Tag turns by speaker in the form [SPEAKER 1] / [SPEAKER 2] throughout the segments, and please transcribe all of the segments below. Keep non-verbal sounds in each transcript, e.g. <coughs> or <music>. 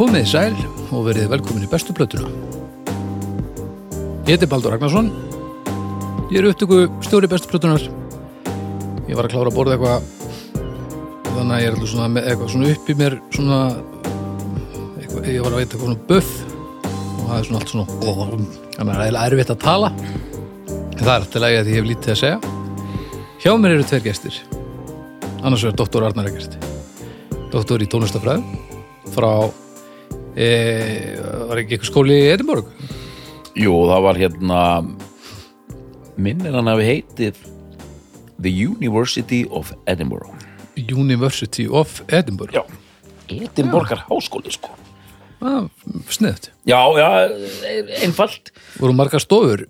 [SPEAKER 1] Komið í sæl og verið velkomin í bestu plötuna. Ég heiti Baldur Ragnarsson. Ég er upptöku stjóri bestu plötunar. Ég var að klára að borða eitthvað þannig að ég er alltaf svona með eitthvað svona upp í mér svona eitthvað, ég var að veita eitthvað svona buff og það er svona allt svona ó, þannig að það er eiginlega erfitt að tala en það er alltaf lægið að ég hef lítið að segja Hjá mér eru tveir gestir annars vegar doktor Arnar Eggert doktor í tónlistafræðum frá e, var ekki eitthvað skóli í Edinborg
[SPEAKER 2] Jú, það var hérna minnir hann hafi heitið The University of Edinburgh
[SPEAKER 1] University of Edinburgh
[SPEAKER 2] Já, Edinborgar háskóli sko
[SPEAKER 1] ah, sniðt,
[SPEAKER 2] Já, já, einfalt
[SPEAKER 1] voru margar stofur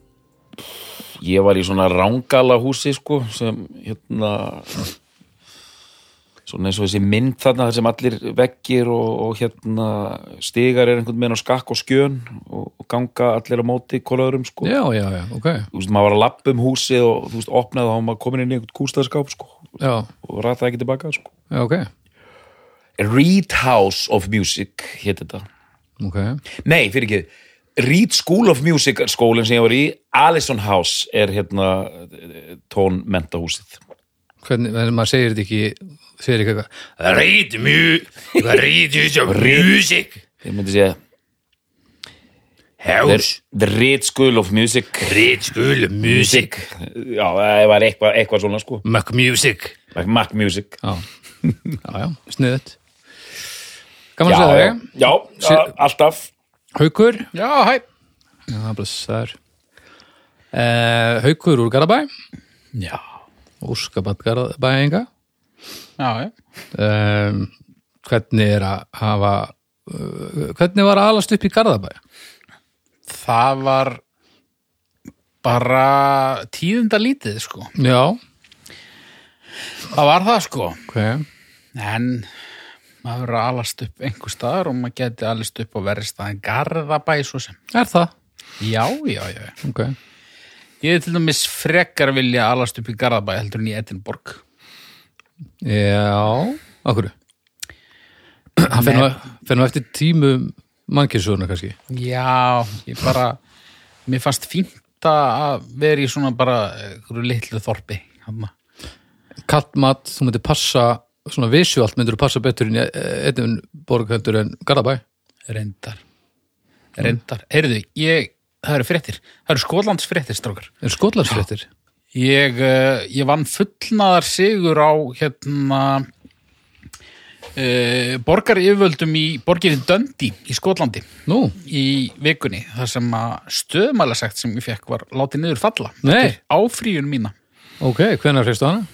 [SPEAKER 2] Ég var í svona rángala húsi sko sem hérna svona eins og þessi mynd þarna þar sem allir veggir og, og hérna stigar er einhvern veginn á skakk og skjön og, og ganga allir á móti kólaðurum sko
[SPEAKER 1] já, já, já, ok
[SPEAKER 2] Þú veist, maður var að lappa um húsið og þú veist, opnaði og þá var maður komin inn í einhvern kústaðskáp sko
[SPEAKER 1] já,
[SPEAKER 2] og rataði ekki tilbaka sko
[SPEAKER 1] já, ok,
[SPEAKER 2] Reed House of Music hétt þetta.
[SPEAKER 1] okay.
[SPEAKER 2] Nei, fyrir ekki Reed School of Music er skólinn sem ég var í Allison House er hérna tónmentahúsið
[SPEAKER 1] hvernig, en maður segir þetta ekki segir ekki eitthvað read mu- eitthvað read you some music
[SPEAKER 2] Ég myndi segja The, the Reed School of Music
[SPEAKER 1] read school of music
[SPEAKER 2] Já, það var eitthvað, eitthvað svona sko
[SPEAKER 1] Mac music
[SPEAKER 2] Mac Music
[SPEAKER 1] já, já, já sniðut gaman
[SPEAKER 2] Já,
[SPEAKER 1] að segja
[SPEAKER 2] já,
[SPEAKER 1] það
[SPEAKER 2] já, já, alltaf
[SPEAKER 1] Haukur,
[SPEAKER 3] Já, hæ.
[SPEAKER 1] já, blessaður uh, Haukur úr Garabæ
[SPEAKER 2] Já,
[SPEAKER 1] Úrskabat Garabæinga
[SPEAKER 3] Já, já.
[SPEAKER 1] um, hvernig er að hafa uh, hvernig var að alast upp í Garðabæ
[SPEAKER 3] Það var bara tíðunda lítið, sko.
[SPEAKER 1] já,
[SPEAKER 3] Það var það, sko.
[SPEAKER 1] ok
[SPEAKER 3] En maður verður að alast upp einhver staðar og maður geti alast upp og verið staðin garðabæ, svo sem.
[SPEAKER 1] er það,
[SPEAKER 3] Já, já, já.
[SPEAKER 1] ok
[SPEAKER 3] Ég er til dæmis frekar vilja alast upp í garðabæ heldur en í Edinborg.
[SPEAKER 1] Já, okkur Það fer nú- fer nú eftir tímum mannkynsuðuna kannski
[SPEAKER 3] Já, ég bara, mér fannst fínt að vera í svona bara eh, einhverju litlu þorpi. Hanna.
[SPEAKER 1] Kallmat, þú myndir passa svona visuált myndir þú passa betur inn í Edinborg heldur en Garðabæ
[SPEAKER 3] Reyndar.
[SPEAKER 1] Hm.
[SPEAKER 3] Reyndar. Heyrðu, ég, það eru fréttir. Það eru skólands fréttir, strókar.
[SPEAKER 1] en skotlandsfréttir
[SPEAKER 3] Ég, eh, ég vann fullnaðar sigur á hérna uh, borgar yfirvöldum í borginni Döndi í Skotlandi
[SPEAKER 1] Nú,
[SPEAKER 3] í vikunni þar sem að stöðmælasekt sem ég fekk var látið niður falla
[SPEAKER 1] Nei.
[SPEAKER 3] áfríun mína
[SPEAKER 1] ok, hvenær hreistu hana?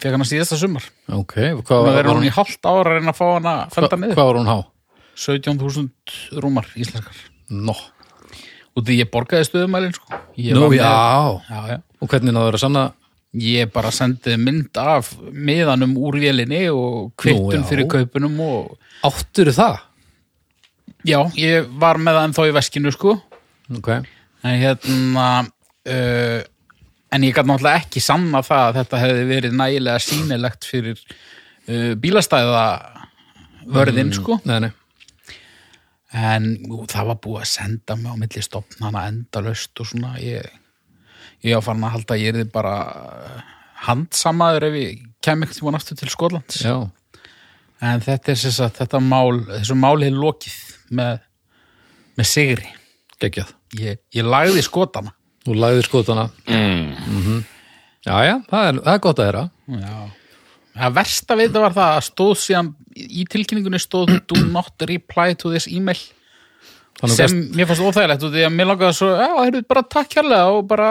[SPEAKER 3] fekk hana síðasta sumar
[SPEAKER 1] Ok, hvað
[SPEAKER 3] það
[SPEAKER 1] var,
[SPEAKER 3] er
[SPEAKER 1] var
[SPEAKER 3] hún
[SPEAKER 1] hún,
[SPEAKER 3] í hálft ára en að fá hana fælda
[SPEAKER 1] hvað
[SPEAKER 3] niður
[SPEAKER 1] var hún há?
[SPEAKER 3] 17.000 rúmar íslenskar
[SPEAKER 1] Nó,
[SPEAKER 3] og því ég borgaði stöðmælin sko. Ég var
[SPEAKER 1] Nú
[SPEAKER 3] með-
[SPEAKER 1] já
[SPEAKER 3] já, já.
[SPEAKER 1] Og hvernig náður að sanna
[SPEAKER 3] Ég bara sendið mynd af miðanum úr vélinni og
[SPEAKER 1] Nú,
[SPEAKER 3] kvittun
[SPEAKER 1] já.
[SPEAKER 3] fyrir kaupunum og
[SPEAKER 1] áttur það?
[SPEAKER 3] já, ég var með það en þá í veskinu sko
[SPEAKER 1] Ok,
[SPEAKER 3] en hérna uh, en ég gæti náttúrulega ekki sanna það að þetta hefði verið nægilega sýnilegt fyrir uh, bílastæða vörðin sko
[SPEAKER 1] nei, nei
[SPEAKER 3] en ú, það var búið að senda mig á milli stopnana endalaust og svona ég, ég var farin að halda að ég er bara handsamaður ef ég kem ekkert tíma aftur til Skotlands
[SPEAKER 1] Já,
[SPEAKER 3] En þetta er sem sagt, þetta mál, þessu máli er lokið með, með sigri.
[SPEAKER 1] geggjað
[SPEAKER 3] Ég, ég lagði skotana.
[SPEAKER 1] Þú lagðir skotana mm. Já, já, það er, það er gott að þeirra
[SPEAKER 3] Já. Það versta við þetta var það að stóð síðan, í tilkynningunni stóð do not reply to this email
[SPEAKER 1] Þannig
[SPEAKER 3] sem
[SPEAKER 1] gast,
[SPEAKER 3] mér fannst óþægilegt og því að mér langaði svo, já, heyrðu, bara takk hérlega og bara,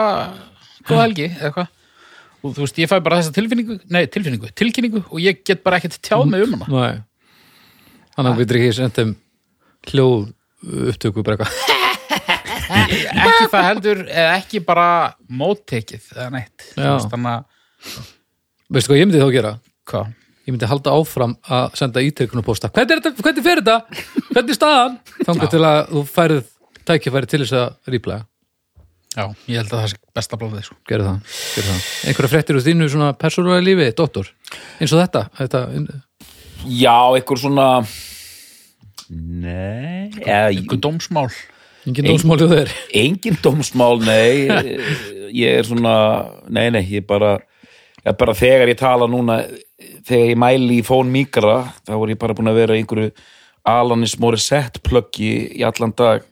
[SPEAKER 3] góð helgi, eða hvað. Og þú veist, ég fæ bara þessa tilfinningu, nei, tilfinningu, tilkynningu og ég get bara ekkert tjáð mig um hana.
[SPEAKER 1] nei Þannig að við getur ekki sendum hljóð uh, upptöku bara eitthvað <laughs>
[SPEAKER 3] ekki það heldur, eða ekki bara móttekið, eða neitt. Þú
[SPEAKER 1] Já.
[SPEAKER 3] veist, Þannig að,
[SPEAKER 1] Veistu hvað ég myndi þá gera?
[SPEAKER 3] hvað?
[SPEAKER 1] Ég myndi halda áfram að senda ítökunarpósta Hvernig, er þetta- hvernig fer þetta? Hvernig er staðan? Þangar til að þú færið tækifæri til þess að rýplega
[SPEAKER 3] Já, ég held að það sé besta blandið sko.
[SPEAKER 1] Gerðu það, gerðu það Einhverja fréttir úr þínu svona persónulega lífi, dóttor eins og þetta, þetta
[SPEAKER 2] já, einhver svona Nei Eða,
[SPEAKER 3] Ykkur dómsmál
[SPEAKER 1] Engin dómsmálið þeir
[SPEAKER 2] Engin dómsmál, nei Ég er svona, nei, nei, ég bara ég bara þegar ég tala núna þegar ég mæli í fón mýkra þá er ég bara búin að vera í einhverju Alanis Morissette plöggi í allan dag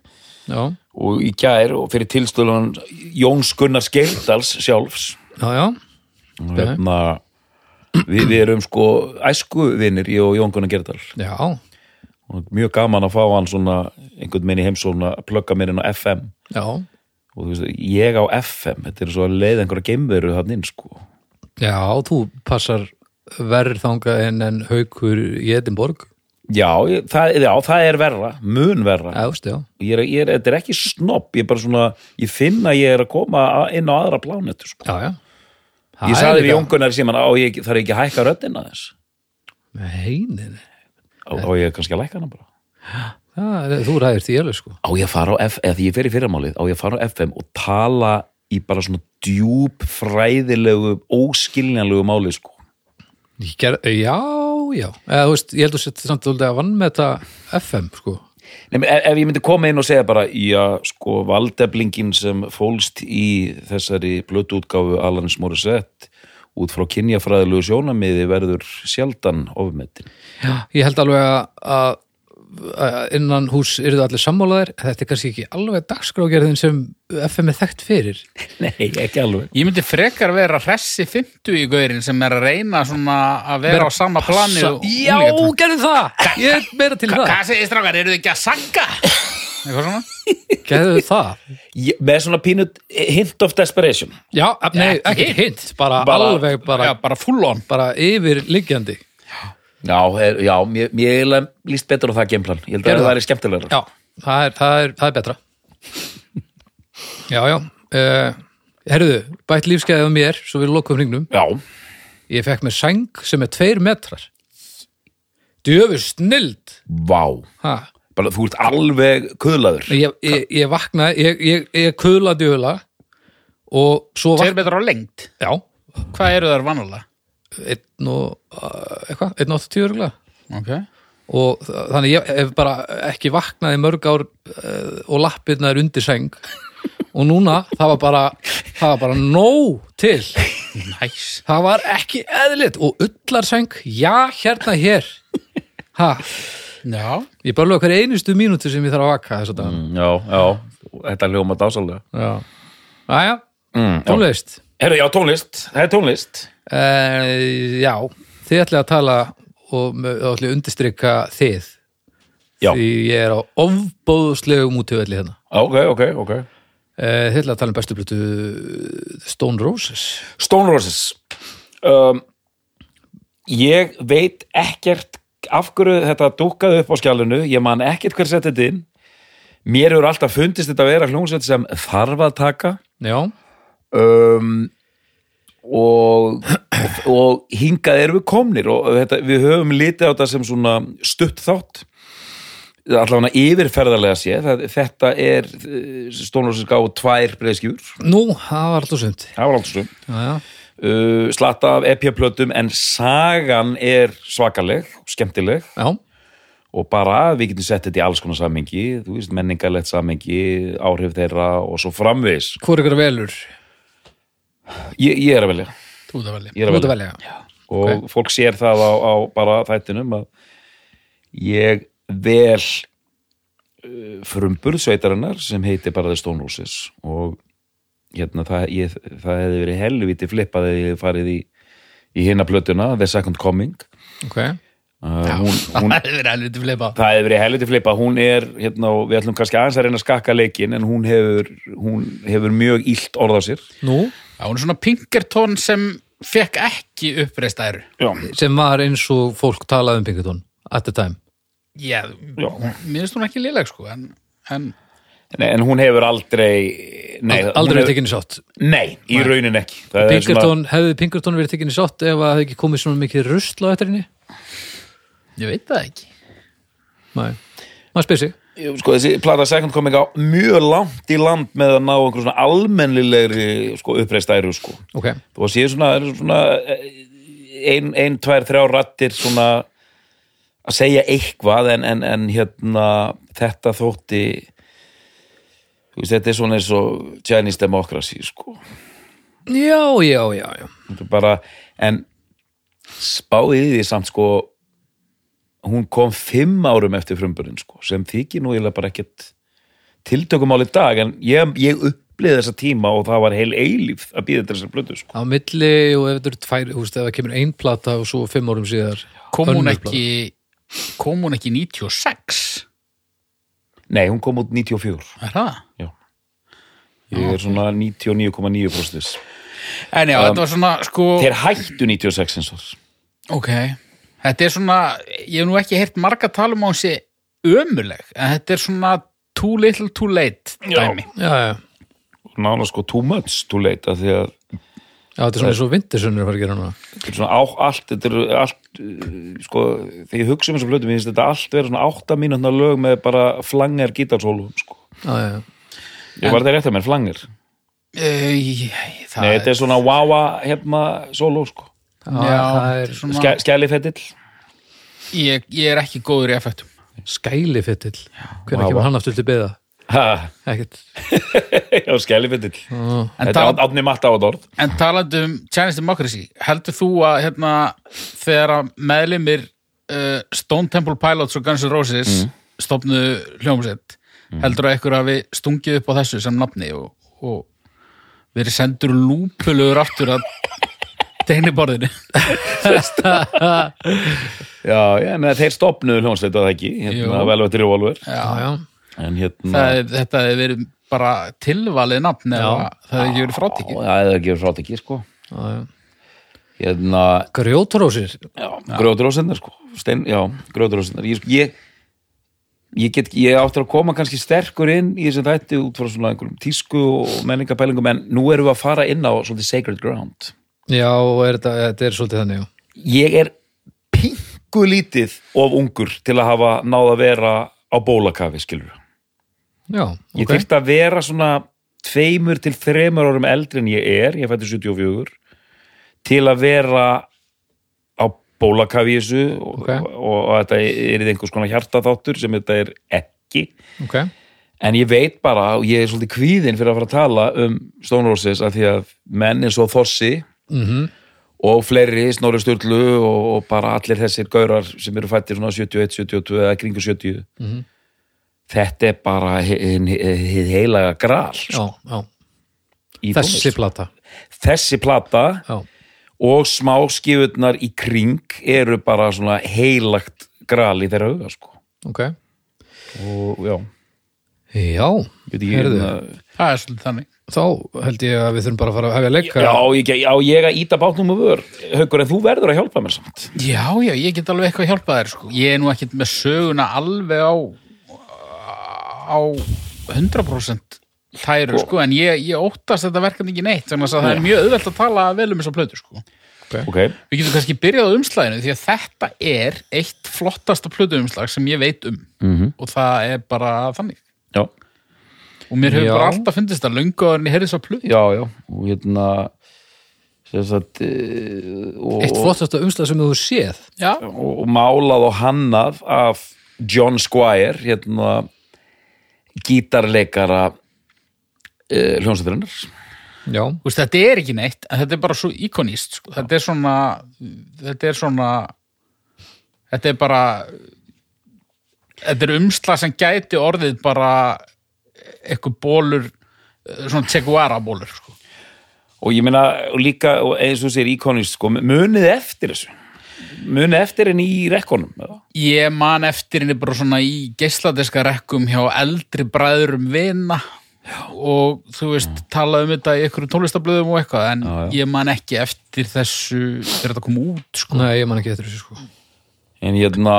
[SPEAKER 1] Já,
[SPEAKER 2] og í gær og fyrir tilstöðan Jóns Gunnar Skeildals sjálfs
[SPEAKER 1] já, já
[SPEAKER 2] og hérna við, við erum sko æskuvinir ég og Jón Gunnar Gerdal
[SPEAKER 1] Já,
[SPEAKER 2] og mjög gaman að fá hann svona einhvern minn í heimsókn að plugga mér inn á FM
[SPEAKER 1] já,
[SPEAKER 2] og þú veist, ég á FM þetta er svo að leiða einhverja geimveru hann inn sko
[SPEAKER 1] já, þú passar verð þangað en en haukur í Edinborg
[SPEAKER 2] já, ég- það, já, það er verra mun verra
[SPEAKER 1] Já, veist, já,
[SPEAKER 2] ég er, ég er, þetta er ekki snopp ég er bara svona, ég finn að ég er að koma að- inn á aðra plánetu sko
[SPEAKER 1] já, já Það
[SPEAKER 2] ég
[SPEAKER 1] er
[SPEAKER 2] sagði við
[SPEAKER 1] líka-
[SPEAKER 2] Jónkunar sem hann á, ég þarf ekki að hækka röddina þess
[SPEAKER 1] Nei, nei, nei
[SPEAKER 2] á, á ég kannski að lækka hana bara
[SPEAKER 1] Það er- Þú ræðir því alveg sko
[SPEAKER 2] á ég að fara á FM, eða því ég fer í fyrramálið á ég að fara á FM og tala í bara svona djúb, fræðilegu óskiljanlegu máli sko
[SPEAKER 1] Ég ger, Já, já Eða, þú veist, Ég held að setja samt svolítið að vann með þetta FM sko
[SPEAKER 2] Nei, menn, ef, ef ég myndi koma inn og segja bara já, sko, valdeblingin sem fólst í þessari blötuútgáfu Alanis Morissette út frá kynjafræðilegu sjónamiði verður sjaldan ofmetin
[SPEAKER 1] Ég held alveg að- að að innan hús eru það allir sammálaðir þetta er kannski ekki alveg dagskrágerðin sem FM er þekkt fyrir
[SPEAKER 2] <laughs> Nei, ekki alveg
[SPEAKER 3] Ég myndi frekar vera hressi 50 í gaurin sem er að reyna svona að vera
[SPEAKER 1] Vera
[SPEAKER 3] á sama plani og
[SPEAKER 1] Já,
[SPEAKER 3] unglingarnir.
[SPEAKER 1] gerðu það! Ég er meira til það
[SPEAKER 3] Hvað segir strákar, eru þið ekki að sagga? Eitthvað svona?
[SPEAKER 1] Gerðu það
[SPEAKER 2] ég, Með svona pínut hint of desperation
[SPEAKER 1] Já, nei, ekki hint, bara,
[SPEAKER 2] Bara-
[SPEAKER 1] alveg bara,
[SPEAKER 3] Já, bara full on
[SPEAKER 1] bara yfirliggjandi
[SPEAKER 2] Já, er, já mér, mér eiginlega líst betur á það geimplan, ég held
[SPEAKER 1] Gerðu
[SPEAKER 2] að
[SPEAKER 1] það.
[SPEAKER 2] það væri skemmtilegra
[SPEAKER 1] Já, það er, það er, það er betra <laughs> Já, já uh, Herðu, bætt lífskeiðið á mér svo við lokum hringnum
[SPEAKER 2] Já,
[SPEAKER 1] Ég fekk mér sæng sem er tveir metrar Djöfu snild
[SPEAKER 2] vá
[SPEAKER 1] Ha,
[SPEAKER 2] bara, Þú ert alveg kuðlaður
[SPEAKER 1] ég, ég, ég vaknaði, ég, ég, ég kuðla djöfula og svo
[SPEAKER 3] Tveir
[SPEAKER 1] vaknaði,
[SPEAKER 3] betur á lengt
[SPEAKER 1] já,
[SPEAKER 3] Hvað eru þær vannulega?
[SPEAKER 1] einn og, uh, eitthvað, einn og 80 örgulega
[SPEAKER 3] Ok
[SPEAKER 1] og þa- þannig ég hef bara ekki vaknaði mörg ár uh, og lappirna er undir seng og núna það var bara, það var bara nóg til,
[SPEAKER 3] Næs
[SPEAKER 1] það var ekki eðlitt og ullarseng, já, hérna hér, ha,
[SPEAKER 3] Já
[SPEAKER 1] ég bara lög hverja einustu mínútu sem ég þarf að vaka þess að dag,
[SPEAKER 2] Mm, Já, já, þetta hljóma dásalega
[SPEAKER 1] já, aðja,
[SPEAKER 2] mm, já.
[SPEAKER 1] tónlist.
[SPEAKER 2] Herru, já, tónlist, það er tónlist
[SPEAKER 1] Uh, já, þið ætlaði að tala og þá ætlaði að undistrykka þið
[SPEAKER 2] Já,
[SPEAKER 1] því ég er á ofbóðslegum útöfelli hérna
[SPEAKER 2] ok, ok, ok
[SPEAKER 1] uh, Þið ætlaði að tala um bestu blötu Stone Roses
[SPEAKER 2] Stone Roses um, ég veit ekkert af hverju þetta dúkkaði upp á skjálunu ég man ekkert hver sett þetta inn mér hefur alltaf fundist þetta að vera hljómsveit sem þarf að taka
[SPEAKER 1] Já,
[SPEAKER 2] um, og, og hingað erum við komnir og þetta, við höfum litið á þetta sem svona stutt þátt allavega yfirferðarlega sé það, þetta er eh, Stone Roses gáðu tvær breyðskjúr
[SPEAKER 1] nú, það var alltaf sumt
[SPEAKER 2] það var alltaf stum
[SPEAKER 1] Já, já,
[SPEAKER 2] uh, slatta af EP-plötum en sagan er svakaleg skemmtileg
[SPEAKER 1] já,
[SPEAKER 2] og bara við getum sett þetta í alls konar samengi þú veist, menningarlegt samengi áhrif þeirra og svo framvegis
[SPEAKER 1] hvor ykkur velur
[SPEAKER 2] ég, ég er að velja
[SPEAKER 3] Þú það velja
[SPEAKER 2] ég er
[SPEAKER 1] Þú
[SPEAKER 2] að
[SPEAKER 1] ert að
[SPEAKER 2] velja
[SPEAKER 1] velja
[SPEAKER 2] og fólk sér það á, á bara þættinum að ég vel uh, frumburðsveitarinnar sem heitir bara The Stone Roses og hérna það, ég, það hefði verið helviti flippað eða ég hefði farið í, í hinna plötuna The Second Coming
[SPEAKER 1] Ok,
[SPEAKER 2] uh, hún, hún,
[SPEAKER 3] <laughs> Það er verið helviti flipa
[SPEAKER 2] það hefur verið helviti flipa hún er, hérna, og við ætlum kannski aðeins að reyna að skakka leikin en hún hefur, hún hefur mjög illt orð á sér
[SPEAKER 1] nú
[SPEAKER 3] Já, hún er svona Pinkerton sem fekk ekki uppreist æru
[SPEAKER 2] já,
[SPEAKER 1] sem var eins og fólk talaði um Pinkerton at the time
[SPEAKER 3] Já,
[SPEAKER 2] já.
[SPEAKER 3] mér finnst hún ekki léleg sko En, en
[SPEAKER 2] Nei, en hún hefur aldrei
[SPEAKER 1] Ald-
[SPEAKER 2] nei, hún
[SPEAKER 1] Aldrei
[SPEAKER 2] hefur- Eh,
[SPEAKER 1] verið tekinni sátt
[SPEAKER 2] nei, í raunin ekki Það er
[SPEAKER 1] Pinkerton, hefði Pinkerton verið tekinni sátt ef að það hefði ekki komið svona mikið rusl á eftir henni?
[SPEAKER 3] ég veit það ekki
[SPEAKER 1] Nei, maður spyr sig
[SPEAKER 2] svona, sko, þessi plata Second Coming á mjög langt í land með að ná einhver svona almennilegri sko, uppreistæru sko.
[SPEAKER 1] Ok,
[SPEAKER 2] þú séu svona, svona eh, ein, ein, tvær, þrjár rattir svona að segja eitthvað en, en, en hérna þetta þótti þú veist, þetta er svona eins og Chinese Democracy sko.
[SPEAKER 1] já, já, já, já
[SPEAKER 2] Þetta er bara, en spáðið því samt sko hún kom fimm árum eftir frumburinn sko, sem þykir nú eiginlega bara ekkert tiltökumál í dag en ég, ég upplýði þessa tíma og það var heil eilíf að býða þessar blötu sko.
[SPEAKER 1] á milli og ef þetta eru tvær þú veist, ef það kemur ein plata og svo fimm árum síðar
[SPEAKER 3] kom hún
[SPEAKER 1] önnur plata.
[SPEAKER 3] ekki kom hún ekki 96
[SPEAKER 2] Nei, hún kom út 94
[SPEAKER 3] er það?
[SPEAKER 2] Já. Ég er svona 99,9%
[SPEAKER 3] En já, þetta var svona sko
[SPEAKER 2] Þeir hættu 96 eins og
[SPEAKER 3] ok, þetta er svona ég hef nú ekki heyrt marga tala um á hún sé ömuleg, en þetta er svona too little too late dæmi
[SPEAKER 1] já, já,
[SPEAKER 2] nána sko too much too late af því að
[SPEAKER 1] já, þetta er svona svo vintersunnur að fara að gera núna
[SPEAKER 2] þetta er svona á, allt, þetta er allt uh, sko, þegar ég hugsa um þessu blötu mér finnst þetta allt vera svona 8 mínútna lög með bara flanger gítarsólum sko.
[SPEAKER 1] já, já,
[SPEAKER 2] ég var þetta rétt að mér, flanger
[SPEAKER 3] Æ, það
[SPEAKER 2] Nei, þetta er svona wawa hefna sóló sko.
[SPEAKER 1] já,
[SPEAKER 3] já,
[SPEAKER 1] það
[SPEAKER 3] þetta
[SPEAKER 1] er
[SPEAKER 3] er svona,
[SPEAKER 2] Ske, skælifettill
[SPEAKER 3] ég, ég er ekki góður í effektum
[SPEAKER 1] skælifettill hvernig
[SPEAKER 2] Vá,
[SPEAKER 1] kemur
[SPEAKER 2] vá.
[SPEAKER 1] hann aftur til beða
[SPEAKER 2] Ha, <laughs>
[SPEAKER 1] ekkert
[SPEAKER 2] já, skælifettill
[SPEAKER 3] En
[SPEAKER 2] þetta
[SPEAKER 3] tala-
[SPEAKER 2] er átni matta á orð
[SPEAKER 3] En talandi um Chinese Democracy, heldur þú að hérna, þegar að meðlimir uh, Stone Temple Pilots og Guns N' Roses mm. stopnu hljómsett, heldur að ykkur hafi stungið upp á þessu sem nafni og, og verið sendur lúpulögur aftur að tegniborðinu.
[SPEAKER 2] já, já, en þeir stopnuðu hljónsleita það ekki hérna,
[SPEAKER 3] Jú.
[SPEAKER 2] velvættir í volver
[SPEAKER 1] já, já,
[SPEAKER 2] en hérna
[SPEAKER 3] Það er- Þetta hefur verið bara tilvalið nafn eða það hefur ekki verið
[SPEAKER 2] Já,
[SPEAKER 3] frátekið.
[SPEAKER 2] það er ekki frátt ekki, sko.
[SPEAKER 1] já, já.
[SPEAKER 2] Hérna,
[SPEAKER 1] grjótrósir
[SPEAKER 2] grjóðrósennar, sko. Stein, já, grjóðrósennar. Ég, sko, ég, ég get, ég áttur að koma kannski sterkur inn í þessum þætti út frá svona einhverjum tísku og menningapælingum, en nú erum við að fara inn á svolítið sacred ground.
[SPEAKER 1] já, og er þetta, þetta er svolítið þannig já.
[SPEAKER 2] Ég er pingu lítið of ungur til að hafa náð að vera á bólakafi, skilur við.
[SPEAKER 1] já,
[SPEAKER 2] Ég
[SPEAKER 1] ok,
[SPEAKER 2] okay. að vera svona tveimur til þremur árum eldri en ég er, ég fætti 74, til að vera á bólakafi í þessu og,
[SPEAKER 1] Ok.
[SPEAKER 2] og, og þetta er einhvers konar hjartaþáttur sem þetta er ekki.
[SPEAKER 1] ok
[SPEAKER 2] En ég veit bara, og ég er svolítið kvíðinn fyrir að fara að tala um Stone Roses af því að menn eins og Þossi
[SPEAKER 1] Mhm.
[SPEAKER 2] og fleiri, Snorri Sturlu og, og bara allir þessir gaurar sem eru fættir svona 71, 72 eða kringu 70
[SPEAKER 1] Mhm.
[SPEAKER 2] þetta er bara hin- hin- hið heilaga gral sko,
[SPEAKER 1] já, já,
[SPEAKER 2] í
[SPEAKER 1] þessi
[SPEAKER 2] tónlist.
[SPEAKER 1] plata
[SPEAKER 2] þessi plata
[SPEAKER 1] já,
[SPEAKER 2] og smá skifurnar í kring eru bara svona heilagt gral í þeirra huga sko.
[SPEAKER 1] ok
[SPEAKER 2] og já,
[SPEAKER 1] já,
[SPEAKER 2] ég veit ekki
[SPEAKER 1] Heyrðu.
[SPEAKER 2] hérna-
[SPEAKER 3] Það er svolítið þannig.
[SPEAKER 1] þá held ég að við þurfum bara að fara að hefja að leika
[SPEAKER 2] já, ég, já, ég að íta bátnum og vör haukur en þú verður að hjálpa mér samt
[SPEAKER 3] Já, já, ég get alveg eitthvað hjálpað þér sko. Ég er nú ekkert með söguna alveg á á 100% hlæru sko, en ég, ég óttast þetta verkefni ekki neitt, þannig að það er mjög auðvelt að tala vel um þessa plötu sko.
[SPEAKER 2] ok,
[SPEAKER 3] Við getum kannski byrjað á umslæðinu því að þetta er eitt flottasta plötu umslag sem ég veit um -hmm. og það er bara þannig
[SPEAKER 2] já,
[SPEAKER 3] og mér hefur
[SPEAKER 1] Já.
[SPEAKER 3] bara alltaf fundist að löngu að henni heyrði þessa plötu
[SPEAKER 2] já, já og hérna sem sagt, eh, og,
[SPEAKER 1] eitt flottasta umslag sem þú séð
[SPEAKER 3] Já,
[SPEAKER 2] og, og málað og hannað af John Squire hérna gítarleikara uh, hljónsætturinnar
[SPEAKER 1] já,
[SPEAKER 3] Þú veist, þetta er ekki neitt, en þetta er bara svo íkonist, sko. þetta er svona þetta er svona þetta er bara þetta er umsla sem gæti orðið bara eitthvað bólur eh, svona teguara bólur sko.
[SPEAKER 2] og ég meina og líka og eins og sér íkonist sko, munið eftir þessu munið eftir henni í rekkonum eða?
[SPEAKER 3] ég man eftir henni bara svona í geisladeska rekkum hjá eldri bræðurum vina og þú veist, tala um þetta í einhverjum tónlistablöðum og eitthvað, en ég man ekki eftir þessu, þegar þetta kom út sko.
[SPEAKER 1] nei, ég man ekki eftir þessu sko
[SPEAKER 2] en hérna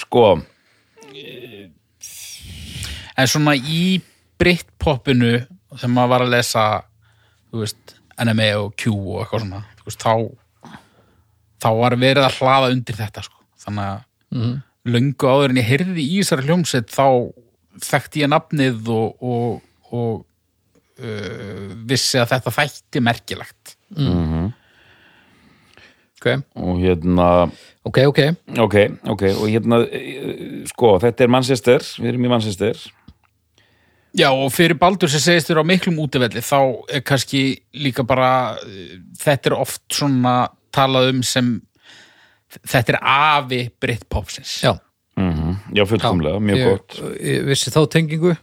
[SPEAKER 2] sko,
[SPEAKER 3] en svona í Britpopinu þegar maður var að lesa þú veist, NME og Q og eitthvað svona þú veist, þá þá var verið að hlaða undir þetta sko. þannig að löngu áður en ég heyrði í þessari hljómsett þá þekkti ég nafnið og, og, og uh, vissi að þetta þætti merkilegt
[SPEAKER 1] ok,
[SPEAKER 2] og hérna
[SPEAKER 1] ok, ok
[SPEAKER 2] ok, ok, og hérna eh, sko, þetta er Manchester, við erum í Manchester
[SPEAKER 3] Já, og fyrir Baldur sem segist þér á miklum útivelli þá er kannski líka bara eh, þetta er oft svona talað um sem þetta er afi Britpopsins
[SPEAKER 1] já,
[SPEAKER 2] já, fullkomlega,
[SPEAKER 1] Mhm.
[SPEAKER 2] mjög
[SPEAKER 1] ég,
[SPEAKER 2] gott
[SPEAKER 1] ég vissi þá tengingu og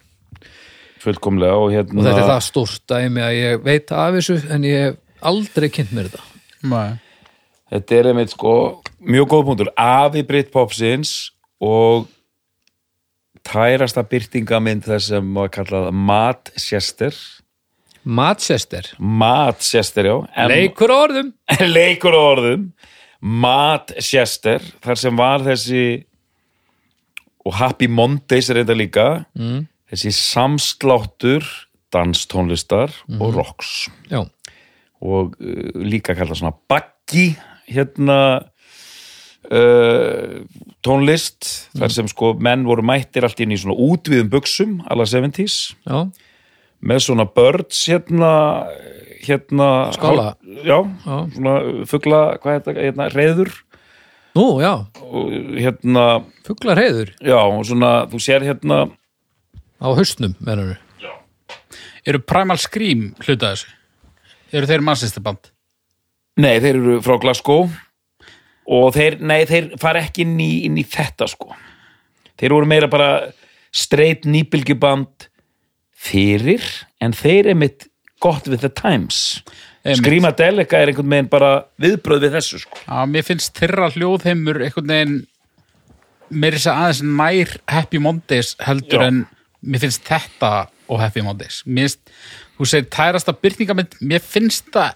[SPEAKER 2] fullkomlega og hérna
[SPEAKER 1] þetta er það stórt dæmi að ég veit af þessu en ég hef aldrei kynnt mér þetta
[SPEAKER 3] Nei.
[SPEAKER 2] Þetta er einmitt sko mjög góð punktur, afi Britpopsins og tærasta byrtingamind þess sem var kallað Matchester
[SPEAKER 1] Manchester,
[SPEAKER 2] Matchester, já M-
[SPEAKER 1] leikur á orðum
[SPEAKER 2] leikur á orðum Matchester, þar sem var þessi og Happy Mondays er þetta líka mm. þessi samsláttur danstónlistar og rocks
[SPEAKER 1] já,
[SPEAKER 2] og uh, líka kallað svona baggi hérna uh, tónlist þar sem sko menn voru mættir allt inn í svona útvíðum buksum alla 70s
[SPEAKER 1] já,
[SPEAKER 2] með svona birds hérna hérna
[SPEAKER 1] Skála?
[SPEAKER 2] hál- já, svona fugla hvað er þetta, hérna reður
[SPEAKER 1] nú, já
[SPEAKER 2] og hérna,
[SPEAKER 1] fuglarheiður
[SPEAKER 2] já, og svona þú sér hérna
[SPEAKER 1] á haustnum, mennur
[SPEAKER 3] Eru Primal Scream hluta þessu? Eru þeir mannsistir band?
[SPEAKER 2] Nei, þeir eru frá Glasgow og þeir, nei, þeir fara ekki inn í, inn í þetta sko þeir voru meira bara straight nýbylgjuband fyrir, en þeir er mitt gott við The Times
[SPEAKER 3] Einmitt.
[SPEAKER 2] Skrýma Delika er einhvern veginn bara viðbröð við þessu sko
[SPEAKER 3] Já, mér finnst þeirra hljóðheimur einhvern veginn mér er þess að aðeins nær Happy Mondays heldur
[SPEAKER 2] Já.
[SPEAKER 3] en mér finnst þetta og Happy Mondays mér finnst, þú segir tærasta byrtingamind mér finnst það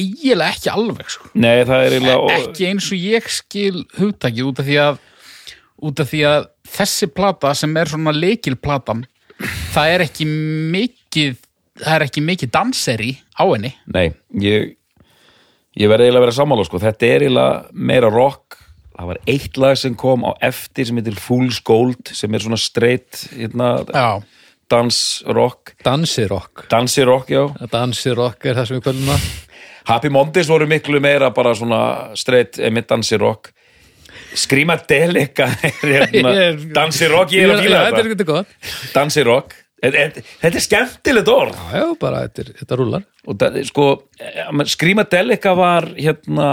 [SPEAKER 3] eiginlega ekki alveg sko
[SPEAKER 2] Nei, það er eiginlega
[SPEAKER 3] ekki eins og ég skil hugtakið út af því að út af því að þessi plata sem er svona leikilplatan það er ekki mikið það er ekki mikið danseri á henni
[SPEAKER 2] Nei, ég ég verði eiginlega að vera sammála sko þetta er eiginlega meira rock það var eitt lag sem kom á eftir sem heitir Fool's Gold sem er svona straight hérna,
[SPEAKER 3] já,
[SPEAKER 2] dans rock
[SPEAKER 1] dansirokk
[SPEAKER 2] dansirokk, já.
[SPEAKER 1] dansirokk er það sem við kvöldum að
[SPEAKER 2] Happy Mondays voru miklu meira bara svona straight emitt dansirokk. Skrýma Delika <laughs> er hérna
[SPEAKER 1] Ég-
[SPEAKER 2] dansirokk, ég er að
[SPEAKER 1] já,
[SPEAKER 2] fíla
[SPEAKER 1] þetta er
[SPEAKER 2] þetta.
[SPEAKER 1] ekki gott
[SPEAKER 2] Dansirokk. Þetta þetta- þetta er skemmtilegt orð.
[SPEAKER 1] já, já, bara þetta, er- þetta rúlar
[SPEAKER 2] Og það, er, sko, eh, men Skrýma Delika var hérna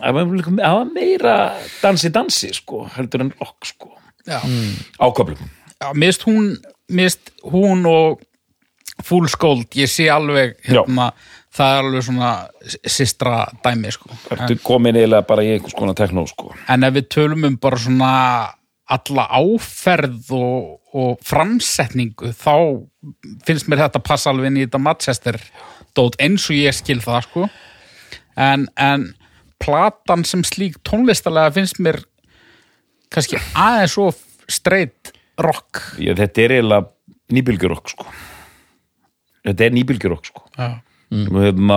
[SPEAKER 2] það var miklu- það var meira dansi-dansi, sko, heldur en rock, sko.
[SPEAKER 3] já.
[SPEAKER 2] Áköflum.
[SPEAKER 3] já mist hún mist hún og full skóld, ég sé alveg hérna, það er alveg svona sistra dæmi sko en,
[SPEAKER 2] Ertu komin eiginlega bara í einhvers konar teknó, sko.
[SPEAKER 3] en ef við tölum um bara svona alla áferð og, og framsetningu þá finnst mér þetta passa alveg inn í þetta Manchester dót eins og ég skil það sko en, en platan sem slík tónlistalega finnst mér kannski aðeins svo straight rock
[SPEAKER 2] Ég, þetta er eiginlega nýbylgjurokk, sko. Þetta er nýbylgjurokk, sko.
[SPEAKER 3] Já.
[SPEAKER 2] og hefna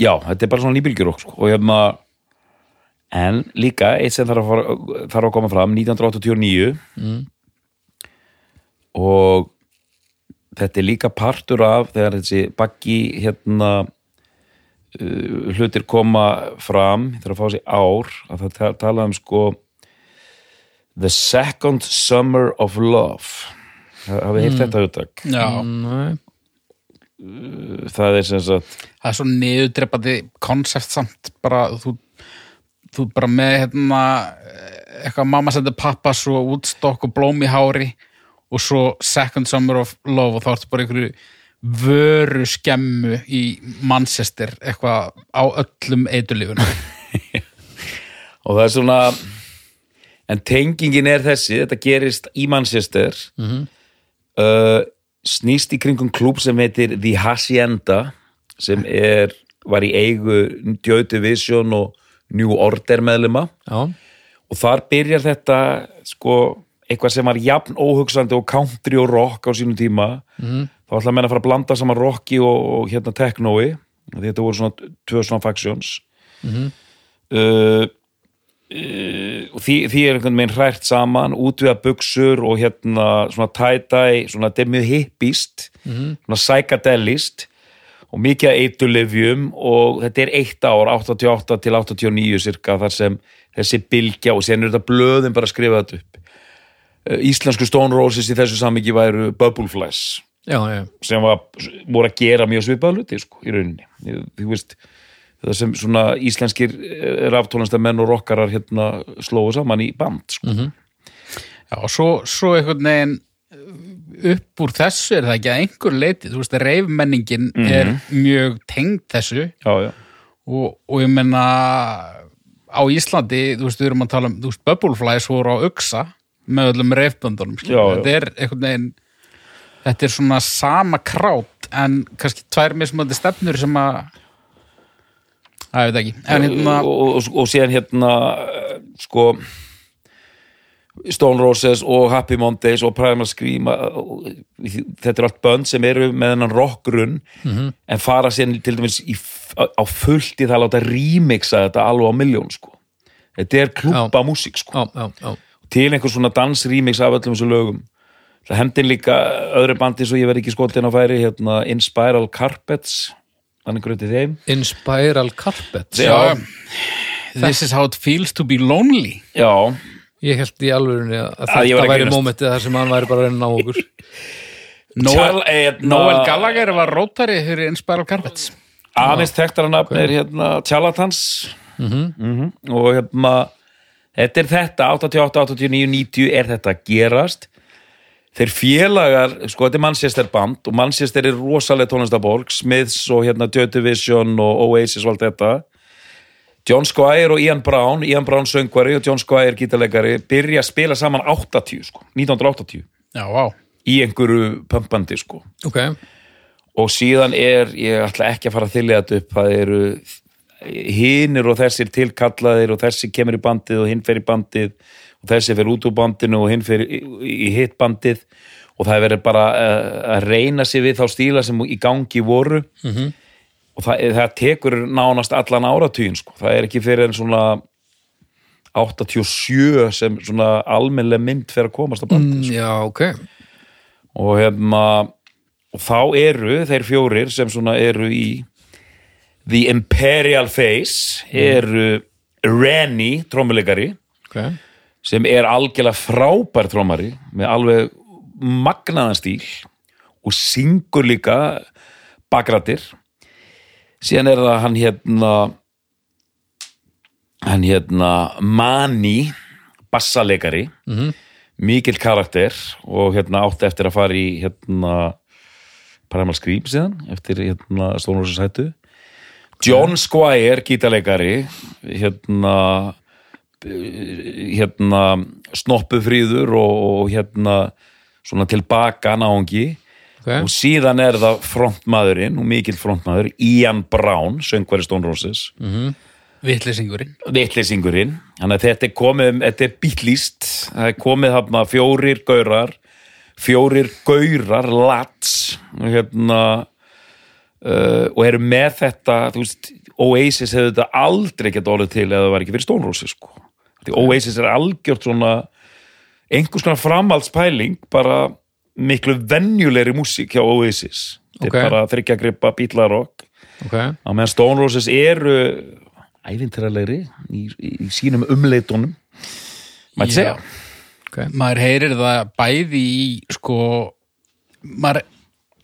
[SPEAKER 2] já, þetta er bara svona nýbylgjurokk sko. og hefna en líka eitt sem þarf að, fara, þarf að koma fram 1989 og þetta er líka partur af þegar þessi baggi hérna uh, hlutir koma fram þegar að fá sér ár að það ta- tala um sko The Second Summer of Love hafið mm. heyrt þetta auðvitað
[SPEAKER 3] Já.
[SPEAKER 1] Nei.
[SPEAKER 2] það er sem sagt
[SPEAKER 3] það er svo niðurdrepandi konsept samt bara þú, þú bara með hérna eh, eitthvað mamma sendur pappa svo útstokk og blóm í hári og svo second summer of love og þá ertu bara einhverju vöru skemmu í Manchester eitthvað á öllum eitulífunum
[SPEAKER 2] og það er svona en tengingin er þessi, þetta gerist í Manchester uh, snýst í kringum klúb sem heitir The Hacienda sem er, var í eigu Joy Division og New Order meðlima
[SPEAKER 1] já,
[SPEAKER 2] og þar byrjar þetta sko, eitthvað sem var jafn óhugsandi og country og rock á sínum tíma þá ætla að menna að fara að blanda saman rocki og, og hérna teknói Því þetta voru svona tvö svona factions uh, Eh, og því, því er einhvern veginn hrært saman útviða buksur og hérna svona tie-dye, svona þetta er mjög hippist svona psychedelist og mikið að eitulefjum og þetta er eitt ár, 88 til 89 cirka, þar sem þessi bylgja og sérna er þetta blöðin bara að skrifa þetta upp. Eh, Íslensku Stone Roses í þessu samingi væru Bubbleflies
[SPEAKER 1] já, já,
[SPEAKER 2] sem var, voru að gera mjög svipaða hluti sko, í rauninni Ég- þú veist, það sem svona íslenskir raftólanstamenn og rockarar hérna slóðu saman í band sko.
[SPEAKER 3] Mhm. Já, og svo, svo einhvern veginn upp úr þessu er það ekki að einhver leiti, þú veist, reifmenningin er mjög tengd þessu
[SPEAKER 2] já, já,
[SPEAKER 3] og, og ég menna á Íslandi, þú veist, við erum að tala um, þú veist, Bubbleflies voru á Uxa með öllum reifböndunum,
[SPEAKER 2] Já, já.
[SPEAKER 3] þetta er einhvern veginn, þetta er svona sama krát en kannski tvær mismöndi stefnur sem að að ég veit ekki, en hérna
[SPEAKER 2] og, og, og, og síðan hérna eh, sko Stone Roses og Happy Mondays og Primal Scream eh, og- þetta er allt bönd sem eru með hennan rockrun
[SPEAKER 3] Mhm.
[SPEAKER 2] en fara síðan til dæmis í, á, á fullt í það að láta remixa þetta alveg á miljón sko þetta er klúpa músík sko
[SPEAKER 1] já, já, já.
[SPEAKER 2] til einhver svona dansrýmix af öllum þessu lögum það hendin líka öðru bandi svo ég verð ekki skotin á færi hérna Inspiral Carpets þannig gröti þeim
[SPEAKER 1] In Spiral Carpet
[SPEAKER 2] já,
[SPEAKER 3] This is how it feels to be lonely
[SPEAKER 2] já,
[SPEAKER 1] ég held í alvörunni að,
[SPEAKER 2] Að ég
[SPEAKER 1] þetta
[SPEAKER 2] var að
[SPEAKER 1] væri
[SPEAKER 2] grínast.
[SPEAKER 1] mómentið þar sem hann væri bara að reyna á
[SPEAKER 2] <laughs>
[SPEAKER 1] okkur
[SPEAKER 3] Noel,
[SPEAKER 2] Tjal- hérna-
[SPEAKER 3] Noel Gallagher var rótari fyrir Inspiral Carpets
[SPEAKER 2] aðeins þekktar hann okay. er hérna Charlatans -hmm. og hérna þetta er þetta, 88, 89, 90 er þetta að gerast þeir félagar, sko þetta er Manchester band og Manchester er rosalega tónlistaborg Smiths og hérna Joy Division og Oasis og allt þetta John Squire og Ian Brown Ian Brown söngvari og John Squire gítarleikari byrja að spila saman 80 sko, 1980
[SPEAKER 3] Já, vá
[SPEAKER 2] í einhverju pömpandi sko
[SPEAKER 1] ok,
[SPEAKER 2] og síðan er, ég ætla ekki að fara að þylja þetta upp, það eru hinnir og þessir tilkallaðir og þessi kemur í bandið og hinn fer í bandið og þessi fer út úr bandinu og hinn fer í, í hitt bandið og það er verið bara uh, að reyna sig við þá stíla sem í gangi voru -hmm. og það, það tekur nánast allan áratugin sko. það er ekki fyrir en svona 87 sem svona almennlega mynd fer að komast á bandið
[SPEAKER 1] Mm, já, ok
[SPEAKER 2] og hefna og þá eru þeir fjórir sem svona eru í The Imperial Face eru Rennie trommuleikari
[SPEAKER 1] ok,
[SPEAKER 2] sem er algjörlega frábær trommari með alveg magnaðan stíl og syngur líka bakratir síðan er það hann hérna hann hérna Mani bassaleikari mm -hmm. mikill karakter og hérna átti eftir að fara í hérna Primal Scream síðan eftir hérna Stónursa sætu John Squire gítarleikari hérna hérna snoppufríður og, og hérna svona tilbaka náungi og
[SPEAKER 1] ok
[SPEAKER 2] síðan er það frontmaðurinn og mikill frontmaður, Ian Brown söngvari Stone Roses,
[SPEAKER 3] Vitlisingurinn
[SPEAKER 2] vitleysingurinn þannig að þetta er komið, um- þetta er bítlýst það er komið þarna fjórir gaurar fjórir gaurar lats hérna uh, og eru með þetta þú veist, Oasis hefði þetta aldrei geta orðið til eða það var ekki fyrir Stone Roses sko. því Oasis er algjört svona einhvers konar framhaldspæling bara miklu venjulegri músík hjá Oasis þetta
[SPEAKER 1] Ok.
[SPEAKER 2] er bara þryggja gripa bílarokk
[SPEAKER 1] ok,
[SPEAKER 2] á meðan Stone Roses eru æfintralegri í, í, í sínum umleitunum mætti
[SPEAKER 3] Já.
[SPEAKER 2] segja
[SPEAKER 1] ok
[SPEAKER 3] Maður heyrir það bæði í sko maður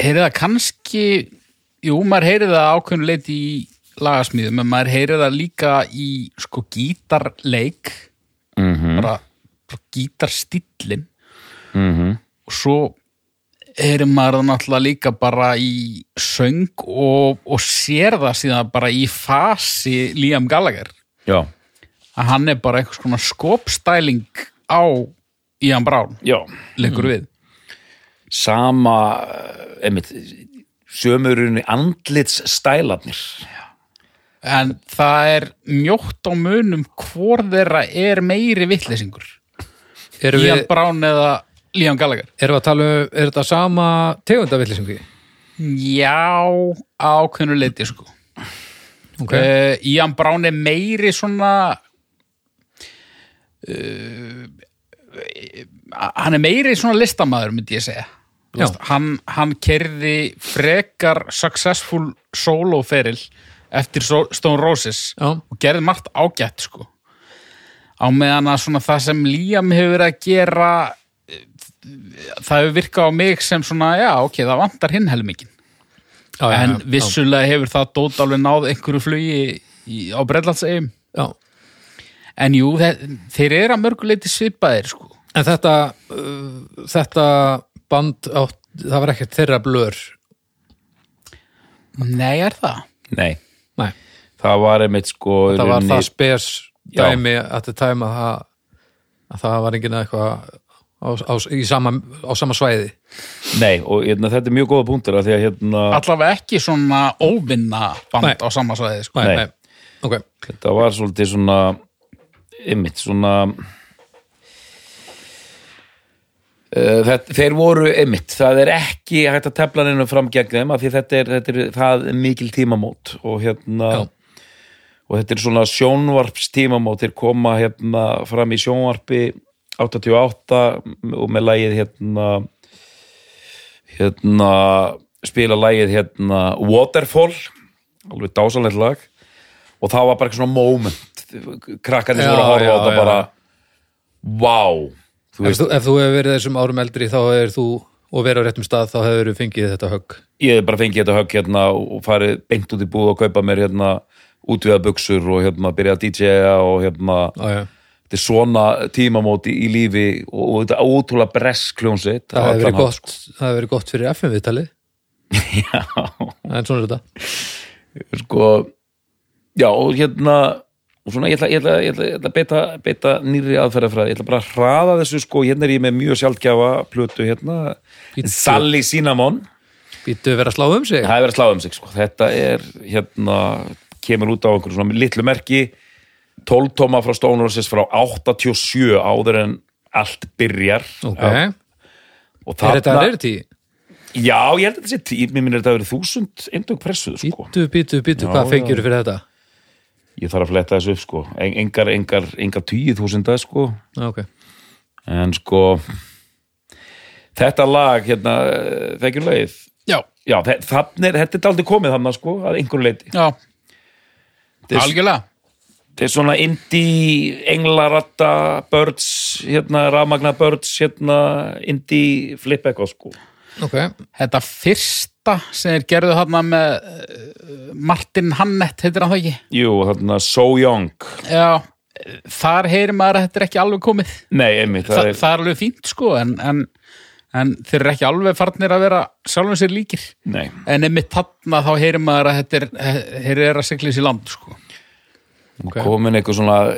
[SPEAKER 3] heyrir það kannski jú, maður heyrir það ákveðin leiti í lagasmíðum, en maður heyrir það líka í sko gítarleik -hmm. bara, bara gítarstillin
[SPEAKER 2] Mhm.
[SPEAKER 3] og svo heyrir maður það náttúrulega líka bara í söng og, og sér það síðan bara í fasi Liam Gallagher
[SPEAKER 2] já,
[SPEAKER 3] að hann er bara einhvers konar skopstæling á Ian Brown
[SPEAKER 2] já,
[SPEAKER 3] leikur
[SPEAKER 2] Mm.
[SPEAKER 3] við
[SPEAKER 2] sama eh, einmitt, sömurunni andlits stælarnir
[SPEAKER 3] en það er mjótt á munum hvor þeirra er meiri vittlesingur
[SPEAKER 1] erum við,
[SPEAKER 3] Ian Brown eða Liam Gallagher
[SPEAKER 1] erum við að tala um, er þetta sama tegundavillisengi
[SPEAKER 3] já, á hvernig leiti sko
[SPEAKER 1] ok,
[SPEAKER 3] uh, Ian Brown er meiri svona eh, uh, hann er meiri svona listamaður myndi ég segja Þú veist, hann, hann kerði frekar successful solo-feril eftir so Stone Roses
[SPEAKER 1] Já.
[SPEAKER 3] og gerði margt ágætt sko á meðan að svona það sem Liam hefur verið að gera eh, það hefur virkað á mig sem svona já ok, það vantar hinn helmingin
[SPEAKER 1] já, já,
[SPEAKER 3] en
[SPEAKER 1] já,
[SPEAKER 3] vissulega hefur það dót alveg náð einhverju flugi í, á Bredlandsegum
[SPEAKER 1] já.
[SPEAKER 3] en jú, þe þeir eru að mörguleiti svipaðir sko
[SPEAKER 1] En þetta uh, þetta band átt, það var ekkert þeirra blör
[SPEAKER 3] Nei, er það?
[SPEAKER 2] Nei,
[SPEAKER 1] Nei,
[SPEAKER 2] það var einmitt sko í
[SPEAKER 1] það var
[SPEAKER 2] rauninni-
[SPEAKER 1] það spes
[SPEAKER 2] Já.
[SPEAKER 1] dæmi at the time að það, að það var enginn að eitthvað á, á, í sama, á sama svæði
[SPEAKER 2] Nei, og hérna, þetta er mjög góða punktur af því að hérna,
[SPEAKER 3] allavega ekki svona óvinna band
[SPEAKER 1] Nei.
[SPEAKER 3] á samasvæði sko.
[SPEAKER 1] Nei,
[SPEAKER 2] Nei.
[SPEAKER 1] nei, ok
[SPEAKER 2] þetta var svolítið svona einmitt svona Uh, þetta, þeir voru einmitt, það er ekki hægt að tefla neina fram gegn þeim af því þetta er, þetta er það er mikil tímamót og hérna
[SPEAKER 1] Já.
[SPEAKER 2] og þetta er svona sjónvarps tímamót þeir koma hérna fram í sjónvarpi 88 og með lagið hérna hérna spila lagið hérna Waterfall alveg dásalegt lag og það var bara eitthvað svona moment krakkarnir sem
[SPEAKER 1] Já,
[SPEAKER 2] voru að
[SPEAKER 1] já,
[SPEAKER 2] horfa á þetta
[SPEAKER 1] já.
[SPEAKER 2] bara wow þú
[SPEAKER 1] Ef þú, ef þú hefur verið þessum árum eldri þá er þú og verið á réttum stað þá hefur þú fengið þetta högg
[SPEAKER 2] ég hef bara fengið þetta högg hérna og farið beint út í búð og kaupa mér hérna útviða buksur og hérna byrja að DJ-a og hérna
[SPEAKER 1] Já, já.
[SPEAKER 2] þetta er svona tímamóti í lífi og, og þetta ótrúlega bress kljónsveit
[SPEAKER 1] Það sko. hefur verið, gott- það hefur verið gott fyrir FM viðtali <laughs>
[SPEAKER 2] já,
[SPEAKER 1] en svona er þetta
[SPEAKER 2] sko já og hérna og svona ég ætla, ég ætla, ég ætla, ég ætla að beita, beita nýri aðferðafræði, ég ætla bara að hraða þessu sko, hérna er ég með mjög sjálfgjafa plötu hérna,
[SPEAKER 1] Bíddu.
[SPEAKER 2] Sally Cinnamon
[SPEAKER 1] Býttu að vera að slá um sig
[SPEAKER 2] Það er verið að slá um sig sko. Þetta er hérna kemur út á einhverju svona litlu merki 12 tóma frá Stone Roses frá 87 áður en allt byrjar
[SPEAKER 1] Ok,
[SPEAKER 2] Já, og
[SPEAKER 1] er þetta
[SPEAKER 2] þarna-
[SPEAKER 1] rarity?
[SPEAKER 2] Já, ég held að þetta sé tí- mér minnir þetta að verið þúsund eindögg pressuð sko.
[SPEAKER 1] Býttu, býttu, býttu,
[SPEAKER 2] Já,
[SPEAKER 1] hvað
[SPEAKER 2] já.
[SPEAKER 1] fengjur fyrir þetta?
[SPEAKER 2] Ég þarf að fletta þessu upp sko. En- engar, engar, engar tíu þúsunda sko.
[SPEAKER 1] Já, Ok,
[SPEAKER 2] en sko þetta lag hérna, þekkjum lagið
[SPEAKER 3] Já,
[SPEAKER 2] Já, þe- þarna er, þetta er daldið komið þarna sko, að einhverju leiti
[SPEAKER 3] já,
[SPEAKER 2] Þetta er-
[SPEAKER 3] algjörlega
[SPEAKER 2] Þetta er svona indie, englaratta, birds, hérna, rafmagna birds, hérna, indie flip eitthvað sko.
[SPEAKER 1] ok
[SPEAKER 3] Þetta fyrsta sem þeir gerðu þarna með eh, Martin Hannett, heitir hann það ekki?
[SPEAKER 2] Jú, þarna So Young.
[SPEAKER 3] Já, eh, þar heyrir maður að þetta er ekki alveg komið
[SPEAKER 2] Nei, einmitt,
[SPEAKER 3] Þa,
[SPEAKER 2] það er,
[SPEAKER 3] Það er alveg fínt sko, en, en, en þeir eru ekki alveg farnir að vera sjálfum sér líkir
[SPEAKER 2] nei.
[SPEAKER 3] En einmitt þarna þá heyrir maður að þetta er, eh, þeir eru að sigla þessi land sko
[SPEAKER 2] Nú komin eitthvað svona,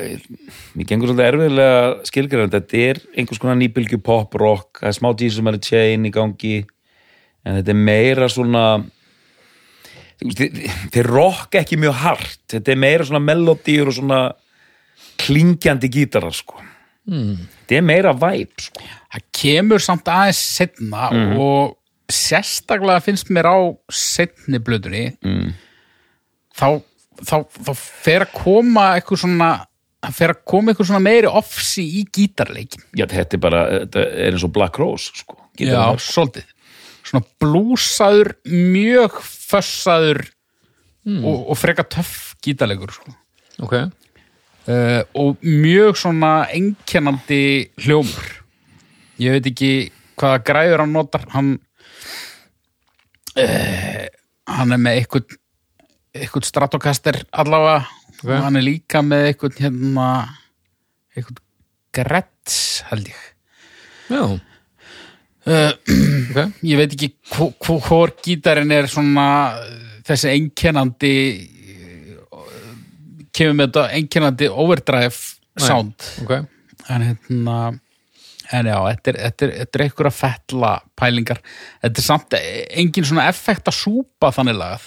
[SPEAKER 2] mér gengur svolítið erfiðlega skilgræðan, þetta er einhvers konar nýbylgju pop, rock, það er smá Jesus Mary Chain í gangi, en þetta er meira svona, þú veist, þe- þeir rock ekki mjög hart, þetta er meira svona melodíur og svona klingjandi gítarar sko. Mm. Þetta er meira væp sko.
[SPEAKER 3] það kemur samt aðeins setna og sérstaklega finnst mér á setni blöðunni mm. þá, þá, þá fer að koma eitthvað svona það fer að koma eitthvað svona meiri offsi í gítarleikin
[SPEAKER 2] Já, þetta er bara, þetta er eins og Black Rose, sko. Gítarinn er-
[SPEAKER 3] svolítið svona blúsaður, mjög fössaður og, og freka töff gítarleikur sko.
[SPEAKER 1] Ok,
[SPEAKER 3] uh, og mjög svona einkennandi hljómur ég veit ekki hvaða græður hann notar hann uh, hann er með eitthvað eitthvað stratokaster allavega
[SPEAKER 1] Ok.
[SPEAKER 3] og hann er líka með eitthvað hérna eitthvað grett held ég
[SPEAKER 1] já
[SPEAKER 3] uh,
[SPEAKER 1] Eh, <clears throat> Ok,
[SPEAKER 3] ég veit ekki hvo- hvo- hvor gítarinn er svona uh, þessi einkennandi uh, kemur með þetta einkennandi overdrive
[SPEAKER 1] Nei.
[SPEAKER 3] sound
[SPEAKER 1] ok
[SPEAKER 3] en hérna en já, þetta er, þetta er, þetta er einhverja fettla pælingar þetta er samt engin svona effekt að súpa þannig lagað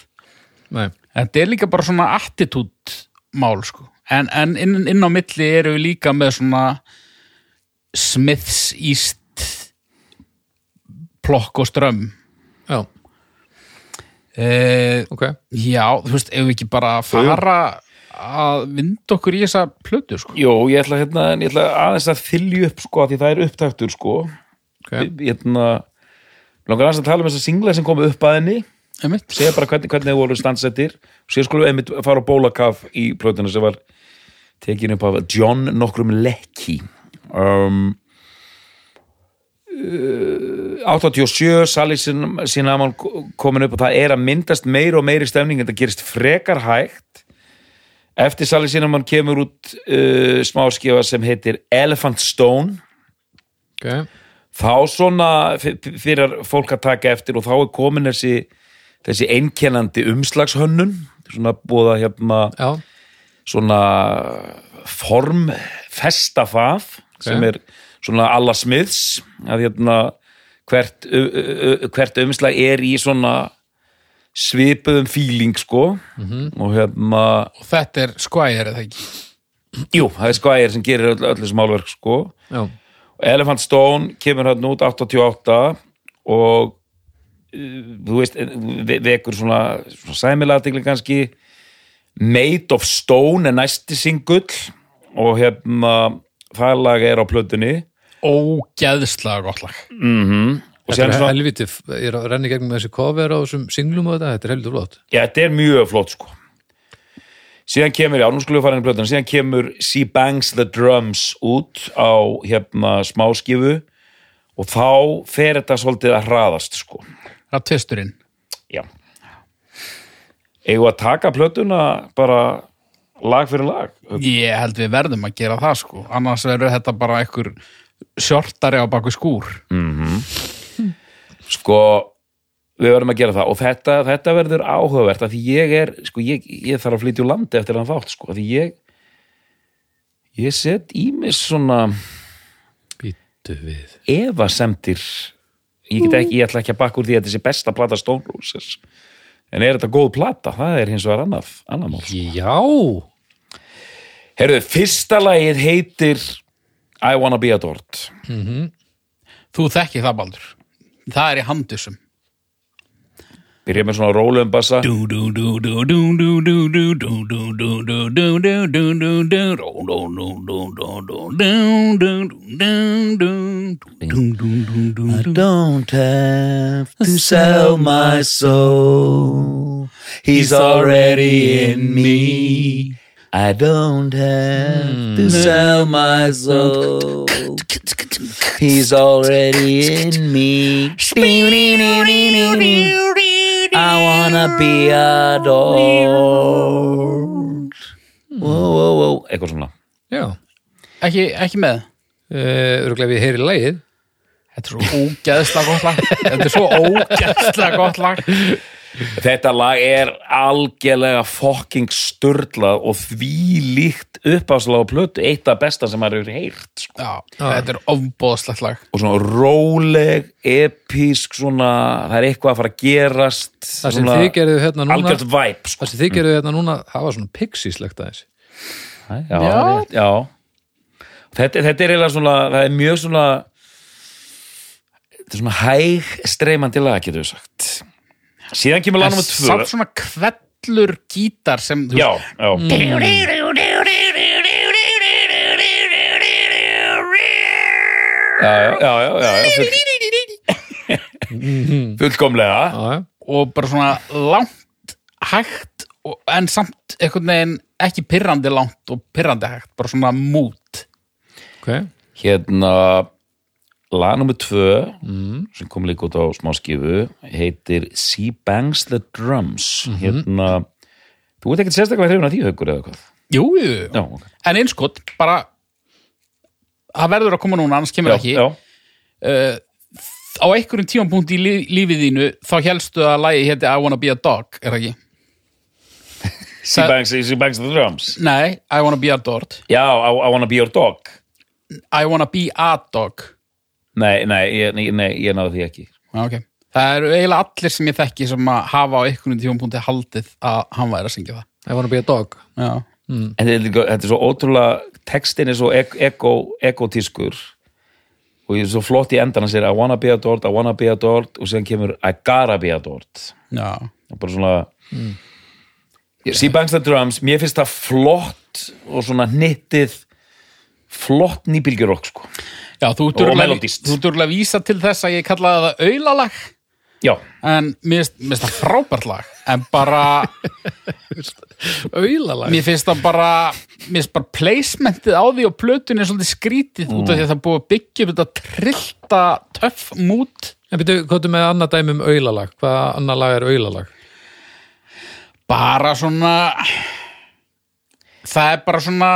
[SPEAKER 1] Nei,
[SPEAKER 3] þetta er líka bara svona attitút mál sko en, en inn, inn á milli eru við líka með svona Smiths East plokk og strömm
[SPEAKER 1] já,
[SPEAKER 3] eh,
[SPEAKER 1] ok
[SPEAKER 3] já, þú veist, ef við ekki bara fara að vinda okkur í þessa plötu sko
[SPEAKER 2] Jó, ég ætla, hérna, en ég ætla aðeins að þylju upp, sko, af því það er upptaktur, sko.
[SPEAKER 1] Ok.
[SPEAKER 2] Hérna, langar aðeins að tala um þess að singla sem komu upp að henni
[SPEAKER 3] einmitt
[SPEAKER 2] segja bara hvernig, hvernig þau voru standsettir og sér skulum einmitt fara á bólakaf í plötuna sem var tekin upp af John nokkrum Leckie um, uh, 87 Sally Sinnaman komin upp og það er að myndast meir og meiri stemning en það gerist frekar hægt eftir Sally Sinnaman kemur út uh, smáskifa sem heitir Elephant Stone
[SPEAKER 1] ok,
[SPEAKER 2] þá svona f- f- fyrir fólk að taka eftir og þá er komin þessi þessi einkennandi umslagshönnun svona búið að hérna
[SPEAKER 1] já,
[SPEAKER 2] svona form festa það sem er svona alla smiðs að hérna hvert, ö- ö- ö- hvert umslag er í svona svipuðum feeling sko og hérna
[SPEAKER 3] og þetta er Squire eða ekki
[SPEAKER 2] jú, það er skvægir sem gerir öll, öll þessi málverk sko
[SPEAKER 1] já,
[SPEAKER 2] Elephant Stone kemur hann út 88 og uh, þú veist, ve- vekur svona, svona sæmilatikli kannski Made of Stone er næsti singull og hérna það lag er á plötunni
[SPEAKER 3] ógeðslega gott lag
[SPEAKER 2] og
[SPEAKER 1] þetta
[SPEAKER 2] sér
[SPEAKER 1] er
[SPEAKER 2] svona,
[SPEAKER 1] helviti ég er að renni gegnum þessi cover á þessum singlum og þetta, þetta er helviti flott
[SPEAKER 2] já, þetta er mjög flott sko síðan kemur, já, nú skulum við fara inn í plötunni síðan kemur She Bangs the Drums út á hérna smáskifu og þá fer þetta svolítið að hraðast sko
[SPEAKER 3] Rattvisturinn
[SPEAKER 2] Já Eigum við að taka plötuna bara lag fyrir lag
[SPEAKER 3] ég held við verðum að gera það sko annars verður þetta bara einhver sjortari á baku skúr
[SPEAKER 2] Sko, við verðum að gera það og þetta, þetta verður áhugavert af því ég er, sko, ég, ég þarf að flytja úr landi eftir hann þátt, sko, af því ég ég set í mig svona
[SPEAKER 1] býtu við
[SPEAKER 2] efasemdir ég, get ekki, ég ætla ekki að bakka úr því að þetta sé besta plata Stone Roses en er þetta góð plata, það er hins vegar annað, annað mál
[SPEAKER 1] já,
[SPEAKER 2] Herðu, fyrsta lagið heitir I Wanna Be Adored
[SPEAKER 3] þú þekki það baldur það er í handusum
[SPEAKER 2] Byrja með svona rólegum bassa don't have to Mm. sell my soul. He's already in me. Mm. I don't have to sell my soul. He's already in me. I wanna be adored. Whoa, whoa, whoa. Eitthvað svona.
[SPEAKER 1] já
[SPEAKER 3] ekki, ekki með
[SPEAKER 1] öruglega Eh, við heyri lagið
[SPEAKER 3] þetta er svo ógeðslega gott lag þetta er svo ógeðslega gott lag
[SPEAKER 2] Þetta lag er algjörlega fucking störlað og því líkt uppáslag á plötu, eitt af besta sem maður hefur heyrt. sko.
[SPEAKER 3] Já, þetta er ofbóðslegt lag
[SPEAKER 2] Og svona róleg, episk, svona, það er eitthvað að fara að gerast.
[SPEAKER 1] það sem þið gerðu hérna núna
[SPEAKER 2] Algjört væp, sko.
[SPEAKER 1] það sem þið gerðu hérna núna, það var svona pixíslegt aðeins
[SPEAKER 2] Já, rétt, já. Þetta, þetta er eiginlega svona, það er mjög svona, þetta er svona hæg streymandi lag, getur við sagt. Síðan kemur lag nummer tvö.
[SPEAKER 3] samt svona kvellur gítar sem þú
[SPEAKER 2] Já,
[SPEAKER 3] veist,
[SPEAKER 2] já. Já, já, já, já, já, já full... fullkomlega
[SPEAKER 1] já, já,
[SPEAKER 3] og bara svona langt hægt og, en samt einhvern veginn ekki pirrandi langt og pirrandi hægt bara svona mút
[SPEAKER 1] ok,
[SPEAKER 2] hérna lag nummer tvö sem kom líka út á smáskifu heitir She Bangs the Drums hérna þú veit ekkert sérstaklega hrifin að því haukur eða hvað
[SPEAKER 3] jú, jú, jú.
[SPEAKER 2] já, ok.
[SPEAKER 3] en einskott bara það verður að koma núna annars kemur
[SPEAKER 2] já,
[SPEAKER 3] það ekki
[SPEAKER 2] já,
[SPEAKER 3] á einhverjum tímanpunkt í lí- lífið þínu þá helstu að lagi héti I wanna be a dog er það ekki?
[SPEAKER 2] she,
[SPEAKER 3] Það-
[SPEAKER 2] bangs, she Bangs the Drums
[SPEAKER 3] Nei, I wanna be a dog
[SPEAKER 2] já, I, I wanna be your dog
[SPEAKER 3] I wanna be a dog
[SPEAKER 2] nei, nei, ég, nei, nei, ég náði því ekki
[SPEAKER 3] Já, ok. Það eru eiginlega allir sem ég þekki sem að hafa á einhvern tífumpunkti haldið að hann væri að syngja það.
[SPEAKER 1] I wanna be a dog
[SPEAKER 3] Já.
[SPEAKER 2] en þetta er líka- þetta er svo ótrúlega textin er svo ek- ekko- ekotískur og ég er svo flott í endan að segja I wanna be adored, I wanna be adored og séðan kemur I gotta be adored
[SPEAKER 3] Já.
[SPEAKER 2] og bara svona
[SPEAKER 3] Mm.
[SPEAKER 2] Sea Bangs the Drums, mér finnst það flott og svona hnittið flott nýbylgjurokk sko.
[SPEAKER 3] Já, þú ert
[SPEAKER 2] Og
[SPEAKER 3] örugglega-
[SPEAKER 2] melodíst.
[SPEAKER 3] Þú ert örugglega að vísa til þess að ég kallaði það auðlalag
[SPEAKER 2] Já,
[SPEAKER 3] en mér finnst- mér finnst það frábært lag en bara,
[SPEAKER 1] Auðalag
[SPEAKER 3] mér finnst það bara mér finnst bara placementið á því og plötunni er svolítið skrítið út af því að það er búið að byggja upp þetta trillta töff mút
[SPEAKER 1] En byrju, hvað er með annað dæmi um auðalag? Hvað annað lag er auðalag?
[SPEAKER 3] bara svona það er bara svona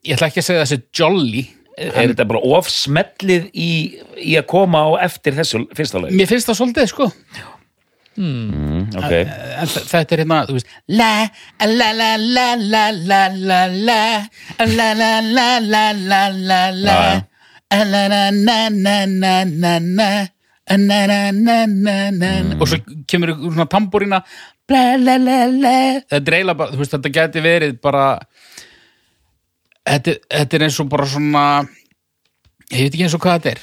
[SPEAKER 3] ég ætla ekki að segja þessi jolly
[SPEAKER 2] er þetta bara ofsmellið í, í að koma á eftir þessu fyrsta leið?
[SPEAKER 3] mér finnst það svolítið sko
[SPEAKER 2] Ok,
[SPEAKER 3] en þ- þetta er hérna, þú veist la, la, la, la, la, la, la, la la, la, la, la, la, la, la
[SPEAKER 2] Já, já.
[SPEAKER 3] la, la, na, na, na, na, na na, na, na, na, na og svo kemur ykkur svona tambúrina bla, la, la, la þetta er eiginlega bara, þú veist, þetta geti verið bara þetta, þetta er eins og bara svona ég veit ekki eins og hvað þetta er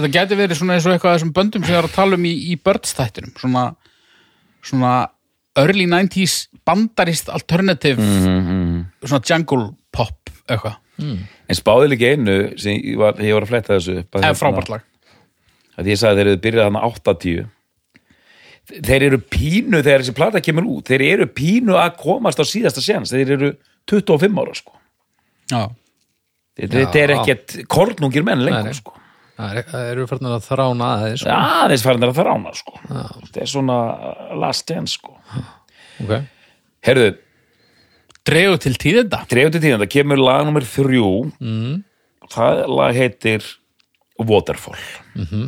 [SPEAKER 3] þetta geti verið svona eins og eitthvað af þessum böndum sem ég var að tala um í, í börnstættinum svona, svona early 90s bandarist alternative
[SPEAKER 2] Mhm,
[SPEAKER 3] svona jungle pop eitthvað,
[SPEAKER 2] en spáði líka einu sem ég var, ég var að fletta þessu upp að
[SPEAKER 3] eða
[SPEAKER 2] hérna-
[SPEAKER 3] frábært lag
[SPEAKER 2] að ég sagði þeir eru byrjað hann 80 þeir eru pínu þegar þessi plata kemur út, þeir eru pínu að komast á síðasta séns, þeir eru 25 ára sko,
[SPEAKER 3] já,
[SPEAKER 2] þeir, þetta er ekkert kornungir menn lengur
[SPEAKER 1] Nei, nei.
[SPEAKER 2] sko
[SPEAKER 1] Það er- það eru farnar að þrána aðeins sko.
[SPEAKER 2] aðeins farin þeir að þrána sko þetta er svona last dance sko
[SPEAKER 1] okay.
[SPEAKER 2] herðu,
[SPEAKER 3] dregu til tíðenda
[SPEAKER 2] trefndu tíðan, það kemur lag nummer þrjú mm. það lag heitir Waterfall mm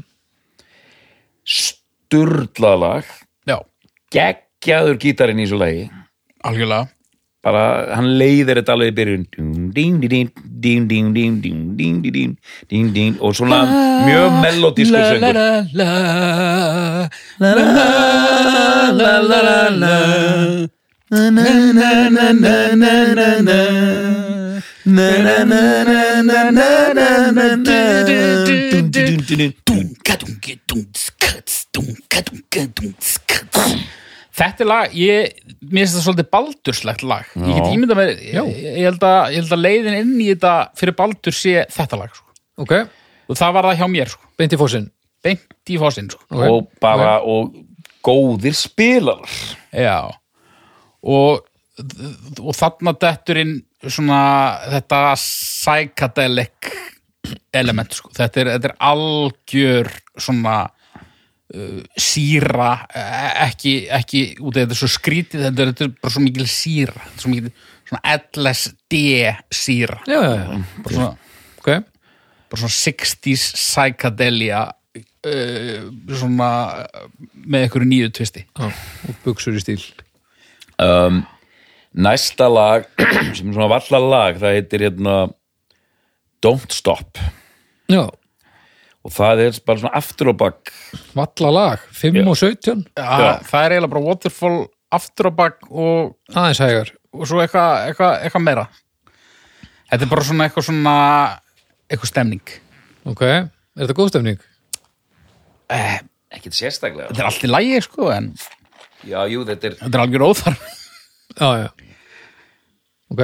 [SPEAKER 1] Mhm.
[SPEAKER 2] lag
[SPEAKER 3] já,
[SPEAKER 2] geggjaður gítarinn í þessu lagi
[SPEAKER 3] algjörlega
[SPEAKER 2] bara, hann leiðir þetta alveg í byrjun Dún, dín, dín, dín, dín, dín, dín, dín, dín, dín, dín, dín, og svona mjög melodísku
[SPEAKER 3] Ah, la,
[SPEAKER 2] söngur
[SPEAKER 3] la, la, la, la, la, la, la, la. Þetta er lag, ég, mér finnst það svolítið baldurslegt lag. Ég get
[SPEAKER 2] Já.
[SPEAKER 3] ímyndað mér, ég, ég, held að, ég held að leiðin inn í þetta fyrir baldur sé þetta lag. Sko.
[SPEAKER 1] ok,
[SPEAKER 3] Og það var það hjá mér, sko.
[SPEAKER 1] beint í fósinn
[SPEAKER 3] beint í fósinn. Sko.
[SPEAKER 1] Ok.
[SPEAKER 2] og bara, og góðir spilar
[SPEAKER 3] Já og, og þarna detturinn svona þetta psychedelic element sko. þetta, er, þetta er algjör svona uh, síra e- ekki, ekki út af þetta er svo skrítið þetta er, þetta er bara svo mikil síra þetta er svo mikil svona LSD síra
[SPEAKER 1] Já, já, já,
[SPEAKER 3] bara svona,
[SPEAKER 1] ok
[SPEAKER 3] bara svona 60s psychedelia uh, svona uh, með einhverju nýju tvisti
[SPEAKER 1] Já, og buksur í stíl
[SPEAKER 2] um, næsta lag <clears throat> sem er svona valla lag það heitir hérna Don't Stop
[SPEAKER 1] Já,
[SPEAKER 2] og það er bara svona aftur og bakk
[SPEAKER 1] valla lag, 5 og 17
[SPEAKER 3] Já. Það er eiginlega bara waterfall aftur á bak og,
[SPEAKER 1] aðeins hægar
[SPEAKER 3] og svo eitthvað eitthva, eitthva meira. Þetta er bara svona eitthvað svona eitthvað stemning.
[SPEAKER 1] Ok, er þetta góð stemning?
[SPEAKER 3] Eh,
[SPEAKER 2] ekkert sérstaklega
[SPEAKER 3] þetta er allt í lægi sko en
[SPEAKER 2] já, jú, þetta er,
[SPEAKER 3] þetta er algjör óþarf.
[SPEAKER 1] Já, já Ok,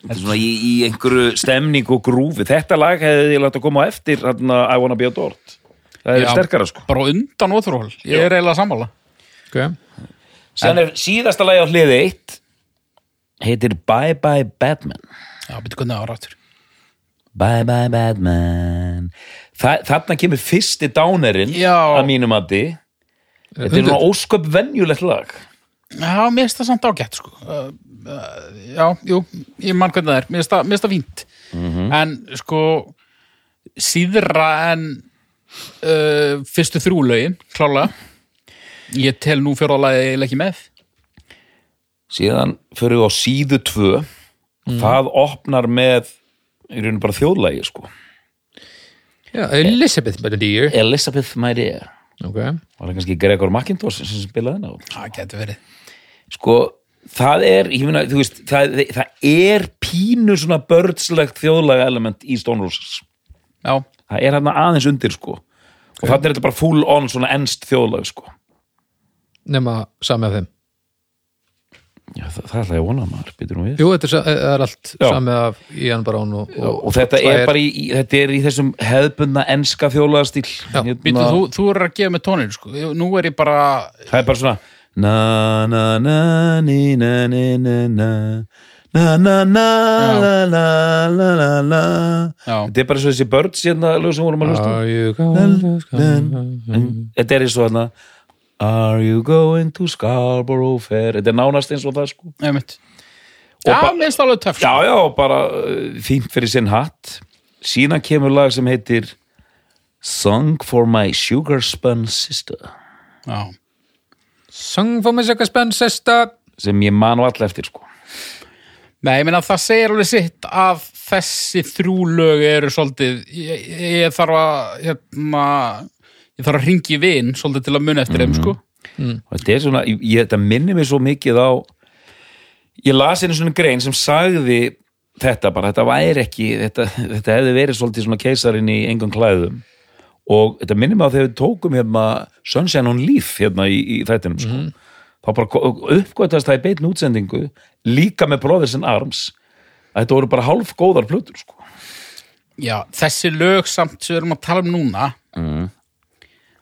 [SPEAKER 2] þetta er svona í, í einhverju stemning og grúfi þetta lag hefði ég látt að koma á eftir hérna I Wanna Be a Dort það er
[SPEAKER 3] Já.
[SPEAKER 2] sterkara sko
[SPEAKER 3] <laughs> Bara á undan óþarfall. Ég er eiginlega sammála.
[SPEAKER 1] ok
[SPEAKER 2] Sen er síðasta lagi á hliði 1 heitir Bye Bye Batman
[SPEAKER 3] Já, betur hvernig árættur.
[SPEAKER 2] Bye Bye Batman Þa, Þarna kemur fyrsti dánerinn
[SPEAKER 3] Já.
[SPEAKER 2] að mínum addi Þetta er
[SPEAKER 1] Undir-
[SPEAKER 2] nú ósköp venjulegt lag
[SPEAKER 3] Já, mér finnst það samt ágætt sko. uh, uh, Já, jú, ég mann hvernig það er Mér finnst það- mér finnst það fínt En sko síðra en uh, fyrstu þrjúlaugin, klálega Ég tel nú fjórðalagi eiginlega ekki með
[SPEAKER 2] Síðan fyrir við á síðu 2 Það opnar með í rauninu bara þjóðlagi sko
[SPEAKER 1] Já, Elizabeth Melodíu
[SPEAKER 2] Elizabeth My Dear
[SPEAKER 1] Ok,
[SPEAKER 2] Var það kannski Gregor McIntosh sem spilaði hennar
[SPEAKER 3] Það getur verið
[SPEAKER 2] sko það er, ég finna, þú veist það, það er pínu svona börnslegt þjóðlaga element í Stone Roses
[SPEAKER 3] Já,
[SPEAKER 2] það er hann aðeins undir sko og þarna er þetta bara full on svona ennst þjóðlag sko
[SPEAKER 1] nema sami af þeim
[SPEAKER 2] Já, það, það er það ég vona maður, býtur nú við.
[SPEAKER 1] Jú, þetta er, sa- það er allt
[SPEAKER 2] Já.
[SPEAKER 1] samið af Ian Brown og,
[SPEAKER 2] Og, og þetta er
[SPEAKER 1] Slær.
[SPEAKER 2] bara í, í, þetta er í þessum hefðbundna enska þjóðlagastíl. Hérna-
[SPEAKER 1] Já,
[SPEAKER 3] Býtu, þú, þú er að gefa með tónin, sko. Nú er ég bara,
[SPEAKER 2] Það er bara svona na na na ni na ni na na na na na la la la la la
[SPEAKER 3] já,
[SPEAKER 2] Þetta er bara svo þessi börn síðan að lög sem vorum að hlusta. á.
[SPEAKER 1] Are you gonna-
[SPEAKER 2] En Þetta er eins og þarna Are you going to Scarborough Fair? Þetta er nánast eins og það sko.
[SPEAKER 3] einmitt. Já,
[SPEAKER 2] ba-
[SPEAKER 3] mér finnst það alveg töff. sko.
[SPEAKER 2] Já, já, bara uh, fínt fyrir sinn hatt. Síðan kemur lag sem heitir Song for my sugar spun sister
[SPEAKER 3] Já.
[SPEAKER 1] Song for my second span sister
[SPEAKER 2] sem ég man á all eftir sko.
[SPEAKER 3] Nei, ég meina það segir alveg sitt að þessi þrjú lög eru svolítið, ég, ég þarf að, hérna, ég þarf að ringi vin svolítið til að muna eftir þeim, sko.
[SPEAKER 2] og þetta er svona, ég, þetta minnir mig svo mikið á ég las einu svona grein sem sagði þetta bara, þetta væri ekki þetta, þetta hefði verið svolítið svona keisarin í engum klæðum og þetta minnir mig á þegar við tókum hérna Sunshine on Leaf hérna í, í þættinum sko. þá bara ko- uppgötast það í beitin útsendingu líka með Brothers in Arms að þetta voru bara hálf góðar plötur sko.
[SPEAKER 3] Já, þessi lög samt sem við erum að tala um núna,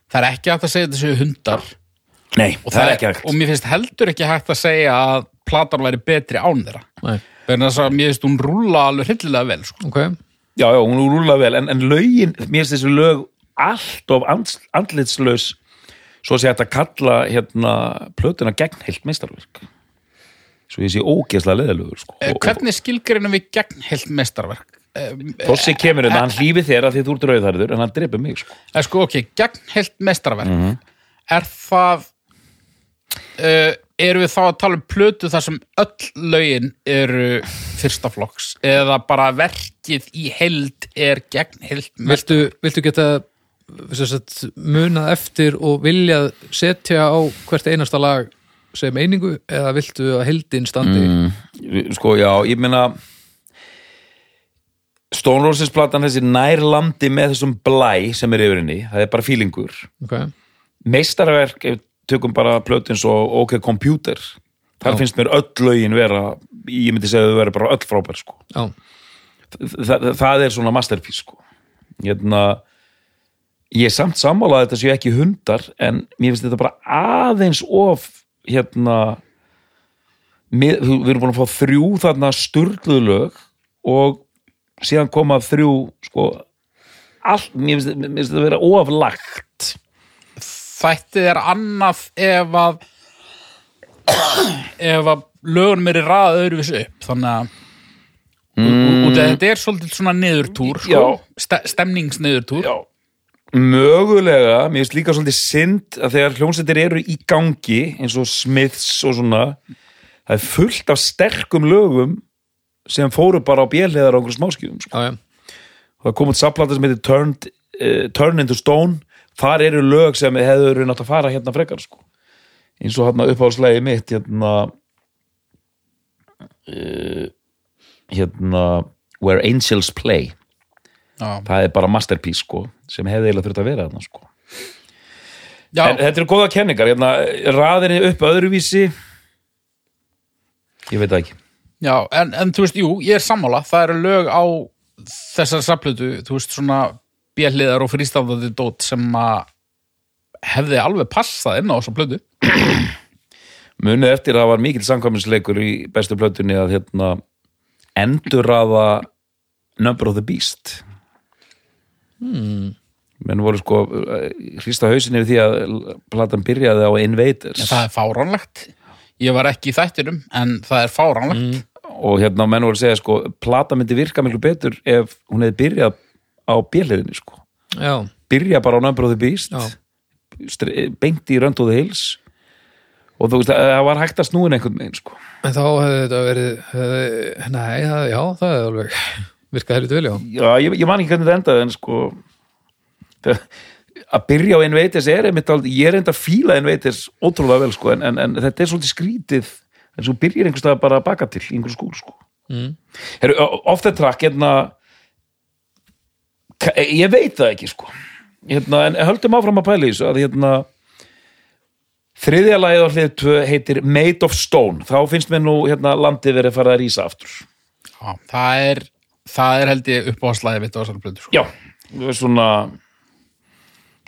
[SPEAKER 3] það er ekki hægt að segja þetta séu hundar.
[SPEAKER 2] nei,
[SPEAKER 3] Og,
[SPEAKER 2] það, er ekki hægt
[SPEAKER 3] Og mér finnst heldur ekki hægt að segja að platan væri betri án þeirra.
[SPEAKER 1] Nei,
[SPEAKER 3] Vegna þess að mér finnst hún rúla alveg hryllilega vel, sko.
[SPEAKER 1] ok
[SPEAKER 2] já, já, hún rúla vel, en, en lögin, mér finnst þessi lög allt of ands- andlitslaus svo sé hægt að kalla hérna plötuna gegn heilt meistarverk svo ég sé ógeðslega leðalugur sko.
[SPEAKER 3] Eh,
[SPEAKER 2] Og- og
[SPEAKER 3] Hvernig skilgreinum við gegn heilt mestarverk? Eh,
[SPEAKER 2] Þossi kemur en hann hlýfi þér að því þú ert rauðarður en hann dreipur mig sko.
[SPEAKER 3] Eh, sko, ok, gegnheilt mestarverk
[SPEAKER 2] Mhm.
[SPEAKER 3] er það uh, eru við þá að tala um plötu þar sem öll lögin eru fyrsta flokks eða bara verkið í heild er gegnheilt mestarverk
[SPEAKER 1] viltu, viltu geta sem sagt, munað eftir og viljað setja á hvert einasta lag sem einingu eða viltu að heldin standi
[SPEAKER 2] sko já, ég meina Stone Roses platan þessi nær landi með þessum blæ sem er yfir henni, það er bara fílingur
[SPEAKER 1] ok,
[SPEAKER 2] meistarverk ef við tökum bara plötins og OK Computer þar finnst mér öll lögin vera ég myndi segja að þau vera bara öll frábær sko.
[SPEAKER 1] já,
[SPEAKER 2] það, það er svona masterpiece sko. hérna ég er samt sammála að þetta séu ekki hundar en mér finnst þetta bara aðeins of hérna mið, við erum búin að fá þrjú þarna sturgluð lög og síðan koma þrjú sko allt, mér finnst, mér finnst þetta vera oflagt
[SPEAKER 3] þættið er annað ef að ef að lögunum eru ræða öðruvis upp þannig að mm. út að þetta er svolítið svona niðurtúr sko, ste stemningsniðurtúr
[SPEAKER 2] Já. Mögulega, mér finnst líka svolítið synd að þegar hljómsveitir eru í gangi eins og Smiths og svona það er fullt af sterkum lögum sem fóru bara á bjelheðar á einhverjum smáskjum sko.
[SPEAKER 1] já, já,
[SPEAKER 2] það kom út saplata sem heitir Turned, uh, Turn into Stone þar eru lög sem hefur verið nátt að fara hérna frekar sko. eins og hérna uppáðslegið mitt hérna uh, hérna Where Angels Play
[SPEAKER 3] Já.
[SPEAKER 2] það er bara masterpiece sko, sem hefði eiginlega þurft að vera þarna sko.
[SPEAKER 3] Já.
[SPEAKER 2] En þetta eru góða kenningar, hérna, raðinni upp öðruvísi Ég veit það ekki
[SPEAKER 3] Já, en, en þú veist, jú, ég er sammála það eru lög á þessar saflötu, þú veist, svona bjelliðar og frístafðandi dót sem að hefði alveg passað inn á þessar plötu
[SPEAKER 2] Munið eftir að það var mikill samkvæminsleikur í bestu plötunni að hérna endurraða Number of the Beast hmm.
[SPEAKER 3] Hmm.
[SPEAKER 2] Menn voru sko hrista hausin yfir því að platan byrjaði á Invaders
[SPEAKER 3] það er fáránlegt ég var ekki í þættinum, en það er fáránlegt
[SPEAKER 2] og hérna menn voru að segja sko platan myndi virka miklu betur ef hún hefði byrjað á bjöliðinni sko
[SPEAKER 1] já,
[SPEAKER 2] byrja bara á Number of the Beast
[SPEAKER 1] Já.
[SPEAKER 2] str- beint í Rönd of the Hills og þú veist að það var hægt að snúin einhvern veginn sko
[SPEAKER 1] en þá hefði þetta verið hefði, nei, það, já, það hefði alveg virkað helviti vel, já,
[SPEAKER 2] já, ég, ég man ekki hvernig þetta endaði en sko það- að byrja á Invaders er einmitt aldrei, ég er enda að fíla Invaders ótrúlega vel sko en, en, en þetta er svolítið skrítið en svo byrjir einhvers staðar bara að baka til í einhver skúl sko
[SPEAKER 1] Mm.
[SPEAKER 2] Heru, off the track hérna ka- e, ég veit það ekki sko hérna, en höldum áfram að pæla í þessu að hérna Þriðja lagið á hlið 2 heitir Made of Stone. Þá finnst mér nú hérna landið verið að fara að rísa aftur.
[SPEAKER 3] Já, það er, það er held ég uppáhaldslagið mitt á þessari blötu sko.
[SPEAKER 2] Já, það er svona,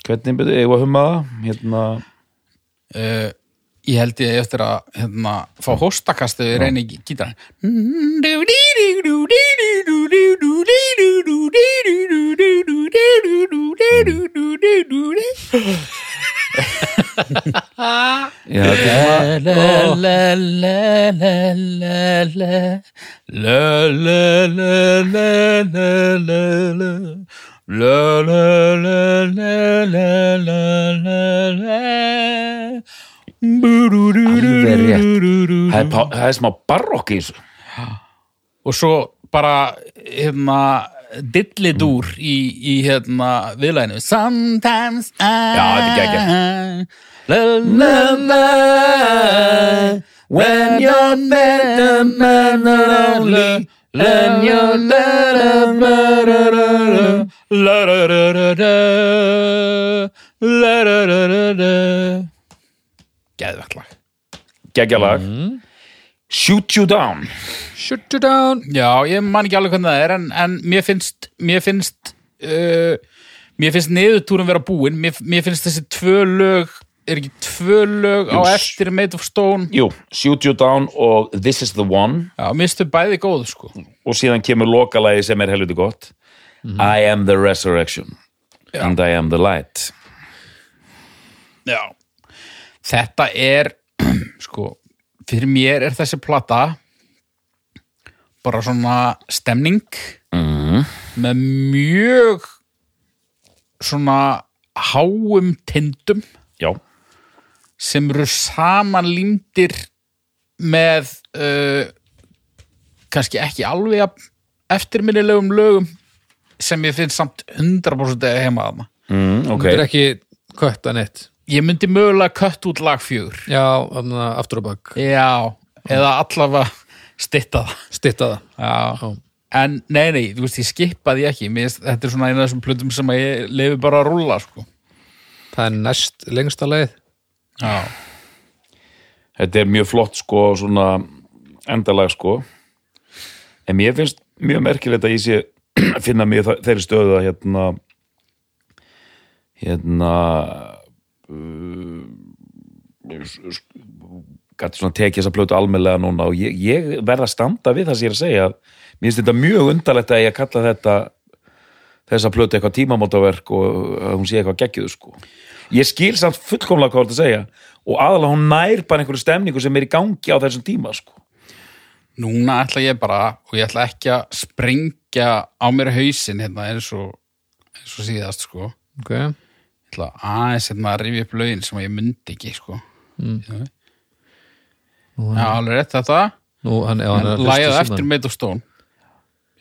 [SPEAKER 2] hvernig byrðu, eigum við að humma það? Hérna,
[SPEAKER 3] uh, ég held ég eftir að hérna, fá hóstakastu við reyni gítar
[SPEAKER 2] já, þetta er svona,
[SPEAKER 3] Alveg
[SPEAKER 2] rétt. það er, pá- það er smá barokk í þessu.
[SPEAKER 3] og svo bara hérna dillidúr
[SPEAKER 2] Mm.
[SPEAKER 3] í, í hérna viðlæðinu Sometimes I
[SPEAKER 2] Já, þetta er
[SPEAKER 3] la, la, la, When you're better man than only When you're better man than only La la la la la La la la la la Geðvægt lag
[SPEAKER 2] Geggjalag. Shoot You Down.
[SPEAKER 1] Shut you down
[SPEAKER 3] Já, ég man ekki alveg hvernig það er en, en mér finnst mér finnst uh, mér finnst niðurtúrum vera búin mér, mér finnst þessi tvö lög er ekki tvö lög á
[SPEAKER 2] Jú, s-
[SPEAKER 3] eftir Made of Stone
[SPEAKER 2] Jú, Shoot You Down og This Is The One.
[SPEAKER 3] Já, mér finnst þau bæði góð sko
[SPEAKER 2] og síðan kemur lokalagi sem er helviti gott I am the resurrection and I am the light
[SPEAKER 3] Já Þetta er <clears throat> sko, fyrir mér er þessi plata bara svona stemning -hmm. með mjög svona háum tindum
[SPEAKER 2] já,
[SPEAKER 3] sem eru samanlýndir með uh, kannski ekki alveg jafn eftirminnilegum lögum sem ég finn samt 100% eiga heima þarna.
[SPEAKER 2] mm, ok
[SPEAKER 1] Þetta er ekki kött að neitt
[SPEAKER 3] Ég myndi mögulega kött út lag fjögur.
[SPEAKER 1] Já, þannig að aftur á bak
[SPEAKER 3] Já, eða allavega stytta það.
[SPEAKER 1] Stitta það
[SPEAKER 3] Já.
[SPEAKER 1] Já.
[SPEAKER 3] En nei, nei, þú veist, ég skipaði ekki. Mér, finnst- þetta er svona eina af þessum plötum sem að ég lefi bara að rúlla, sko.
[SPEAKER 1] Það er næst lengsta leið
[SPEAKER 3] Já.
[SPEAKER 2] þetta er mjög flott sko svona endalag sko en mér finnst mjög merkilegt að ég sé að finna mjög þa- þeirri stöðu að hérna hérna uh, gæti svona tekið þessa plötu almennlega núna og ég, ég verð að standa við það sem ég er að segja mér finnst þetta mjög undarlegt að ég kalla þetta þessa plötu eitthvað tímamótaverk og að hún sé eitthvað geggjuð sko ég skil samt fullkomlega hvað þú ert að segja og aðalega hún nær bara einhverju stemningu sem er í gangi á þessum tíma sko
[SPEAKER 3] Núna ætla ég bara og ég ætla ekki að sprengja á mér hausinn hérna eins og, eins og síðast sko. Ég
[SPEAKER 1] Ok
[SPEAKER 3] ætla aðeins hérna að rifja upp lögin sem ég myndi ekki sko. Mm. Já, alveg rétt þetta.
[SPEAKER 1] Nú, hann, já, hann er að hlusta
[SPEAKER 3] Lægið
[SPEAKER 1] símann.
[SPEAKER 3] eftir meitt og stón.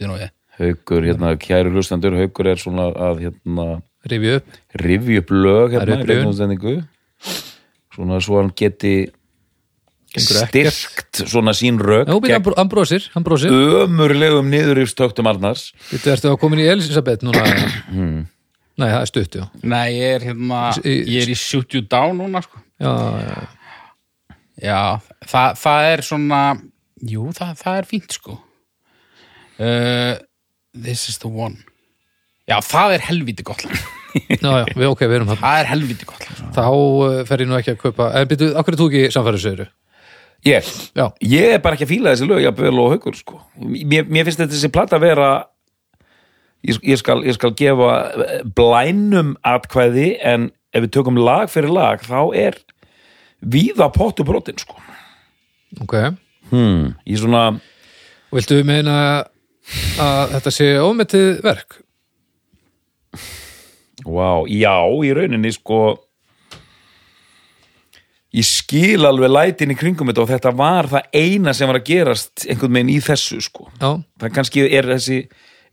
[SPEAKER 3] Við nú ég.
[SPEAKER 2] Haukur, hérna, kæru hlustendur, Haukur er svona að hérna,
[SPEAKER 1] Rifja upp
[SPEAKER 2] rifja upp lög
[SPEAKER 1] Það er
[SPEAKER 2] hérna, í
[SPEAKER 1] upprifjun.
[SPEAKER 2] beinni útsendingu. svona svo hann geti
[SPEAKER 1] Gengur ekkert.
[SPEAKER 2] styrkt svona sín rög
[SPEAKER 1] Já, býr, hann, bró- hann brósir, hann brósir
[SPEAKER 2] Uh. ömurlegum niðurrifstöktum Arnars
[SPEAKER 1] Þetta ertu að komin í Elisabeth
[SPEAKER 2] <clears throat>
[SPEAKER 1] núna Nei, það er stutt, já
[SPEAKER 3] Nei, ég er hérna,
[SPEAKER 1] í-
[SPEAKER 3] ég er í shoot you down núna, sko.
[SPEAKER 1] Já, já,
[SPEAKER 3] Já, það, það er svona, jú, það, það er fínt, sko. Uh, this is the one. Já, það er helviti gott lag.
[SPEAKER 1] já, já við, ok, við erum það
[SPEAKER 3] Það er helviti gott lag. sko.
[SPEAKER 1] Þá eh, fer ég nú ekki að kaupa En byrju, akkur er þú ekki samfæri segir
[SPEAKER 2] ég,
[SPEAKER 1] Já,
[SPEAKER 2] ég er bara ekki að fíla þessi lög jafnvel og Haukur sko mér, mér finnst þetta þessi plata vera ég, ég, skal, ég skal gefa eh, blænum atkvæði en ef við tökum lag fyrir lag þá er víða pottu brotin sko
[SPEAKER 1] ok
[SPEAKER 2] hmm. ég svona
[SPEAKER 1] Viltu meina að þetta sé ómetið verk?
[SPEAKER 2] Vá, já, í rauninni sko ég skil alveg lætin í kringum þetta og þetta var það eina sem var að gerast einhvern veginn í þessu sko
[SPEAKER 1] Já,
[SPEAKER 2] það kannski er þessi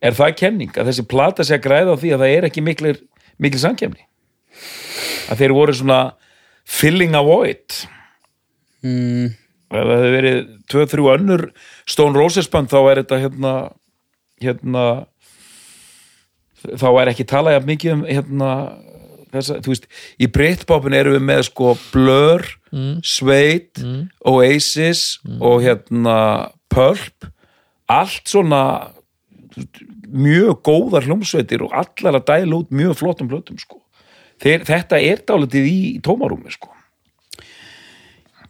[SPEAKER 2] er það kenning að þessi plata sé að græða á því að það er ekki miklir, mikil samkemni að þeir voru svona filling a void mm. ef það hefði verið 2-3 önnur Stone Roses band þá er þetta hérna hérna þá er ekki talað jafn mikið um hérna þessa, þú veist, í breyttbápun erum við með sko blör
[SPEAKER 1] Mm.
[SPEAKER 2] Sveit, Oasis og hérna Pulp allt svona mjög góðar hljómsveitir og allar að dæla út mjög flottum plötum sko. Þeir, þetta er dálítið í, í tómarúmi sko.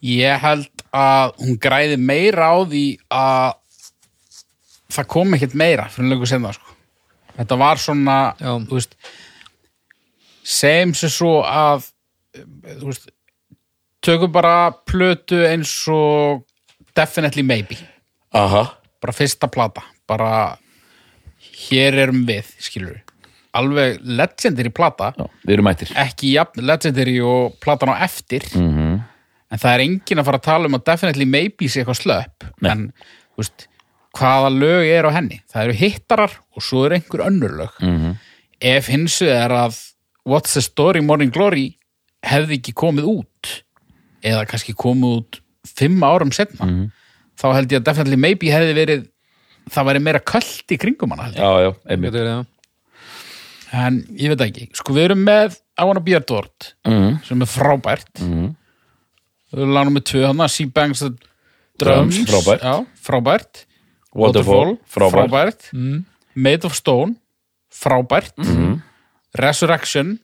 [SPEAKER 3] Ég held að hún græði meira á því að það kom ekkert meira fyrir löngu senna sko. Þetta var svona
[SPEAKER 1] Já.
[SPEAKER 3] þú veist, sem sem svo að eh, þú veist, tökum bara plötu eins og Definitely Maybe
[SPEAKER 2] Aha
[SPEAKER 3] bara fyrsta plata bara hér erum við skilur alveg legendary plata
[SPEAKER 2] Já, við erum mættir
[SPEAKER 3] ekki jafn legendary og platan á eftir -hmm. en það er engin að fara að tala um að definitely maybe sé eitthvað slöpp
[SPEAKER 2] Nei.
[SPEAKER 3] en þú veist, hvaða lög er á henni það eru hittarar og svo eru einhver önnur lög -hmm. ef hinsu er að What's the Story Morning Glory hefði ekki komið út eða kannski komið út fimm árum setna -hmm. þá held ég að definitely maybe hefði verið það væri meira köllt í kringum hana held ég.
[SPEAKER 2] Já, já, einmitt
[SPEAKER 1] Þetta er það.
[SPEAKER 3] en ég veit það ekki, sko við erum með I wanna be adored
[SPEAKER 2] mm.
[SPEAKER 3] sem er frábært
[SPEAKER 2] Mhm.
[SPEAKER 3] Við erum lánum með tvö hann að Sea Bangs the Drums,
[SPEAKER 2] Drums, frábært.
[SPEAKER 3] já, frábært.
[SPEAKER 2] Waterfall, frábært,
[SPEAKER 3] Made of Stone frábært
[SPEAKER 2] Mhm.
[SPEAKER 3] Resurrection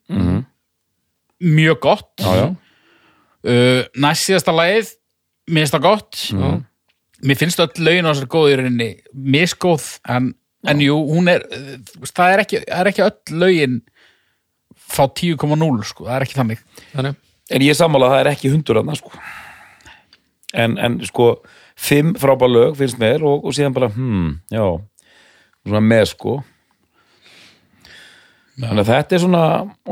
[SPEAKER 3] mjög gott
[SPEAKER 2] Já, já,
[SPEAKER 3] uh, næst síðasta lagið mér finnst það gott mér finnst öll lögin á þessar góð í rauninni misgóð en, en jú, hún er uh, það er ekki, það er ekki öll lögin fá 10,0 sko, það er ekki þannig
[SPEAKER 1] Þannig.
[SPEAKER 2] En ég er sammála að það er ekki hundur annars sko. En, en sko fimm frábær lög finnst mér og, og síðan bara, hmm, já svona með sko Þannig að þetta er svona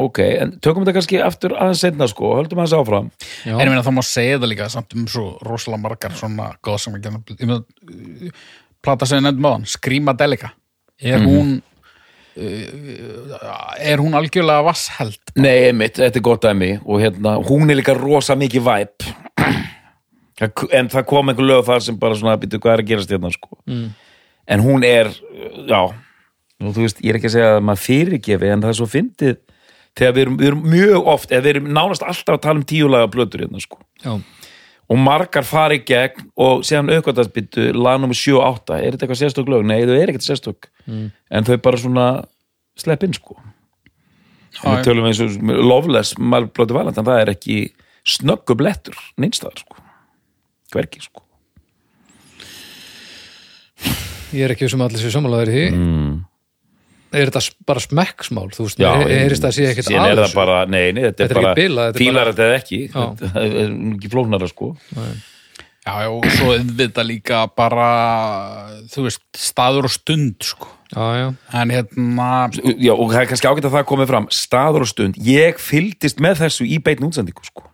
[SPEAKER 2] ok, en tökum þetta kannski aftur aðeins setna sko, höldum aðeins áfram
[SPEAKER 1] Já.
[SPEAKER 3] En ég meina það má segja það líka samt um svo rosalega margar svona góð sem ekki ég meina, uh, plata sem ég nefndum á hann, Screamadelica er hún uh, er hún algjörlega vassheld
[SPEAKER 2] Nei, einmitt, þetta er gott dæmi og hérna, hún er líka rosa mikið væp Mm. en það kom einhver lög þar sem bara svona býtu hvað er að gerast hérna sko mm. en hún er, já nú, þú veist, ég er ekki að segja að maður fyrirgefi en það er svo fyndið þegar við erum, við erum mjög oft, eða við erum nánast alltaf að tala um tíulaga blötur hérna sko
[SPEAKER 1] Já.
[SPEAKER 2] og margar fari í gegn og síðan aukvartarsbyttu lagnum 7 og 8 er þetta eitthvað sérstök lög? Nei, þau er ekkert sérstök mm. en þau bara svona slepp inn sko en
[SPEAKER 3] já.
[SPEAKER 2] við tölum eins og loveless malblóti valent en það er ekki snöggu blettur neinstæðar sko hverki sko
[SPEAKER 1] Ég er ekki sem allir sér samanlæðir því. Mm. Er þetta s- bara smekksmál? Þú veist, er, er þetta að sé ekkert
[SPEAKER 2] síðan er
[SPEAKER 1] aðeins?
[SPEAKER 2] það bara, nei, nei, þetta
[SPEAKER 1] Þetta
[SPEAKER 2] er
[SPEAKER 1] er
[SPEAKER 2] bara
[SPEAKER 1] ekki bilað, þetta er
[SPEAKER 2] fílar
[SPEAKER 1] bara-
[SPEAKER 2] þetta eða ekki
[SPEAKER 1] Já.
[SPEAKER 2] þetta er ekki flóknara sko
[SPEAKER 3] Já, já, og svo þetta líka bara þú veist, staður og stund sko.
[SPEAKER 1] Já, já.
[SPEAKER 3] en hérna
[SPEAKER 2] já, og það er kannski ágætt að það komið fram staður og stund, ég fylgdist með þessu í beitin útsendingu sko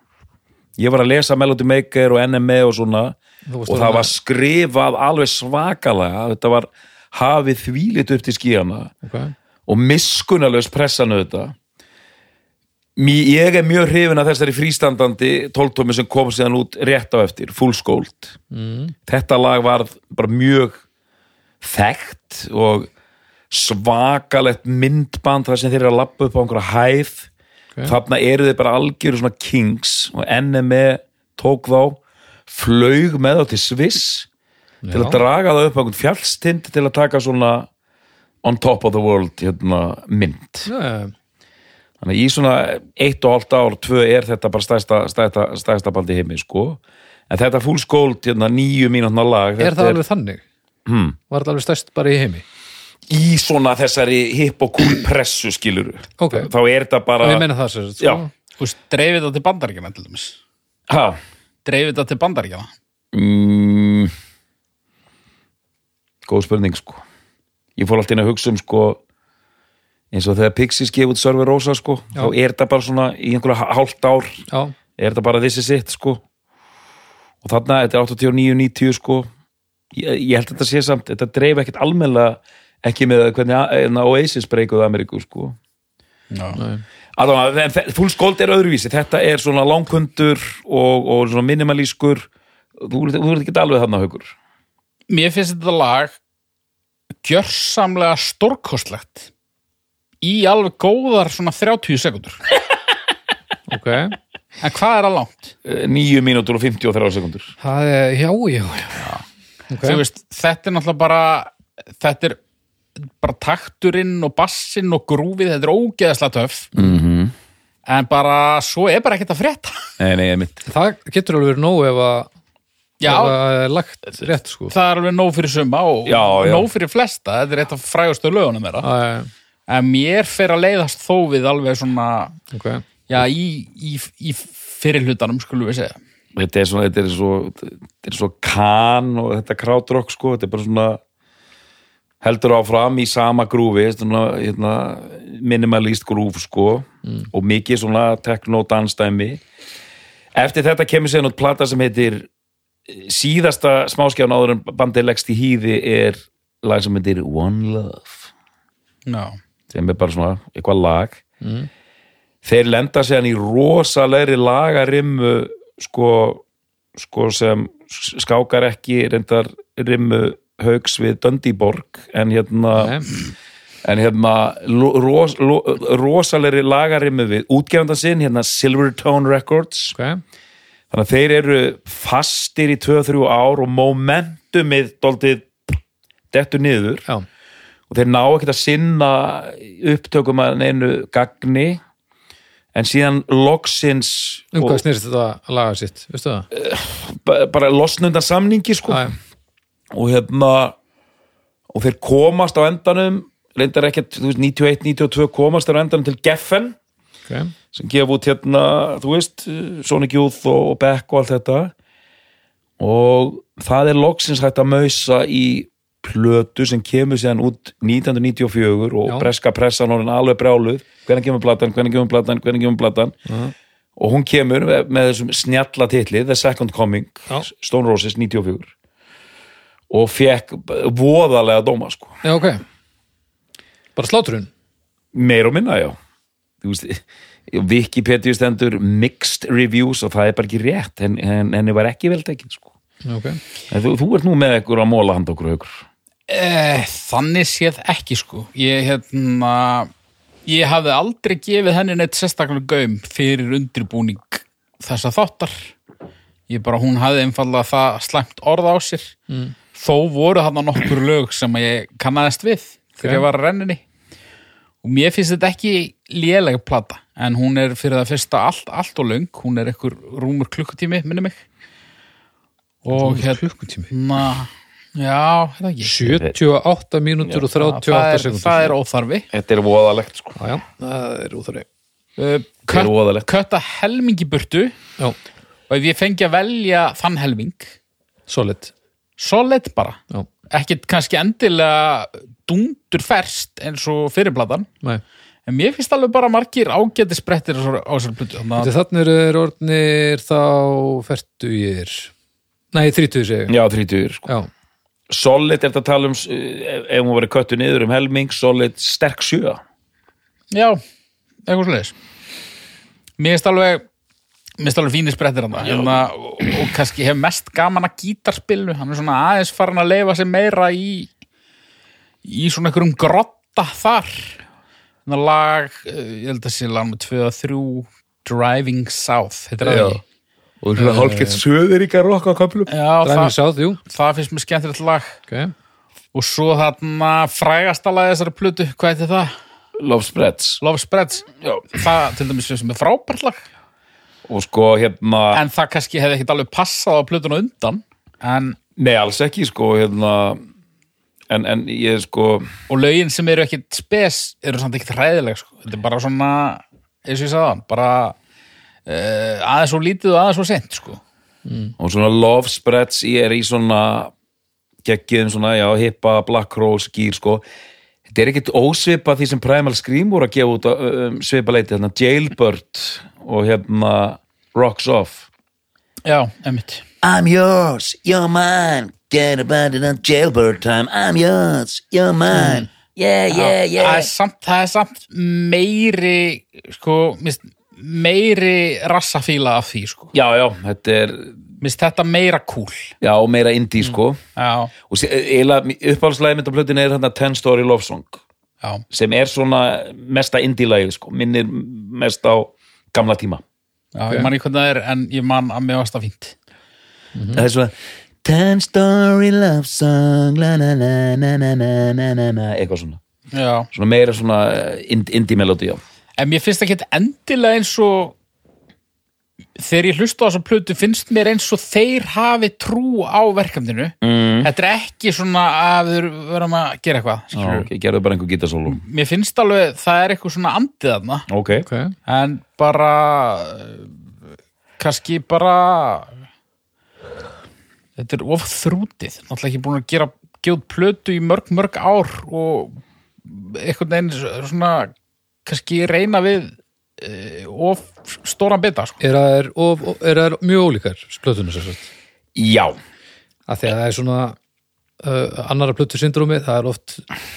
[SPEAKER 2] ég var að lesa Melody Maker og NME og svona
[SPEAKER 1] Þú varst
[SPEAKER 2] og það
[SPEAKER 1] orðin
[SPEAKER 2] var
[SPEAKER 1] að-
[SPEAKER 2] skrifað alveg svakalega þetta var hafið þvílit upp til skíjana
[SPEAKER 1] Ok.
[SPEAKER 2] og miskunnalaus pressan auðvitað Mí, ég er mjög hrifin að þessari frístandandi tóltómi sem kom síðan út rétt á eftir full skóld mm. þetta lag var bara mjög þekkt og svakalegt myndband þar sem þeir eru að lappa upp á einhverja hæð þarna eru þeir bara algjöru svona kings og NME tók þá flaug með þá til Sviss til að
[SPEAKER 1] Já.
[SPEAKER 2] draga það upp á einhvern fjallstind til að taka svona on top of the world hérna, mynd
[SPEAKER 1] Já, já.
[SPEAKER 2] þannig að í svona eitt og hálft ár, tvö er þetta bara stæsta, stæsta, stæsta baldi heimi sko en þetta full skóld, hérna, nýju mínútna lag
[SPEAKER 1] Er
[SPEAKER 2] þetta
[SPEAKER 1] það alveg þannig?
[SPEAKER 2] Hmm.
[SPEAKER 1] Var þetta alveg stærst bara í heimi?
[SPEAKER 2] í svona þessari hip og cool pressu skilur
[SPEAKER 1] Ok.
[SPEAKER 2] þá er þetta bara
[SPEAKER 1] Og ég meina það sko. sér.
[SPEAKER 2] Já.
[SPEAKER 3] þú veist, dreifið það til bandaríkjana til dæmis
[SPEAKER 2] ha,
[SPEAKER 3] dreifið það til bandaríkjana
[SPEAKER 2] mm, góð spurning sko ég fór alltaf inn að hugsa um sko eins og þegar Pixies gefið út Sörfi Rósa sko, þá er þetta bara svona í einhverja hálft ár
[SPEAKER 1] Já.
[SPEAKER 2] er þetta bara this is it sko og þarna, þetta er 89-90 sko ég, ég held að þetta sé samt þetta dreif ekkert almennilega ekki með hvernig A- hérna, Oasis breykuð Ameríku sko
[SPEAKER 3] já.
[SPEAKER 2] Allavega, en þe- full skóld er öðruvísi þetta er svona langkundur og, og svona minimalískur þú ert þú ert ekki alveg þarna haukur
[SPEAKER 3] mér finnst þetta lag gjörsamlega stórkostlegt í alveg góðar svona 30 sekundur
[SPEAKER 1] Ok.
[SPEAKER 3] En hvað er að langt?
[SPEAKER 2] Eh, níu mínútur og 53 sekundur
[SPEAKER 1] Það er, já, já, já. Okay.
[SPEAKER 3] Þú veist, þetta er náttúrulega bara þetta er bara takturinn og bassinn og grúfið þetta er ógeðaslega töff -hmm. en bara svo er bara ekkert að frétta
[SPEAKER 2] Nei, nei, einmitt
[SPEAKER 1] Það getur alveg verið nóg ef að
[SPEAKER 3] Já,
[SPEAKER 1] ef það er lagt rétt, sko.
[SPEAKER 3] það er alveg nóg fyrir suma og
[SPEAKER 2] Já, já.
[SPEAKER 3] nóg fyrir flesta þetta er eitt af frægustu lögunum þeirra
[SPEAKER 1] Það er,
[SPEAKER 3] en mér fer að leiðast þó við alveg svona
[SPEAKER 1] ok.
[SPEAKER 3] já, í, í, í fyrirhlutanum skulum við segja
[SPEAKER 2] Þetta er svona, þetta er svo þetta er svo kan og þetta krátrokk sko, þetta er bara svona heldur áfram í sama grúfi svona, hérna, minimalist grúf sko, og mikið svona tekno-danstæmi Eftir þetta kemur sér nátt plata sem heitir eh, síðasta smáskjáðan áður en bandið leggst í hýði er lag sem heitir One Love
[SPEAKER 3] Já,
[SPEAKER 2] sem er bara svona eitthvað lag þeir lenda séðan í rosalegri lagarimmu sko, sko sem skákar ekki reyndar rimmu haugs við Döndiborg en hérna
[SPEAKER 1] Nei.
[SPEAKER 2] en hérna lo- ros, lo, rosalegri lagarimmu við útgefandan sinn, hérna Silvertone Records
[SPEAKER 1] Ok.
[SPEAKER 2] þannig að þeir eru fastir í 2-3 ár og momentumið dóltið dettur niður
[SPEAKER 1] Já.
[SPEAKER 2] og þeir ná ekkert að sinna upptökum að neinu gagni en síðan loksins
[SPEAKER 1] Um
[SPEAKER 2] og
[SPEAKER 1] hvað snýrst þetta laga sitt, veistu það?
[SPEAKER 2] ba- bara losnundan samningi sko
[SPEAKER 1] Já,
[SPEAKER 2] og hérna og þeir komast á endanum reyndar ekkert, þú veist, 91-92 komast þeir á endanum til Geffen
[SPEAKER 1] ok.
[SPEAKER 2] sem gef út hérna, þú veist Sonic Youth og, og Beck og allt þetta og það er loksins hægt að mausa í plötu sem kemur síðan út 1994 og
[SPEAKER 1] Já.
[SPEAKER 2] breska pressan hún er alveg brjáluð, hvernig kemur platan, hvernig kemur platan hvernig kemur platan og hún kemur með, með þessum snjalla titli The Second Coming,
[SPEAKER 1] Já.
[SPEAKER 2] Stone Roses 94 og fekk voðalega dóma sko
[SPEAKER 1] Já, ok. Bara slátrun.
[SPEAKER 2] meir og minna, já Þú veist, Wikipedia stendur mixed reviews og það er bara ekki rétt en, en, henni var ekki vel tekin sko.
[SPEAKER 1] Já, ok.
[SPEAKER 2] en þú, þú ert nú með ykkur að móla handa okkur haukur
[SPEAKER 3] Eh, þannig séð ekki sko ég hérna ég hafði aldrei gefið henni neitt sérstaklega gaum fyrir undirbúning þessa þáttar ég bara, hún hafði einfallega það slæmt orð á sér mm. þó voru þarna nokkur lög sem að ég kannaðist við þegar ég var að renninni og mér finnst þetta ekki lélega plata en hún er fyrir það fyrsta allt, allt og löng hún er ekkur rúmur klukkutími, minni mig og hérna
[SPEAKER 1] Klukkutími.
[SPEAKER 3] já, hérna ekki
[SPEAKER 1] 78 mínútur og 38
[SPEAKER 3] það er, það
[SPEAKER 1] sekundur.
[SPEAKER 3] er óþarfi
[SPEAKER 2] Þetta er voðalegt sko
[SPEAKER 1] Já, já, það er úþarri.
[SPEAKER 3] Uh,
[SPEAKER 2] er
[SPEAKER 3] kött,
[SPEAKER 2] voðalegt.
[SPEAKER 3] kötta helmingi burtu
[SPEAKER 1] Já,
[SPEAKER 3] og ef ég fengi að velja þann helming
[SPEAKER 1] solid.
[SPEAKER 3] solid bara
[SPEAKER 1] Já,
[SPEAKER 3] ekkert kannski endilega dundur ferst eins og fyrirblatan
[SPEAKER 1] nei.
[SPEAKER 3] en mér finnst alveg bara margir ágæti sprettir á þessar blutu þannig að
[SPEAKER 1] Þetta þannig er orðnir þá færtugir. Nei, þrítugir segja.
[SPEAKER 2] Já, þrítugur sko.
[SPEAKER 1] Já,
[SPEAKER 2] Solid er þetta að tala um uh, ef ef hún verið köttu niður um helming Solid sterk sjö
[SPEAKER 3] já, eitthvað svoleiðis mér finnst alveg mér finnst alveg fínir sprettir hann hérna, og, og kannski hef mest gaman að gítarspilnu hann er svona aðeins farin að leifa sér meira í í svona einhverjum grotta þar þannig lag, eh, ég held að sé lag með 2 og 3 Driving South heitir það
[SPEAKER 2] Já.
[SPEAKER 3] ekki
[SPEAKER 2] og svona hálfgett söður ykkar rokk á köplum
[SPEAKER 3] Já,
[SPEAKER 1] dræmið
[SPEAKER 3] það,
[SPEAKER 1] sáð, jú.
[SPEAKER 3] það finnst mér skemmtilegt lag
[SPEAKER 1] Ok,
[SPEAKER 3] og svo þarna frægasta lag þessari plötu, hvað heitir það?
[SPEAKER 2] Love Spreads
[SPEAKER 3] Love Spreads, það til dæmis sem er frábært lag
[SPEAKER 2] og sko hérna
[SPEAKER 3] en það kannski hefði ekkert alveg passað á plötuna undan en,
[SPEAKER 2] Nei, alls ekki sko hérna en, en ég sko
[SPEAKER 3] og lögin sem eru ekkert spes eru samt ekkert hræðileg sko. þetta er bara svona, eins og ég sagði það bara uh, aðeins og lítið og aðeins og sent sko.
[SPEAKER 2] og svona love spreads ég er í svona geggjum svona, já, hippa, black rose gýr, sko, þetta er ekkit ósvipa því sem Primal Scream voru að gefa út að, um, svipa leiti, hérna, Jailbird og hérna, Rocks Off
[SPEAKER 3] já, emmitt
[SPEAKER 4] I'm yours, you're mine. Get about it on jailbird time. I'm yours, you're mine. Yeah, yeah,
[SPEAKER 3] það
[SPEAKER 4] yeah.
[SPEAKER 3] er samt, það er samt meiri sko, mist, meiri rassafíla af því sko.
[SPEAKER 2] já, já, þetta er,
[SPEAKER 3] mist þetta meira cool
[SPEAKER 2] já, meira indie, sko
[SPEAKER 3] já,
[SPEAKER 2] og sé- eiginlega, uppáhaldslæði mynd á plötinu er hérna 10 Story Love Song
[SPEAKER 3] já,
[SPEAKER 2] sem er svona mesta indie-lægi, sko minnir mest á gamla tíma
[SPEAKER 3] Já, ég man ekki hvernig það er, en ég man að mér varst það fínt.
[SPEAKER 2] Mhm.
[SPEAKER 4] það er svona Ten story love song la na na na na na na na na
[SPEAKER 2] eitthvað svona,
[SPEAKER 3] Já.
[SPEAKER 2] svona meira svona eh, ind- indie melodi já.
[SPEAKER 3] En mér finnst ekki endilega eins og þegar ég hlusta á þessa plötu finnst mér eins og þeir hafi trú á verkefninu mm. þetta er ekki svona að við verðum að gera eitthvað
[SPEAKER 2] Já,
[SPEAKER 3] skilurðu.
[SPEAKER 2] ok, gerðu bara einhver gítasólu
[SPEAKER 3] mér finnst alveg það er eitthvað svona andið þarna
[SPEAKER 2] ok,
[SPEAKER 1] Mm. ok,
[SPEAKER 3] en bara eh, kannski bara þetta er of þrútið náttúrulega ekki búin að gera gjóð plötu í mörg mörg ár og einhvern veginn svona kannski reyna við eh, of stóran bita sko.
[SPEAKER 1] er það er, of, er það er mjög ólíkar plötunum sér sagt
[SPEAKER 2] já
[SPEAKER 1] að því að það er svona uh, annara plötu syndrómi, það er oft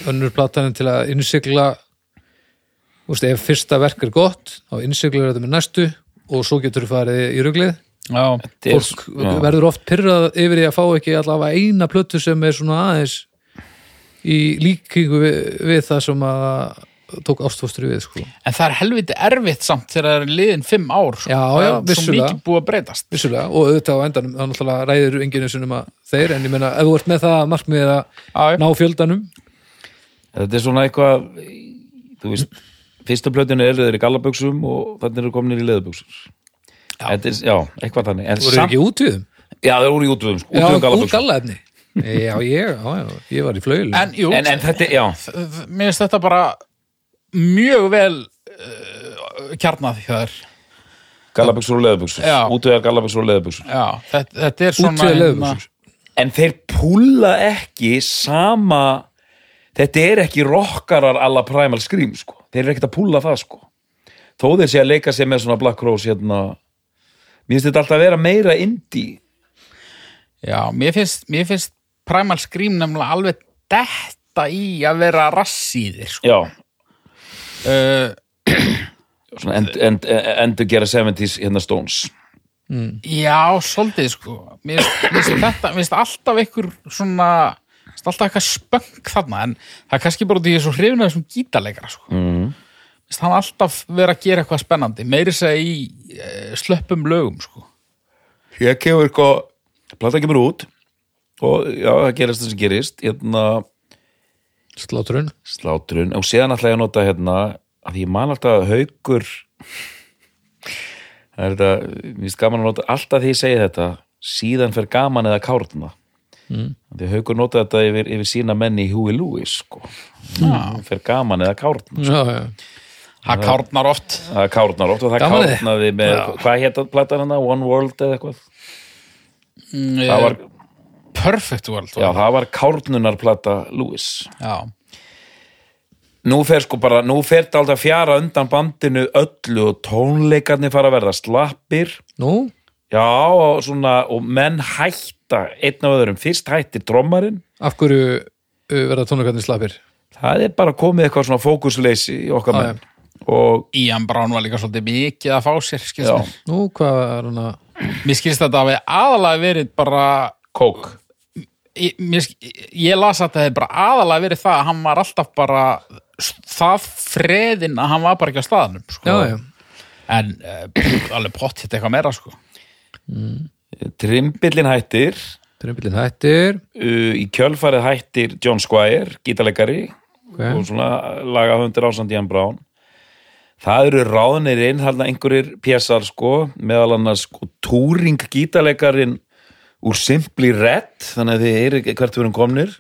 [SPEAKER 1] önnur platan en til að innsigla þú veist, ef fyrsta verk er gott þá innsiglar þetta með næstu og svo getur þú farið í ruglið
[SPEAKER 3] Já,
[SPEAKER 2] Þetta er-
[SPEAKER 1] fólk
[SPEAKER 2] já.
[SPEAKER 1] verður oft pyrrað yfir því að fá ekki allavega eina plötu sem er svona aðeins í líkingu við, við það sem að það tók ástfóstri við sko.
[SPEAKER 3] en það er helviti erfitt samt þegar það er liðin fimm ár sko.
[SPEAKER 1] Já,
[SPEAKER 3] Það
[SPEAKER 1] já,
[SPEAKER 3] er svo
[SPEAKER 1] vissulega.
[SPEAKER 3] mikið búið að breytast
[SPEAKER 1] vissulega og auðvitað á endanum þá náttúrulega ræðir enginu sinum um að þeir en ég meina ef þú ert með það að markmiðið
[SPEAKER 3] Já, já.
[SPEAKER 1] að ná fjöldanum
[SPEAKER 2] þetta er svona eitthvað þú veist, fyrsta plötinu eru þeir í gallabuxum og þannig eru kominir í leðubuxur já. Er, já, eitthvað þannig en
[SPEAKER 1] voru Sam...
[SPEAKER 2] samt,
[SPEAKER 1] ekki útvíðum
[SPEAKER 2] já, þeir voru í útvöðum sko,
[SPEAKER 1] já,
[SPEAKER 2] útvöðum
[SPEAKER 1] úr
[SPEAKER 2] gallabuxum
[SPEAKER 1] gallaefni já, ég, já, já, ég var í flögil
[SPEAKER 3] en jú,
[SPEAKER 2] en, en þetta, já,
[SPEAKER 3] mér finnst þetta bara mjög vel uh, kjarnað hjá þér
[SPEAKER 2] gallabuxur og leðubuxur
[SPEAKER 3] Já.
[SPEAKER 2] útvöðar gallabuxur og leðubuxur
[SPEAKER 3] Já, þetta, þetta er svona hérna-
[SPEAKER 1] útvíða leðubuxur
[SPEAKER 2] en þeir púla ekki sama þetta er ekki rockarar alla Primal Scream sko. þeir eru ekkert að púla það sko. þó þeir sé að leika sér með svona Black Rose hérna. mér finnst þetta alltaf að vera meira indie
[SPEAKER 3] Já, mér finnst, mér finnst Primal Scream nefnilega alveg detta í að vera rassíðir sko.
[SPEAKER 2] já,
[SPEAKER 3] uh,
[SPEAKER 2] svona end, end, endur gera 70s hérna Stones
[SPEAKER 3] Já, svolítið sko Mér finnst- mér finnst þetta, mér finnst alltaf einhver svona mér finnst alltaf eitthvað spöng þarna en það er kannski bara út í þessu hrifinu þessum gítarleikara sko mm. Vist, hann alltaf vera að gera eitthvað spennandi meiri segja í uh, slöppum lögum sko
[SPEAKER 2] ég kemur eitthvað plata kemur út og já, það gerist það sem gerist hérna
[SPEAKER 1] slátrun
[SPEAKER 2] slátrun og séðan ætla ég að nota hérna að ég man alltaf að haukur það er þetta mér finnst gaman að nota alltaf því ég segi þetta síðan fer gaman eða kárna mm. því að haukur nota þetta yfir, yfir sína menn í Huey Lewis sko. mm. fer gaman eða kárna
[SPEAKER 1] já, já.
[SPEAKER 3] Það kárnar oft
[SPEAKER 2] það kárnar oft og það
[SPEAKER 1] Gaman
[SPEAKER 2] gaman
[SPEAKER 1] eða?
[SPEAKER 2] kárnaði með, hvað hétt að platan hana One World eða eitthvað það var,
[SPEAKER 3] Mm, Perfect World
[SPEAKER 2] já,
[SPEAKER 3] var
[SPEAKER 2] það var kárnunarplata Lewis
[SPEAKER 3] það. já.
[SPEAKER 2] nú fer sko bara, nú fer þetta alltaf fjara undan bandinu öllu og tónleikarnir fara að verða slappir
[SPEAKER 1] nú,
[SPEAKER 2] já og svona og menn hætta einn af öðrum, fyrst hætti trommarinn
[SPEAKER 1] af hverju uh, verða tónleikarnir slapir
[SPEAKER 2] það er bara komið eitthvað svona fókusleysi í okkar
[SPEAKER 1] Já,
[SPEAKER 2] menn og
[SPEAKER 3] Ian Brown var líka svolítið mikið að fá sér skilst
[SPEAKER 2] Já.
[SPEAKER 3] mér.
[SPEAKER 1] nú, hvað er hann að
[SPEAKER 3] Mér skilst þetta hafi aðalega verið bara
[SPEAKER 2] kók
[SPEAKER 3] ég, mér, sk- ég las að það hefði bara aðalega verið það að hann var alltaf bara s- það freðin að hann var bara ekki á staðanum sko.
[SPEAKER 1] já, já,
[SPEAKER 3] en uh, <clears throat> alveg pott hitt eitthvað meira sko.
[SPEAKER 2] trimbillin hættir
[SPEAKER 1] trimbillin hættir
[SPEAKER 2] uh, í kjölfarið hættir John Squire, gítarleikari og
[SPEAKER 1] okay.
[SPEAKER 2] svona lagahöndir ásand Jan Brown það eru ráðnir inn þarna einhverjir pjessar sko meðal annars sko túring gítaleikarin úr Simply Red þannig að þið eru hvert við erum komnir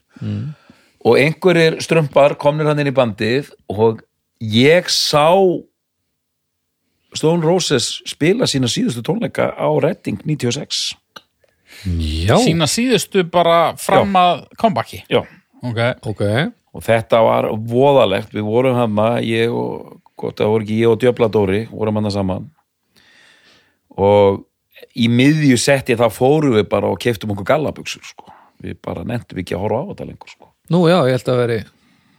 [SPEAKER 2] og einhverjir strömpar komnir hann inn í bandið og ég sá Stone Roses spila sína síðustu tónleika á Redding 96
[SPEAKER 1] já,
[SPEAKER 3] sína síðustu bara fram að kompaki
[SPEAKER 2] já
[SPEAKER 3] okay.
[SPEAKER 1] ok
[SPEAKER 2] og þetta var voðalegt við vorum hann ég og gott að það voru ekki ég og Djöbla Dóri vorum hann saman og í miðju setti þá fórum við bara og keftum okkur gallabuxur sko. við bara nefntum ekki að horfa á þetta lengur sko.
[SPEAKER 1] nú, já, ég held að veri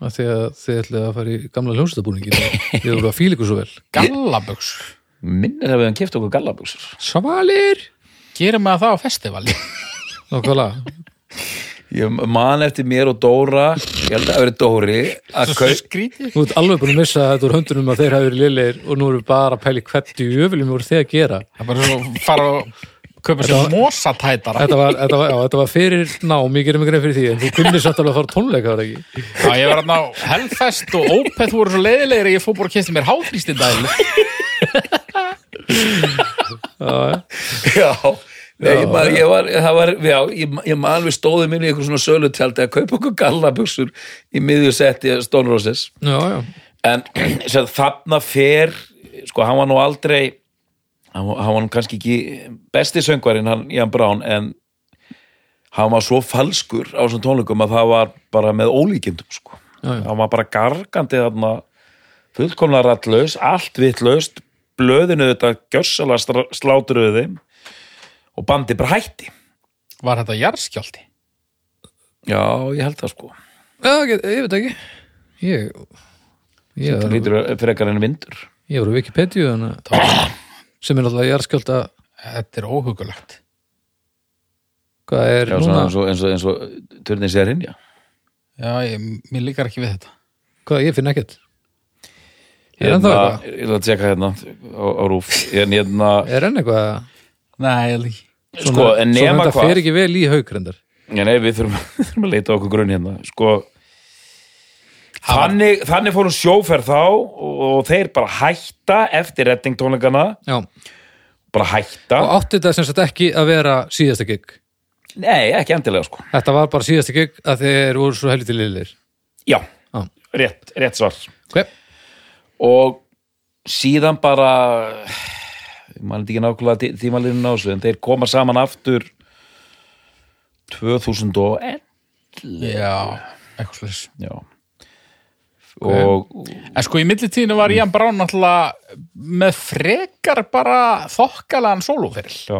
[SPEAKER 1] að því að þið ætlaði að fara í gamla hljónstabúningi <laughs> þið voru að fíla ykkur svo vel
[SPEAKER 3] gallaböks
[SPEAKER 2] minnir að við hann keftum okkur gallabuxur
[SPEAKER 1] svalir
[SPEAKER 2] <laughs>
[SPEAKER 3] gerum við það á festivali
[SPEAKER 1] Nákvæmlega,
[SPEAKER 2] Ég man eftir mér og Dóra, ég held að það verið Dóri, að kaup...
[SPEAKER 3] skrítið
[SPEAKER 1] Þú ert alveg búin að missa þetta úr höndunum að þeir hafi verið liðlegir og nú eru bara að pæli hvert í öfuljum voru þeir að gera.
[SPEAKER 3] það er bara svo að fara og köpa
[SPEAKER 1] Þetta
[SPEAKER 3] sér mosatætara
[SPEAKER 1] Þetta var, þetta var, já, þetta var fyrir nám, ég gerum ekki greið fyrir því, en þú kunnir samt alveg að fara á tónleika var það ekki.
[SPEAKER 3] Já, ég var hann á Hellfest og Opeth voru svo leiðilegir að ég fór bara að kynsta mér háþrýstindæl
[SPEAKER 2] <laughs> Já, já, ég man, ég var, það var, já, ég, ég man við stóðum inn í einhver svona sölutjaldi að kaupa okkur gallabuxur í miðju setti Stone Roses.
[SPEAKER 1] Já, já.
[SPEAKER 2] En <clears throat> sem, þarna fer, sko, hann var nú aldrei, hann, var- hann var nú kannski ekki besti söngvarinn, hann, Jan Brown, en hann var svo falskur á þessum tónleikum að það var bara með ólíkindum, sko.
[SPEAKER 1] Já, já.
[SPEAKER 2] Hann var bara gargandi þarna, fullkomlega rattlaus, allt vittlaust, blöðinu þetta gjössalega slátruðu þeim og bandi bara hætti.
[SPEAKER 3] Var þetta jarðskjálti?
[SPEAKER 2] Já, ég held það, sko.
[SPEAKER 1] Já, ég, ég veit ekki. Ég, ég,
[SPEAKER 2] Það
[SPEAKER 1] ég,
[SPEAKER 2] lítur frekar en vindur.
[SPEAKER 1] ég voru Wikipedia, þannig að sem er náttúrulega jarðskjölda,
[SPEAKER 3] Þetta er óhugulegt
[SPEAKER 1] hvað er
[SPEAKER 2] Já, svona
[SPEAKER 1] núna,
[SPEAKER 2] eins og, eins og, eins og törnin sér hinn, já.
[SPEAKER 3] Já, ég, mér líkar ekki við þetta
[SPEAKER 1] hvað ég finn ekkert. Er hann þá
[SPEAKER 2] hérna,
[SPEAKER 1] eitthvað?
[SPEAKER 2] ég ætla að tjekka hérna á, á rúf en hérna,
[SPEAKER 1] Er hann eitthvað?
[SPEAKER 3] Nei, ég lík
[SPEAKER 2] sko, en nema
[SPEAKER 1] Svo þetta
[SPEAKER 2] hvað
[SPEAKER 1] fer ekki vel í haugrendar.
[SPEAKER 2] ja, nei, við þurfum, <laughs> við þurfum að leita á okkur grunn hérna sko þannig, þannig fórum sjóferð þá og, og þeir bara hætta eftir rettingtónleikana,
[SPEAKER 1] Já,
[SPEAKER 2] bara hætta
[SPEAKER 1] og átti þetta sem sagt ekki að vera síðasta gig.
[SPEAKER 2] nei, ekki endilega sko
[SPEAKER 1] Þetta var bara síðasta gig að þeir voru svo helviti liðlir.
[SPEAKER 2] já,
[SPEAKER 1] Já.
[SPEAKER 2] rétt, rétt svar
[SPEAKER 1] Ok.
[SPEAKER 2] og síðan bara ég man ekki nákvæmlega tímalinu násu en þeir koma saman aftur 2001
[SPEAKER 3] Já, eitthvað slags
[SPEAKER 2] já og
[SPEAKER 3] En sko, í millitíðinu var Ian Brown náttúrulega með frekar bara þokkalaðan sólóferil
[SPEAKER 2] já.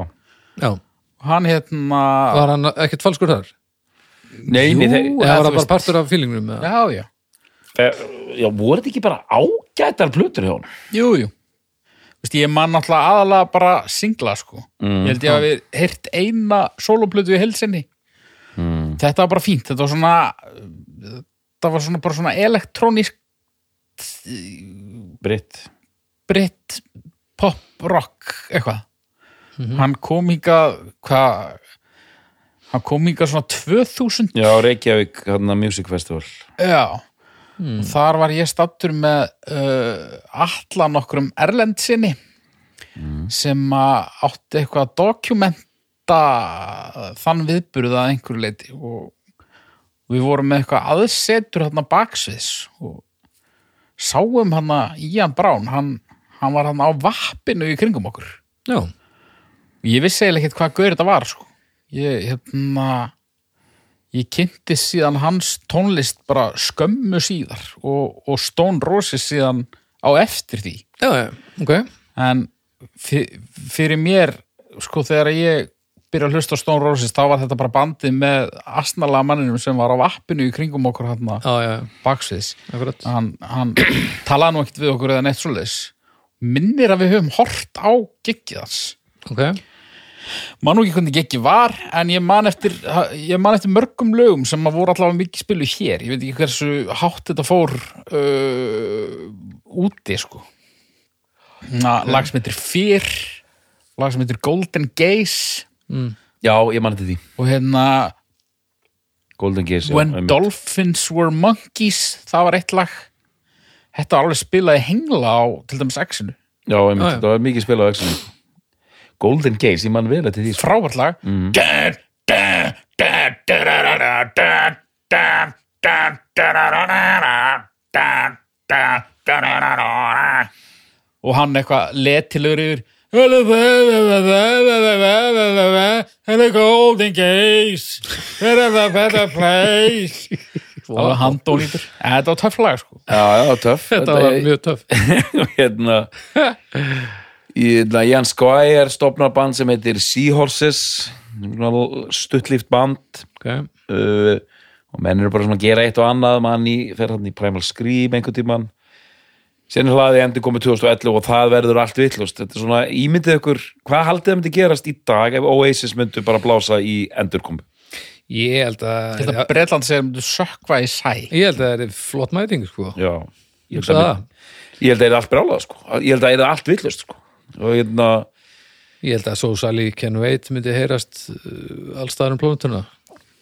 [SPEAKER 1] Já,
[SPEAKER 3] Hann hérna
[SPEAKER 1] var hann ekkert falskur þar?
[SPEAKER 2] Nei, nei, þeir,
[SPEAKER 1] Eða var
[SPEAKER 3] þú
[SPEAKER 1] það bara
[SPEAKER 3] veist.
[SPEAKER 1] partur af fílingnum? eða?
[SPEAKER 3] Já, já,
[SPEAKER 2] þeir, já, voru þetta ekki bara ágætar plötur hjá honum?
[SPEAKER 3] jú, jú Vist, Ég man náttúrulega aðalega bara singla sko Ég held ég að við heyrt eina sólóplötu í helsinni mm. Þetta var bara fínt, þetta var svona Þetta var svona bara svona elektrónisk
[SPEAKER 2] Britt
[SPEAKER 3] britt pop rock eitthvað hann kom hingað hvað hann kom hingað svona 2000
[SPEAKER 2] Já, Reykjavík, hann að Music Festival
[SPEAKER 3] já og þar var ég stattur með uh, allan okkurum erlendsinni sem að átti eitthvað að dokumenta þann viðburð að einhverju leiti og við vorum með eitthvað aðsetur hann baksviðs og sáum hann að Ian Brown hann, hann var hann á vappinu í kringum okkur
[SPEAKER 1] Já,
[SPEAKER 3] Ég vissi eiginlega ekkert hvað gaur þetta var sko. Ég, hérna ég kynnti síðan hans tónlist bara skömmu síðar og, og Stone Roses síðan á eftir því
[SPEAKER 1] já, já, ok.
[SPEAKER 3] en fyr, fyrir mér sko þegar ég byrja að hlusta á Stone Roses þá var þetta bara bandið með asnalega manninum sem var á appinu í kringum okkur hann
[SPEAKER 1] Já, já, já,
[SPEAKER 3] baksviðs
[SPEAKER 1] akkurat.
[SPEAKER 3] hann, hann <coughs> talaði nú ekkert við okkur eða neitt svoleiðis minnir að við höfum hort á giggið hans
[SPEAKER 1] Ok,
[SPEAKER 3] man nú ekki hvernig ekki var en ég man eftir, ég man eftir mörgum lögum sem að voru allavega mikið spilu hér ég veit ekki hversu hátt þetta fór uh, úti sko Hérna, Na, lag sem heitir Fyr lag sem heitir Golden Gaze
[SPEAKER 2] Já, ég mann þetta því
[SPEAKER 3] og hérna
[SPEAKER 2] Golden Gaze já,
[SPEAKER 3] When
[SPEAKER 2] einmitt.
[SPEAKER 3] Dolphins Were Monkeys það var eitt lag þetta var alveg spilaði hengla á til dæmis X-inu,
[SPEAKER 2] Já, einmitt,
[SPEAKER 1] Já, já.
[SPEAKER 2] þetta var mikið spil á öxinu Golden Gaze, ég mann vel eftir því sko.
[SPEAKER 3] frábært lag og hann eitthvað letilur yfir Hello golden gaze Hello place Það var handónýtur Þetta var töfflag sko
[SPEAKER 2] Já, já, töff
[SPEAKER 1] þetta var mjög töff.
[SPEAKER 2] <laughs> hérna hérna, Jan Squire stopnar band sem heitir Seahorses stuttlíft band
[SPEAKER 1] Ok,
[SPEAKER 2] uh, og menn eru bara svona að gera eitt og annað mann í, fer hann í Primal Scream einhvern tímann sen hlaði endur komið 2011 og það verður allt vittlust þetta er svona, ímyndið ykkur hvað haldið það myndi gerast í dag ef Oasis myndu bara blása í endurkomu
[SPEAKER 1] Ég held að
[SPEAKER 3] Þetta Breitland sem þú sökva í sæ
[SPEAKER 1] Ég held að það er flott mæting sko.
[SPEAKER 2] Já, ég held
[SPEAKER 1] Hugsa
[SPEAKER 2] að
[SPEAKER 1] það.
[SPEAKER 2] mér- ég held að það er allt brálað sko. ég held að það er allt villust sko. og hérna,
[SPEAKER 1] Ég held að So Sally Can Wait myndi heyrast uh, allstaðar um plóðutuna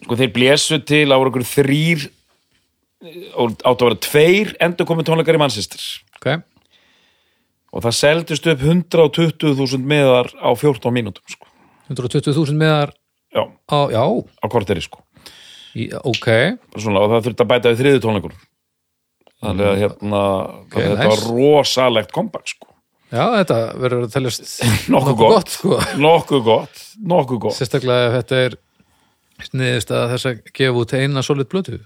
[SPEAKER 2] sko þeir blésu til á okkur þrýr og áttu að vera tveir endur komið tónleikar í mannsistir
[SPEAKER 1] okay.
[SPEAKER 2] og það seldist upp 120.000 meðar á 14 mínútum sko.
[SPEAKER 1] 120.000 meðar
[SPEAKER 2] já,
[SPEAKER 1] á, Já,
[SPEAKER 2] á korteri sko.
[SPEAKER 1] í, ok
[SPEAKER 2] Bara svona, og það þurfti að bæta við þriðu tónleikur þannig að hérna okay, þetta
[SPEAKER 1] nice.
[SPEAKER 2] var rosalegt kompakt sko.
[SPEAKER 1] Já, þetta verður að teljast
[SPEAKER 2] nokkuð gott,
[SPEAKER 1] gott sko.
[SPEAKER 2] nokkuð gott, nokkuð gott
[SPEAKER 1] Sérstaklega ef þetta er sniðist að þess að gefa út eina solid blötu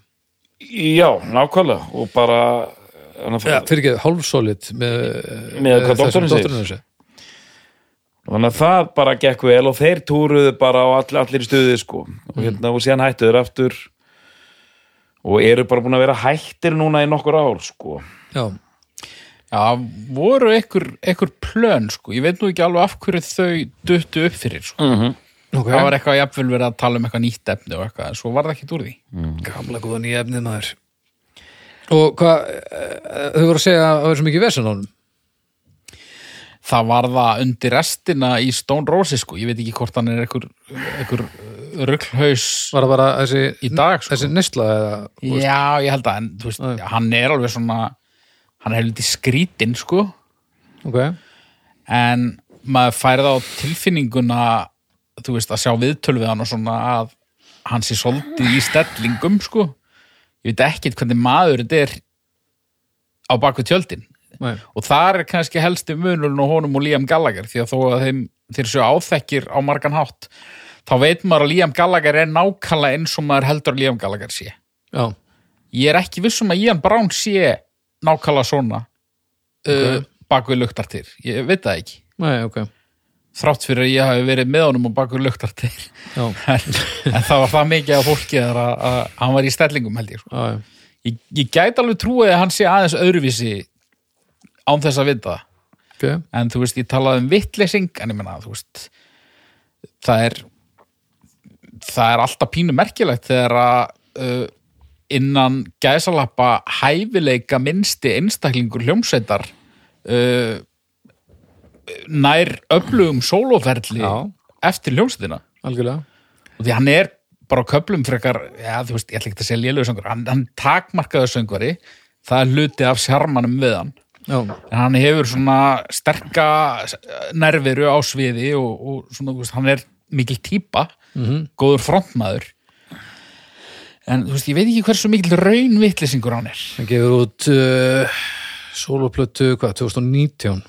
[SPEAKER 2] já, nákvæmlega og bara þannig að,
[SPEAKER 1] fyrir ekki hálf solid með, eh,
[SPEAKER 2] Með hvað doktorinn segir.
[SPEAKER 1] segir
[SPEAKER 2] þannig að það bara gekk vel og þeir túruðu bara á all, allir í stuði sko. og, hérna, og síðan hættu þeir aftur og eru bara búin að vera hættir núna í nokkur ár sko.
[SPEAKER 1] Já,
[SPEAKER 3] Já, voru einhver, einhver plön sko, ég veit nú ekki alveg af hverju þau duttu upp fyrir sko.
[SPEAKER 1] ok
[SPEAKER 3] Það var eitthvað jafnvel verið að tala um eitthvað nýtt efni og eitthvað, en svo var það ekkert úr því.
[SPEAKER 1] Gamla góða nýja efnið maður Og hvað, eh, þau voru að segja að það verður svo mikið vesen á honum
[SPEAKER 3] Það var það undir restina í Stone Roses sko, ég veit ekki hvort hann er einhver, einhver rugglhaus
[SPEAKER 1] Var það bara þessi,
[SPEAKER 3] í dag sko.
[SPEAKER 1] þessi neysla eða
[SPEAKER 3] Já, ég held að, en þú veist, hann er alveg svona, hann er heldur skrítinn sko,
[SPEAKER 1] Ok,
[SPEAKER 3] en maður færið á tilfinninguna, þú veist, að sjá viðtöl við hann og svona að hann sé soldið í stellingum sko. Ég veit ekkert hvernig maður þetta er á bakvið tjöldin.
[SPEAKER 1] nei,
[SPEAKER 3] og þar er kannski helsti munurinn og honum og Liam Gallagher því að þó að þeim, þeir séu áþekkir á margan hátt þá veit maður að Liam Gallagher er nákvæmlega eins og maður heldur að Liam Gallagher sé
[SPEAKER 1] já,
[SPEAKER 3] ég er ekki viss um að Ian Brown sé nákvæmlega svona okay. uh, bakvið luktartir, ég veit það ekki
[SPEAKER 1] nei, ok
[SPEAKER 3] þrátt fyrir að ég hafi verið með honum og bakvið luktartir
[SPEAKER 1] Já,
[SPEAKER 3] <laughs> en, en það var það mikið af fólki þar að, að hann var í stellingum held ég sko.
[SPEAKER 1] já, já,
[SPEAKER 3] ég, ég gæti alveg trúið að hann sé aðeins öðruvísi án þess að vita það
[SPEAKER 1] ok
[SPEAKER 3] en þú veist, ég talaði um vittlesing en ég menna, þú veist það er það er alltaf pínu merkilegt þegar að uh, innan gæsalappa hæfileika minnsti einstaklingur hljómsveitar uh, nær öflugum sólóferli
[SPEAKER 1] Já.
[SPEAKER 3] eftir hljómsveitina
[SPEAKER 1] Algjörlega
[SPEAKER 3] og því hann er bara á köplum frekar, já þú veist, ég ætla ekki að segja lélögu söngur, hann, hann takmarkaður söngvari það er hluti af sjarmanum við hann
[SPEAKER 1] Já,
[SPEAKER 3] en hann hefur svona sterka nerviru á sviði og, og svona, þú veist, hann er mikil típa, -hmm. góður frontmaður en þú veist, ég veit ekki hversu mikil raunvitlisingur hann er
[SPEAKER 1] hann gefur út uh, soloplötu, hvað, 2019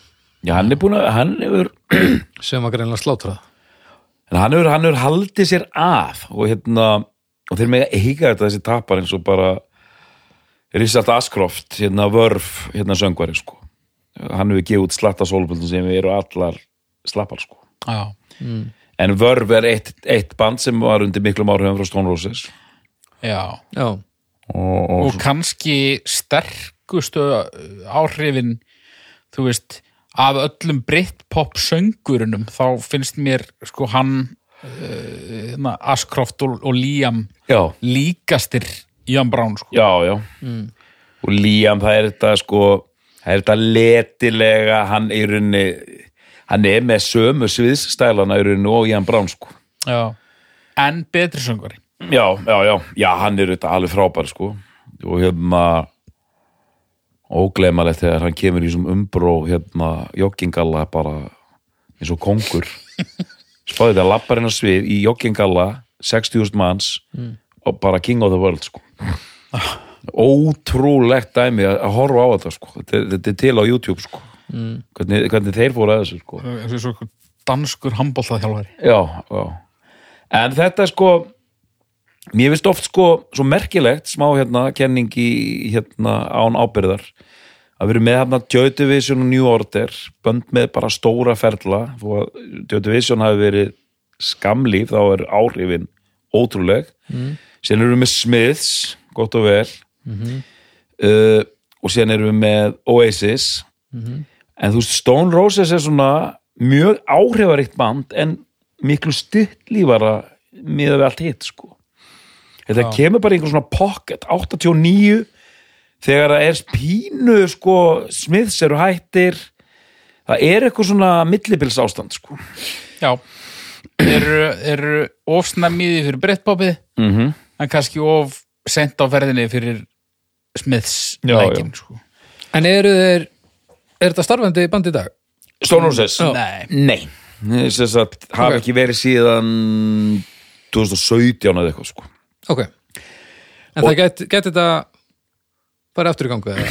[SPEAKER 2] já, hann er búin að hann hefur,
[SPEAKER 1] sem var greinlega slátrað
[SPEAKER 2] en hann hefur, hann hefur haldið sér að og hérna og þeir mega eiga þetta þessi tapar eins og bara Richard Ashcroft hérna vörf, hérna söngvari sko. hann hefur gefið út slatta sólböldum sem eru allar slappar sko.
[SPEAKER 3] Já.
[SPEAKER 2] en vörf er eitt, eitt band sem var undir miklum áhrifum frá Stone Roses
[SPEAKER 3] Já.
[SPEAKER 1] Já,
[SPEAKER 2] og, og,
[SPEAKER 3] og kannski sterkustu áhrifin þú veist, af öllum Britpop söngurunum, þá finnst mér sko hann uh, hérna, Ashcroft og, og Liam
[SPEAKER 2] já,
[SPEAKER 3] líkastir Ian Brown sko
[SPEAKER 2] já, já og Liam það er þetta sko það er þetta letilega hann í rauninni hann er með sömu sviðsstælana í rauninni og Ian Brown sko
[SPEAKER 3] Já. En betri söngvari.
[SPEAKER 2] já, já, já, já, hann er þetta alveg frábær sko og hérna ógleimalegt þegar hann kemur í þessum umbró hérna joggingalla bara eins og kongur spáði þetta lappar hennar hérna svið í joggingalla 60.000 manns og bara king of the world sko ótrúlegt dæmi að að horfa á þetta sko þetta, er- þetta er til á YouTube sko hvernig, hvernig þeir fóru að þessu sko
[SPEAKER 3] Þessi svo einhver danskur handbóltaðhjálfari.
[SPEAKER 2] já, já. en þetta er sko mér finnst oft sko svo merkilegt smá hérna kenning í hérna án ábyrðar að við erum með hérna Joy Division og New Order bönd með bara stóra ferla þó að Joy Division hafi verið skamlíf þá er áhrifin ótrúleg mm. síðan erum við með Smiths gott og vel uh, og síðan erum við með Oasis en þú veist Stone Roses er svona mjög áhrifaríkt band en miklu stuttlífara miðað við allt hitt sko þetta kemur bara í einhver svona pocket 89 þegar það er pínu sko, Smiths eru hættir það er eitthvað svona millibils ástand sko.
[SPEAKER 3] Já eru, eru of snammiði fyrir brettbópið mm
[SPEAKER 2] Mhm.
[SPEAKER 3] -hmm. en kannski of sent á ferðinni fyrir Smiths
[SPEAKER 2] Já,
[SPEAKER 3] lækin sko.
[SPEAKER 1] En eru þeir, er þetta starfandi band í dag?
[SPEAKER 2] Stone Roses
[SPEAKER 3] Nei,
[SPEAKER 2] Nei, þess að hafa
[SPEAKER 1] Ok.
[SPEAKER 2] ekki verið síðan 2017 eða eitthvað sko.
[SPEAKER 1] Ok. En það get, get þetta bara aftur í gangu eða?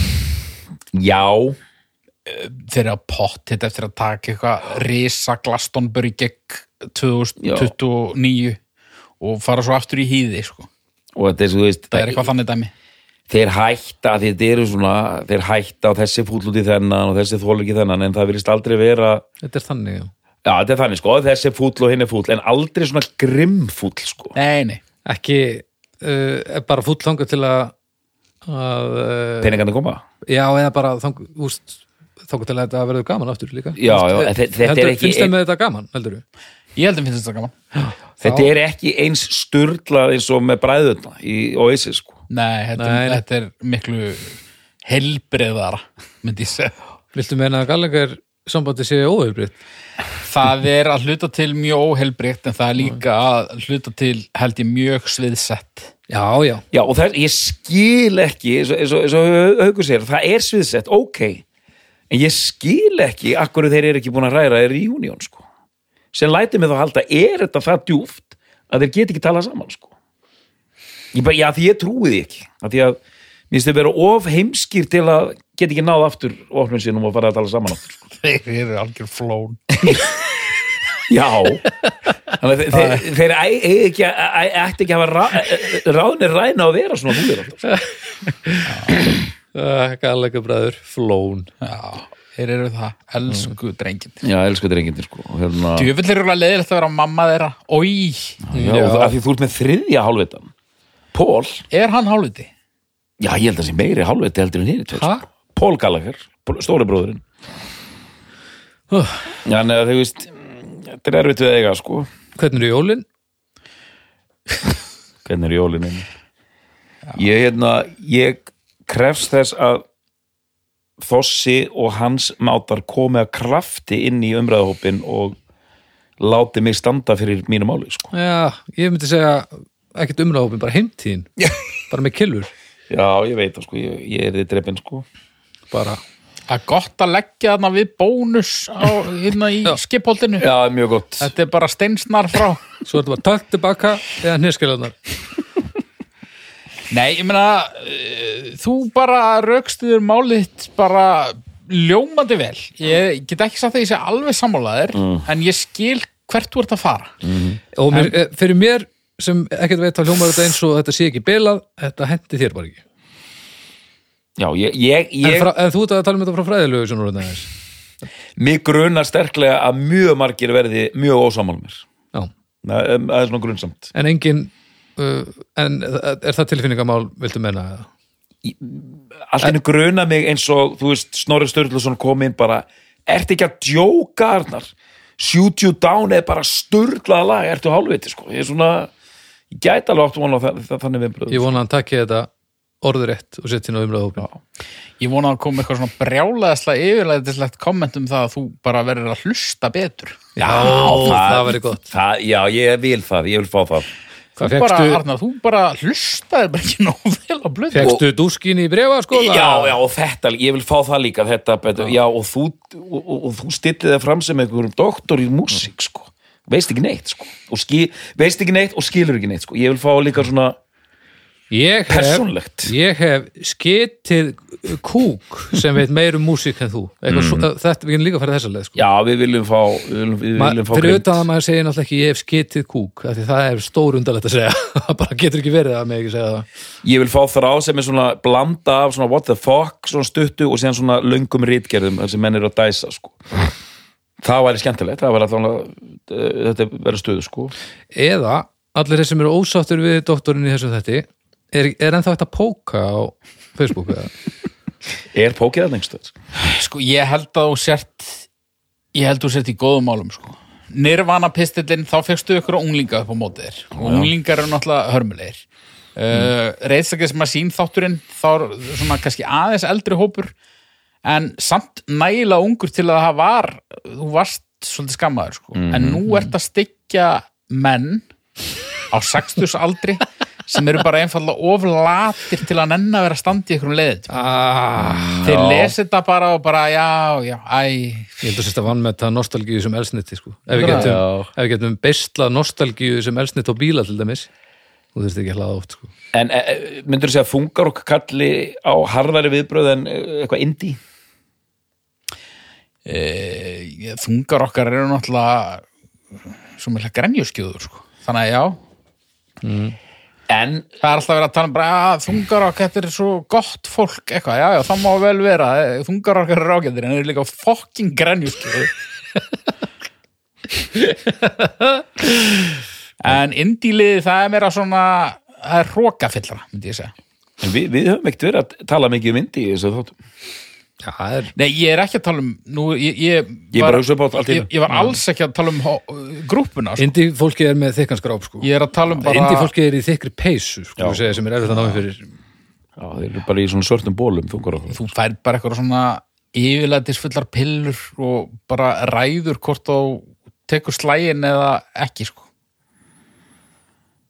[SPEAKER 2] Já,
[SPEAKER 3] þeir eru að pott þetta eftir að taka eitthvað risa Glastonbury gegn 2029 og fara svo aftur í hýði sko.
[SPEAKER 2] og þetta er, svo, þú veist,
[SPEAKER 3] það er eitthvað þannig dæmi
[SPEAKER 2] þeir hætta því þetta eru svona, þeir hætta og þessi fúll út í þennan og þessi þól ekki þennan en það virðist aldrei vera,
[SPEAKER 1] Þetta er þannig, já.
[SPEAKER 2] já þetta er þannig sko þessi fúll og hinn er fúll, en aldrei svona grimm fúll sko,
[SPEAKER 3] Nei, nei,
[SPEAKER 1] Ekki uh, er bara fúll þangað til að, að uh,
[SPEAKER 2] peningarnir koma
[SPEAKER 1] já, eða bara þang, úst, þangað til að þetta verður gaman aftur líka.
[SPEAKER 2] Já, já,
[SPEAKER 1] Heldur-
[SPEAKER 2] en þe- þetta er
[SPEAKER 1] heldur-
[SPEAKER 2] ekki-
[SPEAKER 1] Finnst þeim með þetta gaman, heldur þú?
[SPEAKER 3] ég held að finnst þetta gaman
[SPEAKER 2] þetta er ekki eins sturglað eins og með bræðuna í Oasis sko
[SPEAKER 3] Nei, þetta,
[SPEAKER 1] Nei, nei.
[SPEAKER 3] þetta er miklu helbreiðara myndi ég segja
[SPEAKER 1] Viltu meina að Gallagher sambandi sé óöfbrið?
[SPEAKER 3] Það er að hluta til mjög óhelbreytt en það er líka að hluta til held ég mjög sviðsett
[SPEAKER 1] Já, já.
[SPEAKER 2] Já, og það, ég skil ekki eins og- eins og eins og haugur sér, það er sviðsett ok, en ég skil ekki akkur þeir eru ekki búin að ræra þeir í union sko, sem læti mig þá að halda er þetta það djúft að þeir geti ekki talað saman sko ég bara, já, því ég trúi því ekki að því að, mér finnst þeir vera of heimskir til að geta ekki náð aftur ofnum sínum og fara að tala saman aftur sko.
[SPEAKER 3] <laughs> Þeir eru algjör flón
[SPEAKER 2] <laughs> Já Þannig að þeir, þeir, þeir æ, æ, ekki, að- æ, ætti ekki að hafa rá, ráðnir ræna að vera svona húlir alltaf
[SPEAKER 1] Uh, Gallagher bræður, flón.
[SPEAKER 3] Já, þeir eru það, elsku mm. drengin
[SPEAKER 2] Já, elsku drengindir sko og hérna...
[SPEAKER 3] Djöfull eru alveg leiðilegt að vera mamma þeirra Ói,
[SPEAKER 2] Já, já. af því þú ert með þriðja hálfvitan Pól,
[SPEAKER 3] er hann hálfviti?
[SPEAKER 2] já ég held að sé meiri hálfviti heldur en hinn tveir,
[SPEAKER 3] Ha?
[SPEAKER 2] sko. Pól Gallagher, Pól- stóri bróðurinn Já, neða þau veist mm, Þetta er erfitt við að eiga sko
[SPEAKER 1] Hvernig eru jólin?
[SPEAKER 2] Hvernig er jólinu Ég hérna, ég krefst þess að Þossi og hans mátar komi að krafti inn í umræðahópin og láti mig standa fyrir mínu máli sko
[SPEAKER 1] Já, ég myndi segja ekkert umræðhópin, bara heimtíðin. Bara með killur.
[SPEAKER 2] Já, ég veit það sko, ég, ég er þið drefin sko
[SPEAKER 1] Bara.
[SPEAKER 3] Það er gott að leggja þarna við bónus á, hérna í skipholtinu
[SPEAKER 2] Já, mjög gott
[SPEAKER 3] Þetta er bara steinsnar frá
[SPEAKER 1] Svo er þetta bara takt tilbaka eða hnirskjölarnar.
[SPEAKER 3] Nei, ég meina eh, þú bara raukstuður máliðt bara ljómandi vel ég get ekki sagt að ég sé alveg sammálaðir en ég skil hvert þú ert að fara
[SPEAKER 1] Og mér, eh, fyrir mér sem ekkert veit að hljómar þetta eins og þetta sé ekki bilað, þetta hendi þér bara ekki.
[SPEAKER 2] Já, ég, ég,
[SPEAKER 1] En,
[SPEAKER 2] ég
[SPEAKER 1] frá, en þú ert að tala um þetta frá fræðilegu sjónur aðeins.
[SPEAKER 2] mig grunar sterklega að mjög margir verði mjög ósamál mér
[SPEAKER 1] Já.
[SPEAKER 2] Það um, það er svona grunsamt
[SPEAKER 1] En engin, uh, en er það tilfinningamál, viltu menna það?
[SPEAKER 2] Allt henni grunar mig eins og, þú veist, Snorri Sturluson kom inn bara Ertu ekki að djóka, Arnar? Shoot you down eða bara sturglað lag Ertu hálfviti, sko Ég er svona, ég gæti alveg áttu vona á það, það, þannig viðbröð
[SPEAKER 1] Ég vona að hann takki þetta orðurétt og setja hérna umræða hópin.
[SPEAKER 3] Ég vona að koma eitthvað svona brjálaðislega yfirleðislegt komment um það að þú bara verður að hlusta betur
[SPEAKER 1] Já, það, það væri gott.
[SPEAKER 2] það, Já, ég vil það, ég vil fá það
[SPEAKER 1] Hvað
[SPEAKER 3] Þú bara,
[SPEAKER 1] fegstu,
[SPEAKER 3] Arnar, þú bara hlustaði bara ekki nóg vel á blöð
[SPEAKER 1] fegstu dúskin í sko, brefa skóla?
[SPEAKER 2] Já, já, og þetta, ég vil fá það líka þetta, betur, já, og þú og, og, og þú stillið það fram sem einhverjum doktor í músík, sko, veist ekki neitt sko, og skil, veist ekki neitt og skilur ekki neitt, sko, ég vil fá líka svona
[SPEAKER 1] Ég hef,
[SPEAKER 2] persónlegt,
[SPEAKER 1] ég hef skitið kúk sem veit meir um músík en þú. Mm. Svo, þetta, við erum líka að fara þessa leið, sko.
[SPEAKER 2] já, við viljum fá við viljum, við
[SPEAKER 1] Ma,
[SPEAKER 2] viljum fá
[SPEAKER 1] fyrir
[SPEAKER 2] greind.
[SPEAKER 1] utan að maður segir náttúrulega ekki ég hef skitið kúk af því það er stór undarlegt að segja <laughs> það bara getur ekki verið að mig ekki segja það
[SPEAKER 2] ég vil fá þrá sem er svona blanda af svona what the fuck, svona stuttu og síðan svona löngum rítgerðum, þessi menn eru að dæsa, sko það væri skemmtilegt, það væri allavega eh, þetta verður stöðu, sko
[SPEAKER 1] eða allir þeir sem eru ósáttur við doktorinn í þessu þetti er, er ennþá hægt að póka á Facebooku eða?
[SPEAKER 2] er pókið að nengstu þetta,
[SPEAKER 3] Sko, ég held að þú sért ég held að þú sért í góðum málum, sko Nirvana pistillin, þá fegstu ykkur unglinga upp á móti þér og unglingar eru náttúrulega hörmulegir uh, reyðstakis masín þátturinn þá er svona kannski aðeins eldri hópur en samt nægilega ungur til að það var þú varst svolítið skammaður sko. en nú ert að styggja menn á 60 aldri sem eru bara einfallega of latir til að nenn að vera að standa í einhverjum leðið
[SPEAKER 1] ah,
[SPEAKER 3] þeir lesi þetta bara og bara já, já, æ
[SPEAKER 1] Ég held að þetta vann með það nostalgíu sem elsniti sko. ef við getum, ef við getum beisla nostalgíu sem elsniti á bíla til dæmis þú þurfti ekki að hlaða oft sko.
[SPEAKER 2] En e, e, myndur þú segja að fungar okkur kalli á harðari viðbröð en e, eitthvað indi?
[SPEAKER 3] e, þungar okkar eru náttúrulega svo mjög grenjuskjöður sko. þannig að já,
[SPEAKER 2] En
[SPEAKER 3] það er alltaf verið að tala um bara, að þungar okkar, þetta er svo gott fólk eitthvað, já, já, það má vel vera eh, þungar okkar eru ágættir, en þeir eru líka fokking grenjuskjöður en indíliði það er meira svona það er hrókafyllra, myndi ég segja
[SPEAKER 2] En Við, við höfum ekkert verið að tala mikið um myndi í þessu þáttum.
[SPEAKER 1] Já, það er
[SPEAKER 3] Nei, ég er ekki að tala um nú, ég, ég,
[SPEAKER 2] Ég bara hugsa upp á allt hérna. í
[SPEAKER 3] ég,
[SPEAKER 2] einu.
[SPEAKER 3] ég var alls ekki að tala um hó- grúppuna sko.
[SPEAKER 1] Indi fólki er með þykkan skráp sko.
[SPEAKER 3] ég er að tala um bara
[SPEAKER 1] Indi fólki er í þykri peysu sko,
[SPEAKER 2] Já.
[SPEAKER 1] segja, sem er erfitt að námi fyrir
[SPEAKER 2] Já, þeir eru bara í svona svörtum bólum, þungar okkur.
[SPEAKER 3] þú færð bara eitthvað svona yfirlætisfullar pillur og bara ræður hvort þú tekur slægin eða ekki sko.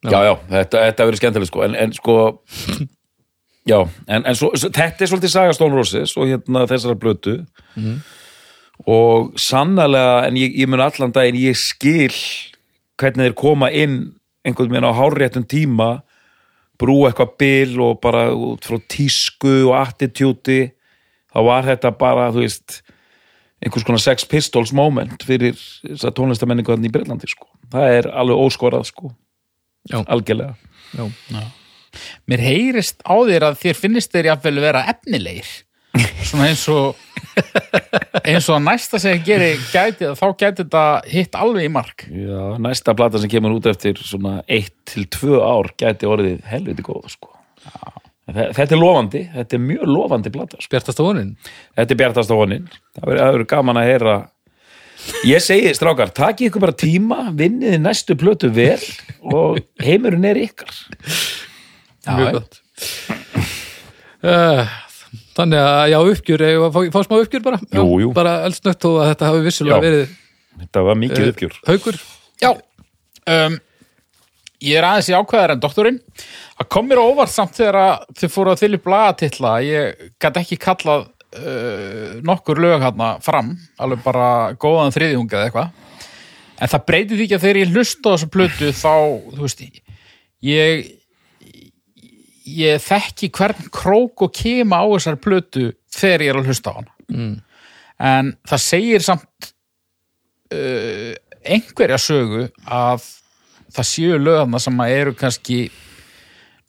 [SPEAKER 2] Já, já, þetta, þetta verið skemmtileg sko, en, en sko Já, en, en svo, svo, þetta er svolítið sagastón Rósis og hérna þessara blötu og sannlega en ég, ég mun allan daginn ég skil hvernig þeir koma inn einhvern veginn á hárréttum tíma brú eitthvað bil og bara út frá tísku og attitúti þá var þetta bara, þú veist einhvers konar sex pistols moment fyrir þess að tónlistamenningu þannig í Breitlandi sko. það er alveg óskorað sko
[SPEAKER 1] Já.
[SPEAKER 2] algjörlega
[SPEAKER 1] Já.
[SPEAKER 3] mér heyrist á þér að þér finnist þeir jafnvel vera
[SPEAKER 2] <laughs>
[SPEAKER 3] efnilegir svona eins og eins og að næsta sem ég geri gæti þá gæti þetta hitt alveg í mark
[SPEAKER 2] Já, næsta plata sem kemur út eftir svona eitt til tvö ár gæti orðið helviti góð sko. En þe- Þetta er lofandi, þetta er mjög lofandi plata sko.
[SPEAKER 1] Bjartast á vonin
[SPEAKER 2] Þetta er bjartast á honin Það verður- það verður gaman að heyra Ég segi, strákar, takið ykkur bara tíma vinniði næstu plötu vel og heimurinn er ykkar
[SPEAKER 1] Mjög gott Eh, Þannig að já, uppgjör eigum við að fá, fá smá uppgjör bara
[SPEAKER 2] Jú, jú.
[SPEAKER 1] bara eldsnögt og að þetta hafi vissulega
[SPEAKER 2] Já.
[SPEAKER 1] verið
[SPEAKER 2] Þetta var mikið
[SPEAKER 1] eh,
[SPEAKER 2] uppgjör
[SPEAKER 1] haukur
[SPEAKER 3] Já um, Ég er aðeins í ákveðar en doktorinn Það kom mér á óvart samt þegar að þið fóru að þylja blaðatitla Ég gæti ekki kallað uh, nokkur lög hérna fram Alveg bara góðan þriðjunga eða eitthvað En það breytir því ekki að þegar ég hlusta á þessu plötu þá, þú veist, ég, ég þekki hvern krók og kema á þessar plötu þegar ég er að hlusta á hana. Mm. En það segir samt einhverja sögu að það séu lögana sem að eru kannski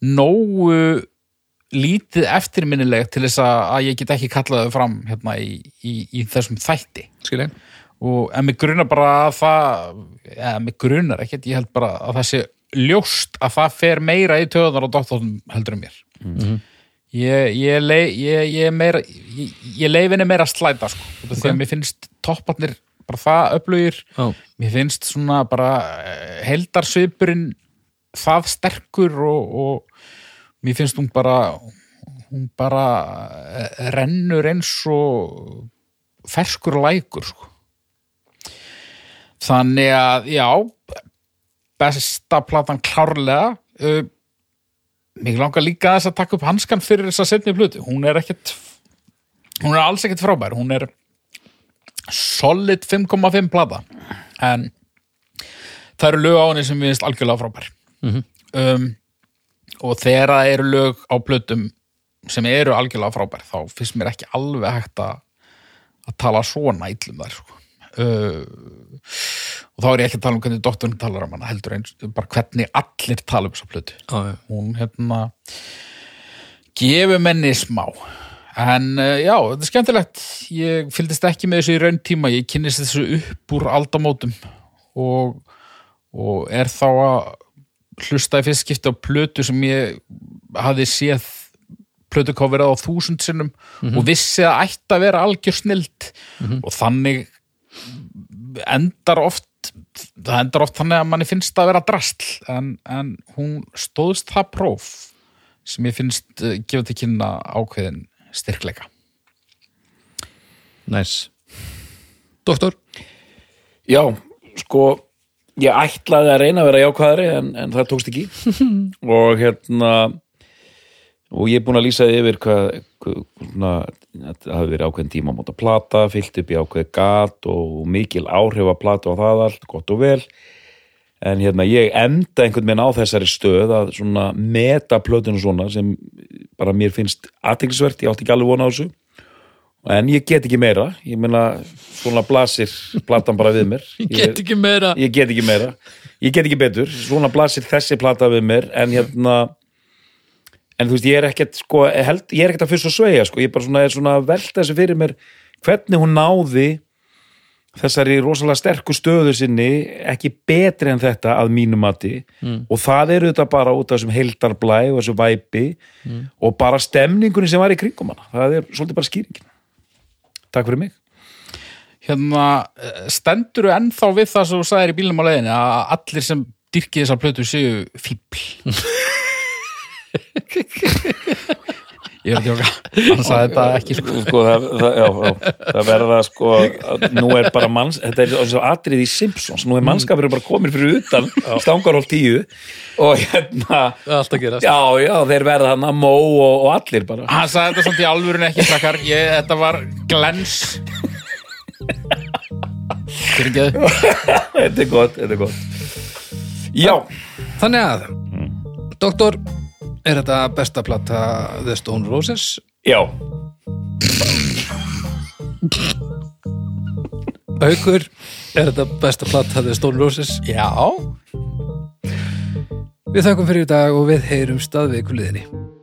[SPEAKER 3] nógu lítið eftirminnileg til þess að, að ég get ekki kallað þau fram hérna í, í, í þessum þætti
[SPEAKER 1] skilin
[SPEAKER 3] og en mig grunar bara að það eða mig grunar ekkert, ég held bara að það sé ljóst að það fer meira í töðunar og doktornum heldur um mér ég, ég, leið, ég, ég, er meira, ég, ég leifinni meira að slæta sko, okay. því að mér finnst topparnir bara það öflugir
[SPEAKER 1] Já.
[SPEAKER 3] mér finnst svona bara heldarsvipurinn það sterkur og, og mér finnst hún bara hún bara eh, rennur eins og ferskur lækur sko. þannig að já besta platan klárlega uh, mig langar líka að þess að taka upp hanskan fyrir þess að setja í plötu hún er ekkert hún er alls ekkert frábær hún er solid 5,5 plata en það eru lög á henni sem við finnst algjörlega frábær um, og þegar það eru lög á plötum sem eru algjörlega frábær þá finnst mér ekki alveg hægt að að tala svona illum þar sko. uh, og þá er ég ekki að tala um hvernig doktorinn talar um hana heldur eins, bara hvernig allir tala um þessa plötu
[SPEAKER 1] Já, já.
[SPEAKER 3] hún hérna gefur menni smá en uh, já, þetta er skemmtilegt ég fylgdist ekki með þessu í raun tíma ég kynnist þessu upp úr aldamótum og, og er þá að hlusta í fyrst skipti á plötu sem ég hafði séð plötukofverið á þúsund sinnum og vissi að ætti að vera algjör snild og þannig endar oft það endur oft þannig að manni finnst það að vera drastl en, en hún stóðst það próf sem ég finnst uh, gefa til kynna ákveðin styrkleika
[SPEAKER 1] Næs Doktor,
[SPEAKER 2] Já, sko ég ætlaði að reyna að vera jákvæðari en, en það tókst ekki og hérna og ég er búin að lýsa því yfir hvað, hvað svona, þetta hafi verið ákveðin tíma á móta plata, fyllt upp í ákveð gat og mikil áhrif að plata og það allt, gott og vel en hérna ég enda einhvern veginn á þessari stöð að svona meta plötinu svona sem bara mér finnst aðteklisvert, ég átti ekki alveg vona á þessu en ég get ekki meira ég meina svona blasir platan bara við mér
[SPEAKER 1] <laughs> ég get ekki meira
[SPEAKER 2] ég get ekki meira ég get ekki betur, svona blasir þessi plata við mér en hérna en þú veist, ég er ekkert sko, held, ég er ekkert að fyrst og sveja sko, ég bara svona er svona að velta þessu fyrir mér hvernig hún náði þessari rosalega sterku stöðu sinni ekki betri en þetta að mínu mati og það eru þetta bara út af þessum heildarblæ og þessu væpi og bara stemningunni sem var í kringum hana það er svolítið bara skýringin Takk fyrir mig
[SPEAKER 3] hérna stendur þú ennþá við það sem þú sagðir í bílnum á leiðinu að allir sem dyrki þessar plötu séu fíbl ég er að tjóka hann sagði þetta ekki sko
[SPEAKER 2] sko, það, það, já, já, það verða sko að nú er bara manns, þetta er eins og atrið í Simpsons, nú er mannskapurinn bara komin fyrir utan stangarhóll tíu og hérna
[SPEAKER 1] Það er allt að gerast
[SPEAKER 2] já, já, þeir verða hann að mó og, og allir bara <laughs>
[SPEAKER 3] hann sagði þetta samt í alvörun ekki krakkar ég, þetta var glens fyrirgeðu
[SPEAKER 2] þetta er gott, þetta er gott já,
[SPEAKER 1] Þannig að,
[SPEAKER 2] Mm.
[SPEAKER 1] doktor er þetta besta plata The Stone Roses
[SPEAKER 2] já,
[SPEAKER 1] Haukur, er þetta besta plata The Stone Roses
[SPEAKER 3] já
[SPEAKER 1] Við þakkum fyrir í dag og við heyrum staðveikuliðinni